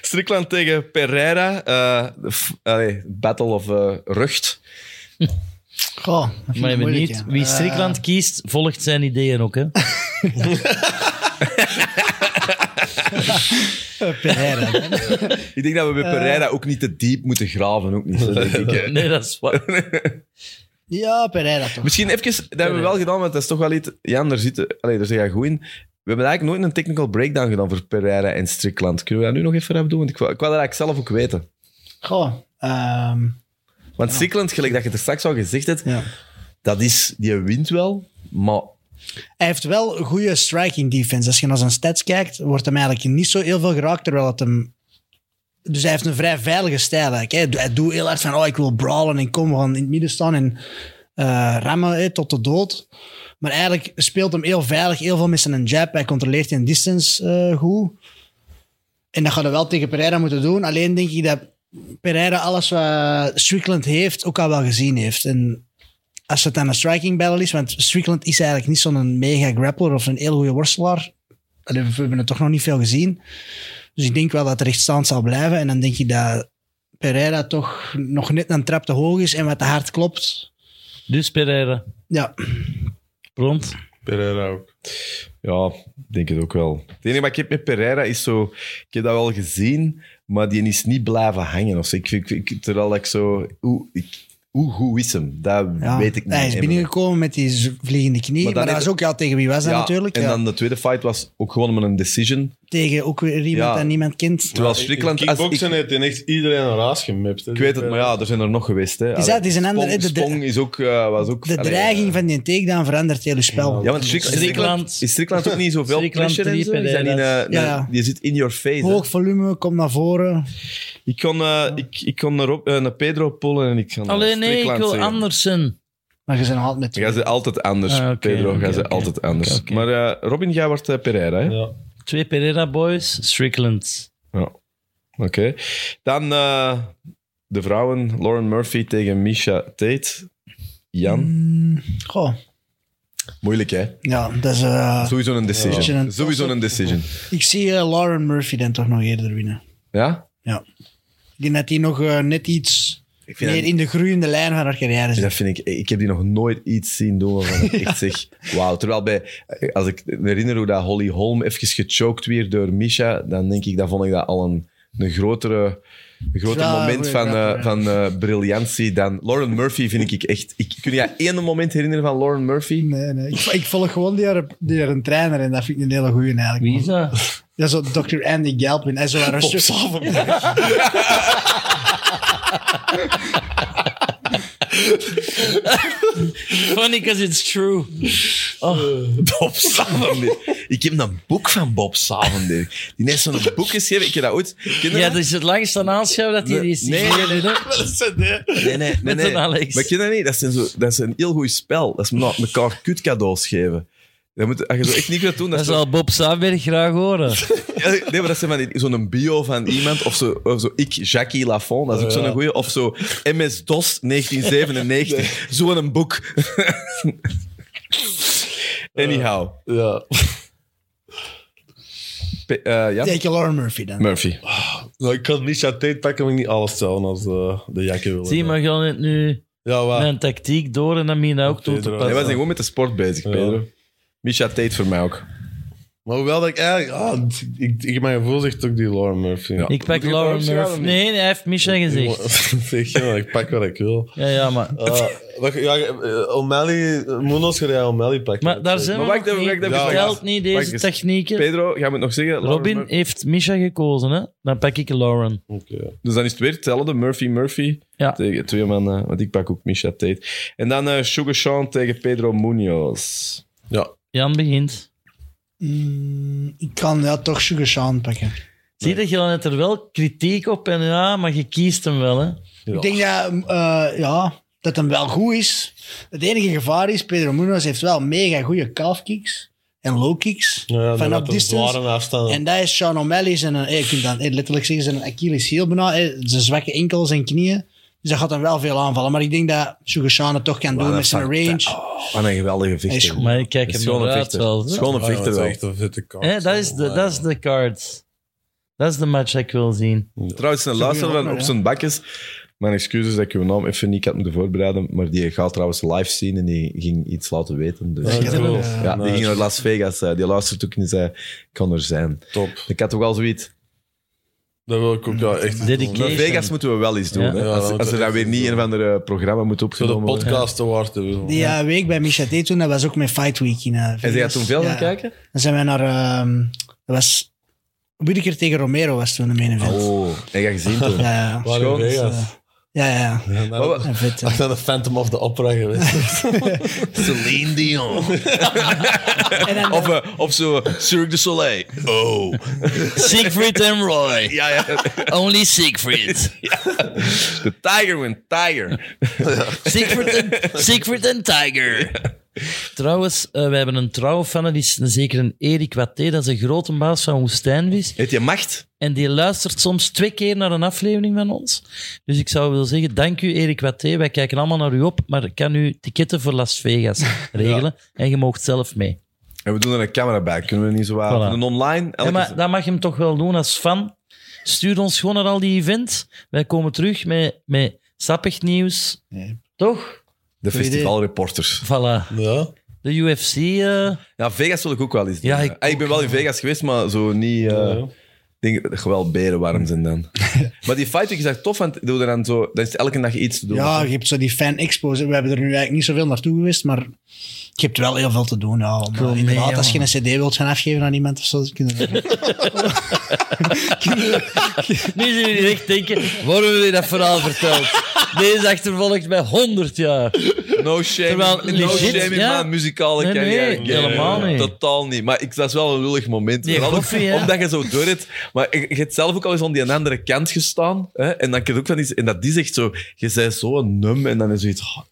Speaker 1: Strickland tegen Pereira. eh, de f- allee, battle of eh, Rucht.
Speaker 3: Goh, dat vind
Speaker 2: Maar
Speaker 3: ik
Speaker 2: je
Speaker 3: moeilijk,
Speaker 2: niet.
Speaker 3: hè.
Speaker 2: Wie Strikland kiest, volgt zijn ideeën
Speaker 1: [LAUGHS]
Speaker 2: ook. Hè?
Speaker 3: Eh, Pereira.
Speaker 2: [LAUGHS]
Speaker 1: Ik denk dat we
Speaker 2: Eh.
Speaker 1: bij Pereira ook niet te diep moeten graven. Ook niet, zo denk ik,
Speaker 2: [LAUGHS]
Speaker 1: hè.
Speaker 2: Nee, dat is waar.
Speaker 3: ja, Pereira toch.
Speaker 1: Misschien even, dat hebben we wel gedaan, want dat is toch wel iets... Jan, daar, zit, allee, daar zit jij goed in. We hebben eigenlijk nooit een technical breakdown gedaan voor Pereira en Strickland. Kunnen we dat nu nog even hebben doen? Want ik wou, ik wou dat eigenlijk zelf ook weten.
Speaker 3: Goh, ehm,
Speaker 1: Want Strickland, gelijk dat je het er straks al gezegd hebt,
Speaker 3: ja.
Speaker 1: dat is, die wint wel, maar
Speaker 3: Hij heeft wel een goede striking defense. Als je naar zijn stats kijkt, wordt hem eigenlijk niet zo heel veel geraakt, terwijl het hem... Dus hij heeft een vrij veilige stijl eigenlijk. hè. Hij doet- Hij doet heel hard van, oh, ik wil brawlen en kom, we gaan in het midden staan en eh, rammen hè, tot de dood. Maar eigenlijk speelt hem heel veilig, heel veel met zijn jab. Hij controleert in distance eh, goed. En dat gaat hij wel tegen Pereira moeten doen. Alleen denk ik dat Pereira alles wat Strickland heeft, ook al wel gezien heeft. En als het dan een striking battle is, want Strickland is eigenlijk niet zo'n mega grappler of een heel goede worstelaar. Allee, We hebben het toch nog niet veel gezien. Dus ik denk wel dat het rechtstaand zal blijven. En dan denk ik dat Pereira toch nog net een trap te hoog is en wat te hard klopt.
Speaker 2: Dus Pereira,
Speaker 3: Ja,
Speaker 2: rond.
Speaker 4: Pereira ook.
Speaker 1: ja, ik denk het ook wel. Het enige wat ik heb met Pereira is zo... Ik heb dat wel gezien, maar die is niet blijven hangen. Of zo. Ik, vind- ik, ik- terwijl ik zo... Hoe, ik, hoe goed is hem? Dat
Speaker 3: ja.
Speaker 1: weet ik niet.
Speaker 3: Hij is binnengekomen met die z- vliegende
Speaker 1: Maar
Speaker 3: knie. Maar,
Speaker 1: dan
Speaker 3: dat
Speaker 1: heeft-
Speaker 3: was ook al tegen wie was dat
Speaker 1: Ja,
Speaker 3: natuurlijk.
Speaker 1: En
Speaker 3: Ja.
Speaker 1: dan de tweede fight was ook gewoon met een decision.
Speaker 3: tegen ook weer iemand
Speaker 1: Ja.
Speaker 3: dat niemand kent.
Speaker 1: Terwijl Strickland...
Speaker 4: In
Speaker 1: als
Speaker 4: kickboksen
Speaker 1: ik,
Speaker 4: heeft hij echt iedereen een raas gemipt. hè.
Speaker 1: ik weet het, maar ja, er zijn er nog geweest. Hè.
Speaker 3: dat-
Speaker 1: Allee,
Speaker 3: die zijn ander-
Speaker 1: Spong,
Speaker 3: de- de-
Speaker 1: Spong is ook... eh, was ook
Speaker 3: De
Speaker 1: allee,
Speaker 3: dreiging van die takedown verandert heel je spel.
Speaker 1: Ja, want Strick-
Speaker 2: Strickland-
Speaker 1: Strickland, is Strickland ook niet zoveel
Speaker 2: Strickland
Speaker 1: pressure en
Speaker 2: drie
Speaker 1: zo? Is dat niet,
Speaker 2: Pereira's.
Speaker 1: eh, nou,
Speaker 3: Ja.
Speaker 1: Je zit in your face. hè.
Speaker 3: Hoog volume, kom naar voren.
Speaker 1: Ik kon, eh, ik, ik kon naar, Rob- eh, naar Pedro pullen en ik kan
Speaker 2: Alleen nee, ik wil
Speaker 1: eh.
Speaker 2: Andersen.
Speaker 3: Maar je zijn altijd met
Speaker 1: Jij ze altijd anders,
Speaker 2: Ah, oké,
Speaker 1: Pedro. Jij
Speaker 2: oké,
Speaker 1: ze
Speaker 2: oké.
Speaker 1: altijd anders.
Speaker 2: Oké, oké.
Speaker 1: Maar eh, Robin, jij wordt eh, Pereira, hè?
Speaker 4: Ja.
Speaker 2: Twee Pereira boys, Strickland.
Speaker 1: Oké. Dan eh, de vrouwen, Lauren Murphy tegen Misha Tate. Jan,
Speaker 2: Mm.
Speaker 3: Goh,
Speaker 1: moeilijk hè?
Speaker 3: ja, dat is... eh,
Speaker 1: Sowieso een
Speaker 3: Beetje
Speaker 1: decision.
Speaker 3: een-
Speaker 1: Sowieso een decision.
Speaker 3: ik zie eh, Lauren Murphy dan toch nog eerder winnen.
Speaker 1: Ja?
Speaker 3: Ja. Ik denk dat die nog eh, net iets
Speaker 1: Ik vind
Speaker 3: meer
Speaker 1: dat-
Speaker 3: in de groeiende lijn van haar carrière zit.
Speaker 1: Dus dat vind ik, ik heb die nog nooit iets zien doen waarvan ik echt [LAUGHS] zeg, wauw. Terwijl bij, als ik me herinner hoe dat Holly Holm even gechoked weer door Misha, dan denk ik, dat vond ik dat al een, een grotere, een groter
Speaker 3: Ja,
Speaker 1: moment
Speaker 3: goeie
Speaker 1: van,
Speaker 3: grap,
Speaker 1: eh,
Speaker 3: ja.
Speaker 1: van eh, briljantie dan... Lauren Murphy vind ik echt... Ik, kun jij één moment herinneren van Lauren Murphy?
Speaker 3: Nee, nee. Ik, ik volg gewoon die haar, die haar een trainer en dat vind ik een hele goeie eigenlijk.
Speaker 2: Wie is
Speaker 1: [LAUGHS]
Speaker 2: dat?
Speaker 3: Dat is zo Dr. Andy Galpin. Hij is zo haar een stuk-
Speaker 2: Funny because it's true.
Speaker 1: [LAUGHS] Bob Savenberg. Ik heb een boek van Bob Savenberg. Die heeft zo'n boek geschreven. Ik heb dat ooit... Ken je
Speaker 2: Ja,
Speaker 1: dat?
Speaker 2: dat is het langste aanschouw dat hij
Speaker 1: Nee,
Speaker 2: is.
Speaker 1: nee,
Speaker 2: nee, nee.
Speaker 1: Nee, nee, nee.
Speaker 2: Met
Speaker 1: nee.
Speaker 2: een Alex.
Speaker 1: Maar ken je dat niet? Dat is, zo, dat is een heel goed spel. Dat is me- elkaar kutcadeaus geven. Dat moet, als je zo echt niet wilt doen, dat
Speaker 2: [LAUGHS] Dat
Speaker 1: is wel...
Speaker 2: zal Bob Saberg graag
Speaker 1: [LAUGHS]
Speaker 2: horen.
Speaker 1: Nee, maar dat zijn van die- zo'n bio van iemand. Of zo, of zo ik, Jackie Lafont. Dat is ook zo'n goeie. Of zo
Speaker 2: [LAUGHS]
Speaker 1: MS-DOS 1997. Zo'n boek. Anyhow.
Speaker 4: Ja. [LAUGHS]
Speaker 1: Pe- eh, ja?
Speaker 3: Denk je Lauren Murphy dan?
Speaker 1: Murphy.
Speaker 4: Nou, ik kan Misha Tate pakken, maar ik niet alles hetzelfde als eh, de jakken willen.
Speaker 2: Zie, maar gaan het nu
Speaker 4: Ja,
Speaker 1: Ah.
Speaker 4: waar.
Speaker 2: mijn tactiek door en dan Mina ook toe te
Speaker 4: Pedro.
Speaker 1: Hij was
Speaker 2: passen.
Speaker 1: gewoon met de sport bezig, Pedro. Misha Tate voor mij ook.
Speaker 4: Maar hoewel dat ik eigenlijk... Ah, ik, ik, mijn gevoel zegt ook die Lauren Murphy. Ja.
Speaker 2: Ik pak Lauren Murphy. Nee, nee, hij heeft Misha gezegd.
Speaker 4: [LAUGHS] zeg je, maar ik pak wat ik wil.
Speaker 2: Ja, ja, maar...
Speaker 4: Ah, wat- ja, eh, O'Malley... eh, Munoz gaat jij O'Malley pakken.
Speaker 2: Maar daar zijn we
Speaker 1: Maar
Speaker 2: nog
Speaker 1: wacht even,
Speaker 2: niet.
Speaker 1: wacht even.
Speaker 2: Het
Speaker 1: Ja,
Speaker 2: geldt
Speaker 1: ja.
Speaker 2: niet,
Speaker 1: Wacht
Speaker 2: deze
Speaker 1: eens.
Speaker 2: technieken.
Speaker 1: Pedro, gaan we het nog zeggen? Lauren
Speaker 2: Robin
Speaker 1: Murphy.
Speaker 2: heeft Misha gekozen, hè? Dan pak ik Lauren.
Speaker 4: Oké.
Speaker 1: Dus dan is het weer hetzelfde. Murphy, Murphy.
Speaker 2: Ja.
Speaker 1: Tegen twee man, eh, want ik pak ook Misha Tate. En dan eh Sugar Sean tegen Pedro Munoz.
Speaker 4: Ja.
Speaker 2: Jan begint.
Speaker 3: Mm, ik kan ja, toch Sugar Sean pakken.
Speaker 2: Zie dat je dan net er wel kritiek op en ja, maar je kiest hem wel, hè?
Speaker 4: Ja.
Speaker 3: Ik denk dat, eh, ja, dat hem wel goed is. Het enige gevaar is, Pedro Munoz heeft wel mega goede calf kicks en low kicks
Speaker 4: Ja, ja,
Speaker 3: vanaf
Speaker 4: dat
Speaker 3: distance.
Speaker 4: Zware afstand.
Speaker 3: En dat is Sean O'Malley. Zijn, eh, je kunt dan eh, letterlijk zeggen, zijn Achilles heel bijna. eh, zijn zwakke enkels en knieën. Dus dat gaat hem wel veel aanvallen. Maar ik denk dat Sugar Sean het toch kan doen
Speaker 1: dat
Speaker 3: Oh,
Speaker 1: oh,
Speaker 3: met zijn
Speaker 1: vangt-
Speaker 3: range.
Speaker 1: Wat een geweldige
Speaker 3: Hij is
Speaker 1: vechter.
Speaker 3: goed. Oh,
Speaker 2: Maar ik kijk hem
Speaker 1: Schone
Speaker 2: wel uit
Speaker 1: vechter.
Speaker 2: wel. hè?
Speaker 1: Schone
Speaker 4: Ah, Ja, dat
Speaker 1: vechter
Speaker 4: is
Speaker 1: wel.
Speaker 4: echt een vette kaart.
Speaker 2: Hè, dat, is de, dat is de card. Dat is de match dat ik wil zien.
Speaker 1: Trouwens, een
Speaker 3: goeie
Speaker 1: luisteraar van
Speaker 3: man,
Speaker 1: op
Speaker 3: ja.
Speaker 1: zijn bakjes. Mijn excuses dat ik uw naam even niet had moeten voorbereiden. Maar die gaat trouwens live zien en die ging iets laten weten. Dus.
Speaker 4: Ja,
Speaker 1: Ja,
Speaker 4: cool.
Speaker 3: Ja,
Speaker 1: die ging
Speaker 4: Nice.
Speaker 1: naar Las Vegas. eh, Die luistert ook en die zei: "Ik kan er zijn.
Speaker 4: Top.
Speaker 1: Ik had toch al zoiets.
Speaker 4: Dat wil ik ook ja, echt eens doen.
Speaker 1: Naar
Speaker 2: Dedication.
Speaker 1: Vegas moeten we wel iets doen.
Speaker 2: Ja.
Speaker 1: Hè?
Speaker 4: Ja,
Speaker 1: Als,
Speaker 4: dat
Speaker 1: als er
Speaker 4: moet
Speaker 1: dan weer
Speaker 4: echt
Speaker 1: niet
Speaker 4: doen.
Speaker 1: een of ander programma moet
Speaker 4: Zo de
Speaker 1: opgenomen worden.
Speaker 4: podcast award te willen.
Speaker 3: Die eh, week bij Misha Tate toen, dat was ook met Fight Week in eh,
Speaker 1: En jij
Speaker 3: Vegas.
Speaker 1: had toen veel
Speaker 3: Ja.
Speaker 1: gaan kijken?
Speaker 3: Dan zijn wij naar... ehm, dat was... Whittaker tegen Romero was toen de main event.
Speaker 1: Oh, heb je gezien toen?
Speaker 3: Ja, ja.
Speaker 4: Waar in
Speaker 1: Schoon.
Speaker 4: Vegas.
Speaker 3: Ja, ja.
Speaker 4: Ja,
Speaker 1: Maar
Speaker 4: nou,
Speaker 1: wat-
Speaker 4: [LAUGHS]
Speaker 3: ja. Vet, hè.
Speaker 4: Ik ben de Phantom of the Opera geweest.
Speaker 5: Celine Dion.
Speaker 3: En dan,
Speaker 1: [LAUGHS] Of, eh, of zo Cirque du Soleil.
Speaker 5: Oh.
Speaker 2: Siegfried en Roy.
Speaker 1: Ja, ja.
Speaker 2: Only Siegfried.
Speaker 1: The Tiger went Tiger.
Speaker 2: Siegfried en, Siegfried en Tiger. Trouwens, eh, wij hebben een trouwe fan, dat is een zeker een Erik Watté, dat is een grote baas van Woestijnvis.
Speaker 1: Heet je macht?
Speaker 2: En die luistert soms twee keer naar een aflevering van ons. Dus ik zou willen zeggen, dank u Erik Watté. Wij kijken allemaal naar u op, maar ik kan u ticketten voor Las Vegas [LAUGHS] regelen. En je moogt zelf mee.
Speaker 1: En we doen er een camera bij. Kunnen we niet zo waar...
Speaker 2: Voilà.
Speaker 1: Een online?
Speaker 2: Ja,
Speaker 1: Elke-
Speaker 2: maar dat mag je hem toch wel doen als fan. Stuur ons gewoon naar al die events. Wij komen terug met, met sappig nieuws. Toch?
Speaker 1: De festivalreporters.
Speaker 2: Voilà.
Speaker 4: [LAUGHS] Ja.
Speaker 2: De UFC. eh,
Speaker 1: Ja, Vegas wil ik ook wel eens doen.
Speaker 2: Ja, ik
Speaker 1: ik, ben wel in Vegas geweest, maar zo niet... eh,
Speaker 4: Ja.
Speaker 1: Ik denk dat je wel berenwarm zijn
Speaker 2: [LAUGHS]
Speaker 1: dan. maar die fight week is echt tof, want doe er dan zo... Dan is elke dag iets te doen.
Speaker 3: ja, je hebt zo die fan-expos. We hebben er nu eigenlijk niet zoveel naartoe geweest, maar je hebt wel heel veel te doen. Ja, Maar
Speaker 2: wil mee,
Speaker 3: inderdaad, als je
Speaker 2: jongen.
Speaker 3: een cd wilt gaan afgeven aan iemand of zo, kunnen we dat-
Speaker 2: Nu zullen jullie echt denken, waarom hebben jullie dat verhaal verteld? Deze achtervolgt mij 100 jaar.
Speaker 1: No shame,
Speaker 2: Terwijl,
Speaker 1: no
Speaker 2: legit,
Speaker 1: shame in
Speaker 2: ja.
Speaker 1: mijn muzikale
Speaker 2: Nee, nee,
Speaker 1: carrière.
Speaker 2: helemaal niet.
Speaker 1: Totaal niet. Maar ik, dat is wel een lullig moment.
Speaker 2: Die
Speaker 1: Vooral ook
Speaker 2: koffie, hè?
Speaker 1: omdat je zo door het... Maar je, je hebt zelf ook al eens aan die andere kant gestaan. Hè? En dan kan je ook van iets... En dat die zegt zo... Je zei zo num en dan is zoiets... ah.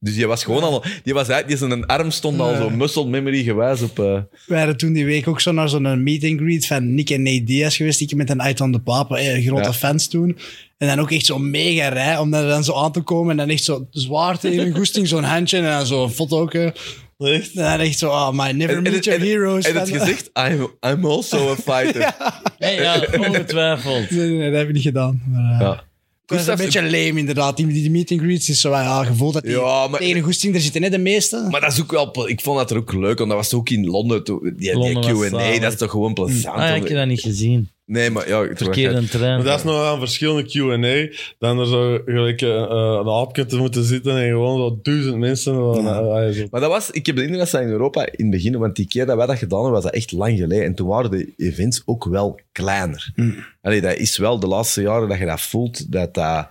Speaker 1: Dus die was gewoon al... Die was uit... Die zijn arm stond al zo muscle memory gewijs op... eh,
Speaker 3: We waren toen die week ook zo naar zo'n meet-and-greet van Nick en Nate Diaz geweest. Ik met een Aitan de Pape, eh, grote
Speaker 1: Ja.
Speaker 3: fans toen. En dan ook echt zo'n mega rij om daar dan zo aan te komen. En dan echt zo zwaar tegen hun goesting, zo'n handje en dan zo'n foto ook. eh.
Speaker 4: Echt?
Speaker 3: En dan echt zo, ah, my never
Speaker 1: en, en,
Speaker 3: meet your
Speaker 1: en-
Speaker 3: heroes.
Speaker 1: en het
Speaker 3: fan. [LAUGHS]
Speaker 1: gezicht... I'm, I'm also a fighter.
Speaker 2: [LAUGHS] Nee, ja, ongetwijfeld.
Speaker 3: Nee, nee, nee, dat heb ik niet gedaan. Maar, eh,
Speaker 1: Ja.
Speaker 3: Dat is een
Speaker 1: Gustav-
Speaker 3: beetje lame, inderdaad. Die, die meet and greets is zo wel ja, gevoel dat die
Speaker 1: Ja, maar-
Speaker 3: tegen een goesting, er zitten net de meeste.
Speaker 1: Maar dat is ook wel... pl- Ik vond dat er ook leuk, want dat was ook in Londen. toen- Die, die
Speaker 2: Londen
Speaker 1: Q&A,
Speaker 2: was zalig.
Speaker 1: dat is toch gewoon plezant?
Speaker 2: Ah, ik heb dat niet gezien.
Speaker 1: Nee, maar ja... het was-
Speaker 2: Verkeerde trein.
Speaker 4: Maar dat is nog wel een verschillende Q&A dan er zo gelijk eh, eh, een aapje te moeten zitten en gewoon zo duizend mensen. Van, eh, eh, zo.
Speaker 1: Maar dat was, ik heb de indruk dat ze in Europa in het begin, want die keer dat wij dat gedaan hebben, was dat echt lang geleden. En toen waren de events ook wel kleiner. Allee, dat is wel de laatste jaren dat je dat voelt, dat dat...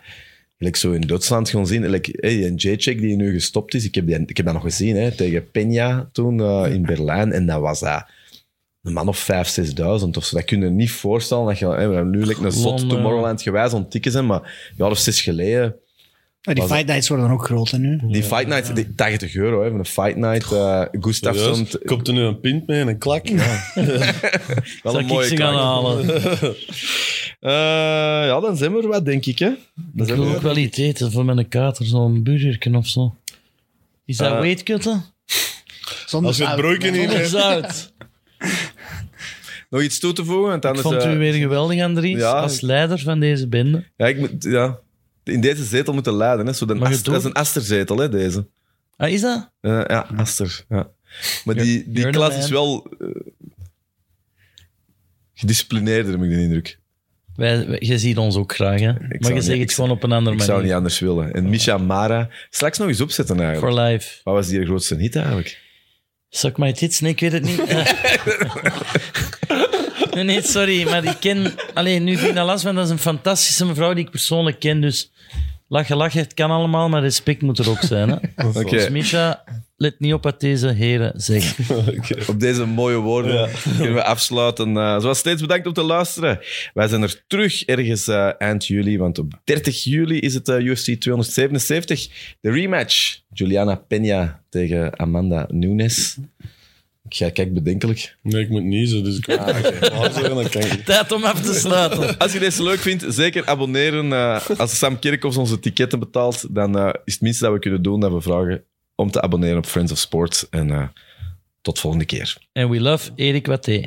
Speaker 1: gelijk zo in Duitsland gewoon zien, like, hey, en J-check die nu gestopt is, ik heb, die, ik heb dat nog gezien, hè, tegen Peña toen eh, in Berlijn. En dat was dat een man of vijf, zesduizend of zo. Dat kun je je niet voorstellen. Dat je, hè, we hebben nu like, een zot
Speaker 2: Londen.
Speaker 1: Tomorrowland gewijs onttikken zijn, maar een jaar of zes geleden...
Speaker 3: Maar die
Speaker 1: Was
Speaker 3: fight nights worden dan ook groot hè, nu.
Speaker 1: Die Fight Night, die 80 euro hè, van een Fight Night. eh Gustafsson,
Speaker 4: Serieus? Komt er nu een pint mee en een klak? [LAUGHS]
Speaker 1: wel
Speaker 2: Zal
Speaker 1: een
Speaker 2: ik
Speaker 1: mooie
Speaker 2: ze gaan
Speaker 1: klank.
Speaker 2: halen?
Speaker 1: Eh, ja, dan zijn we er wat, denk ik. Hè? Dan
Speaker 2: Ik
Speaker 1: zijn we
Speaker 2: wil
Speaker 1: er.
Speaker 2: ook wel iets eten voor mijn kater, zo'n burgerken of zo. Is dat
Speaker 1: Eh,
Speaker 2: weetkutten?
Speaker 3: Zonder
Speaker 4: Als je het
Speaker 3: zout.
Speaker 4: broekje niet
Speaker 2: Zonder
Speaker 4: hebt.
Speaker 2: zout.
Speaker 1: Nog iets toe te voegen? Want
Speaker 2: Ik
Speaker 1: anders,
Speaker 2: vond
Speaker 1: eh,
Speaker 2: u weer geweldig, Andries,
Speaker 1: ja.
Speaker 2: als leider van deze bende.
Speaker 1: ja, ik moet, ja, in deze zetel moeten leiden. Hè? Zo de
Speaker 2: Mag je
Speaker 1: ast-
Speaker 2: het doen?
Speaker 1: dat is een asterzetel, hè, deze.
Speaker 2: Ah, is dat?
Speaker 1: Eh, ja, aster. Ja. Maar die, die
Speaker 2: you're the
Speaker 1: klas
Speaker 2: man.
Speaker 1: is wel eh, gedisciplineerder, heb ik de indruk.
Speaker 2: Wij, wij- je ziet ons ook graag, hè?
Speaker 1: zou
Speaker 2: Maar je
Speaker 1: niet-
Speaker 2: zegt
Speaker 1: ik
Speaker 2: het gewoon op een andere
Speaker 1: Ik zou niet
Speaker 2: manier.
Speaker 1: anders willen. En Misha Mara, straks nog eens opzetten eigenlijk.
Speaker 2: For life.
Speaker 1: Wat was die grootste hit eigenlijk?
Speaker 2: Suck my tits? Nee, ik weet het niet. [LAUGHS] Eh. nee, nee, sorry, maar ik ken... Alleen nu vind ik dat last, want dat is een fantastische mevrouw die ik persoonlijk ken, dus... Lachen, lachen, het kan allemaal, maar respect moet er ook zijn. Hè?
Speaker 1: Oké,
Speaker 2: Dus Misha, let niet op wat deze heren zeggen. [LAUGHS]
Speaker 1: op deze mooie woorden kunnen we afsluiten. Eh, zoals steeds, bedankt om te luisteren. Wij zijn er terug ergens eh, eind juli, want op 30 juli is het eh, UFC 277, de rematch. Juliana Peña tegen Amanda Nunes. Ik ga kijk bedenkelijk.
Speaker 4: Nee, ik moet niezen, dus ik moet [LAUGHS] maar zeggen, dan kan ik
Speaker 2: Tijd om af te sluiten.
Speaker 1: Als je deze leuk vindt, zeker abonneren. Eh, als Sam Kerkhoffs onze ticketen betaalt, dan eh, is het minste dat we kunnen doen dat we vragen om te abonneren op Friends of Sports. En eh, tot volgende keer.
Speaker 2: And we love Erik Watté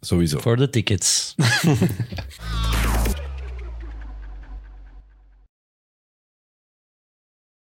Speaker 1: Sowieso.
Speaker 2: for the tickets.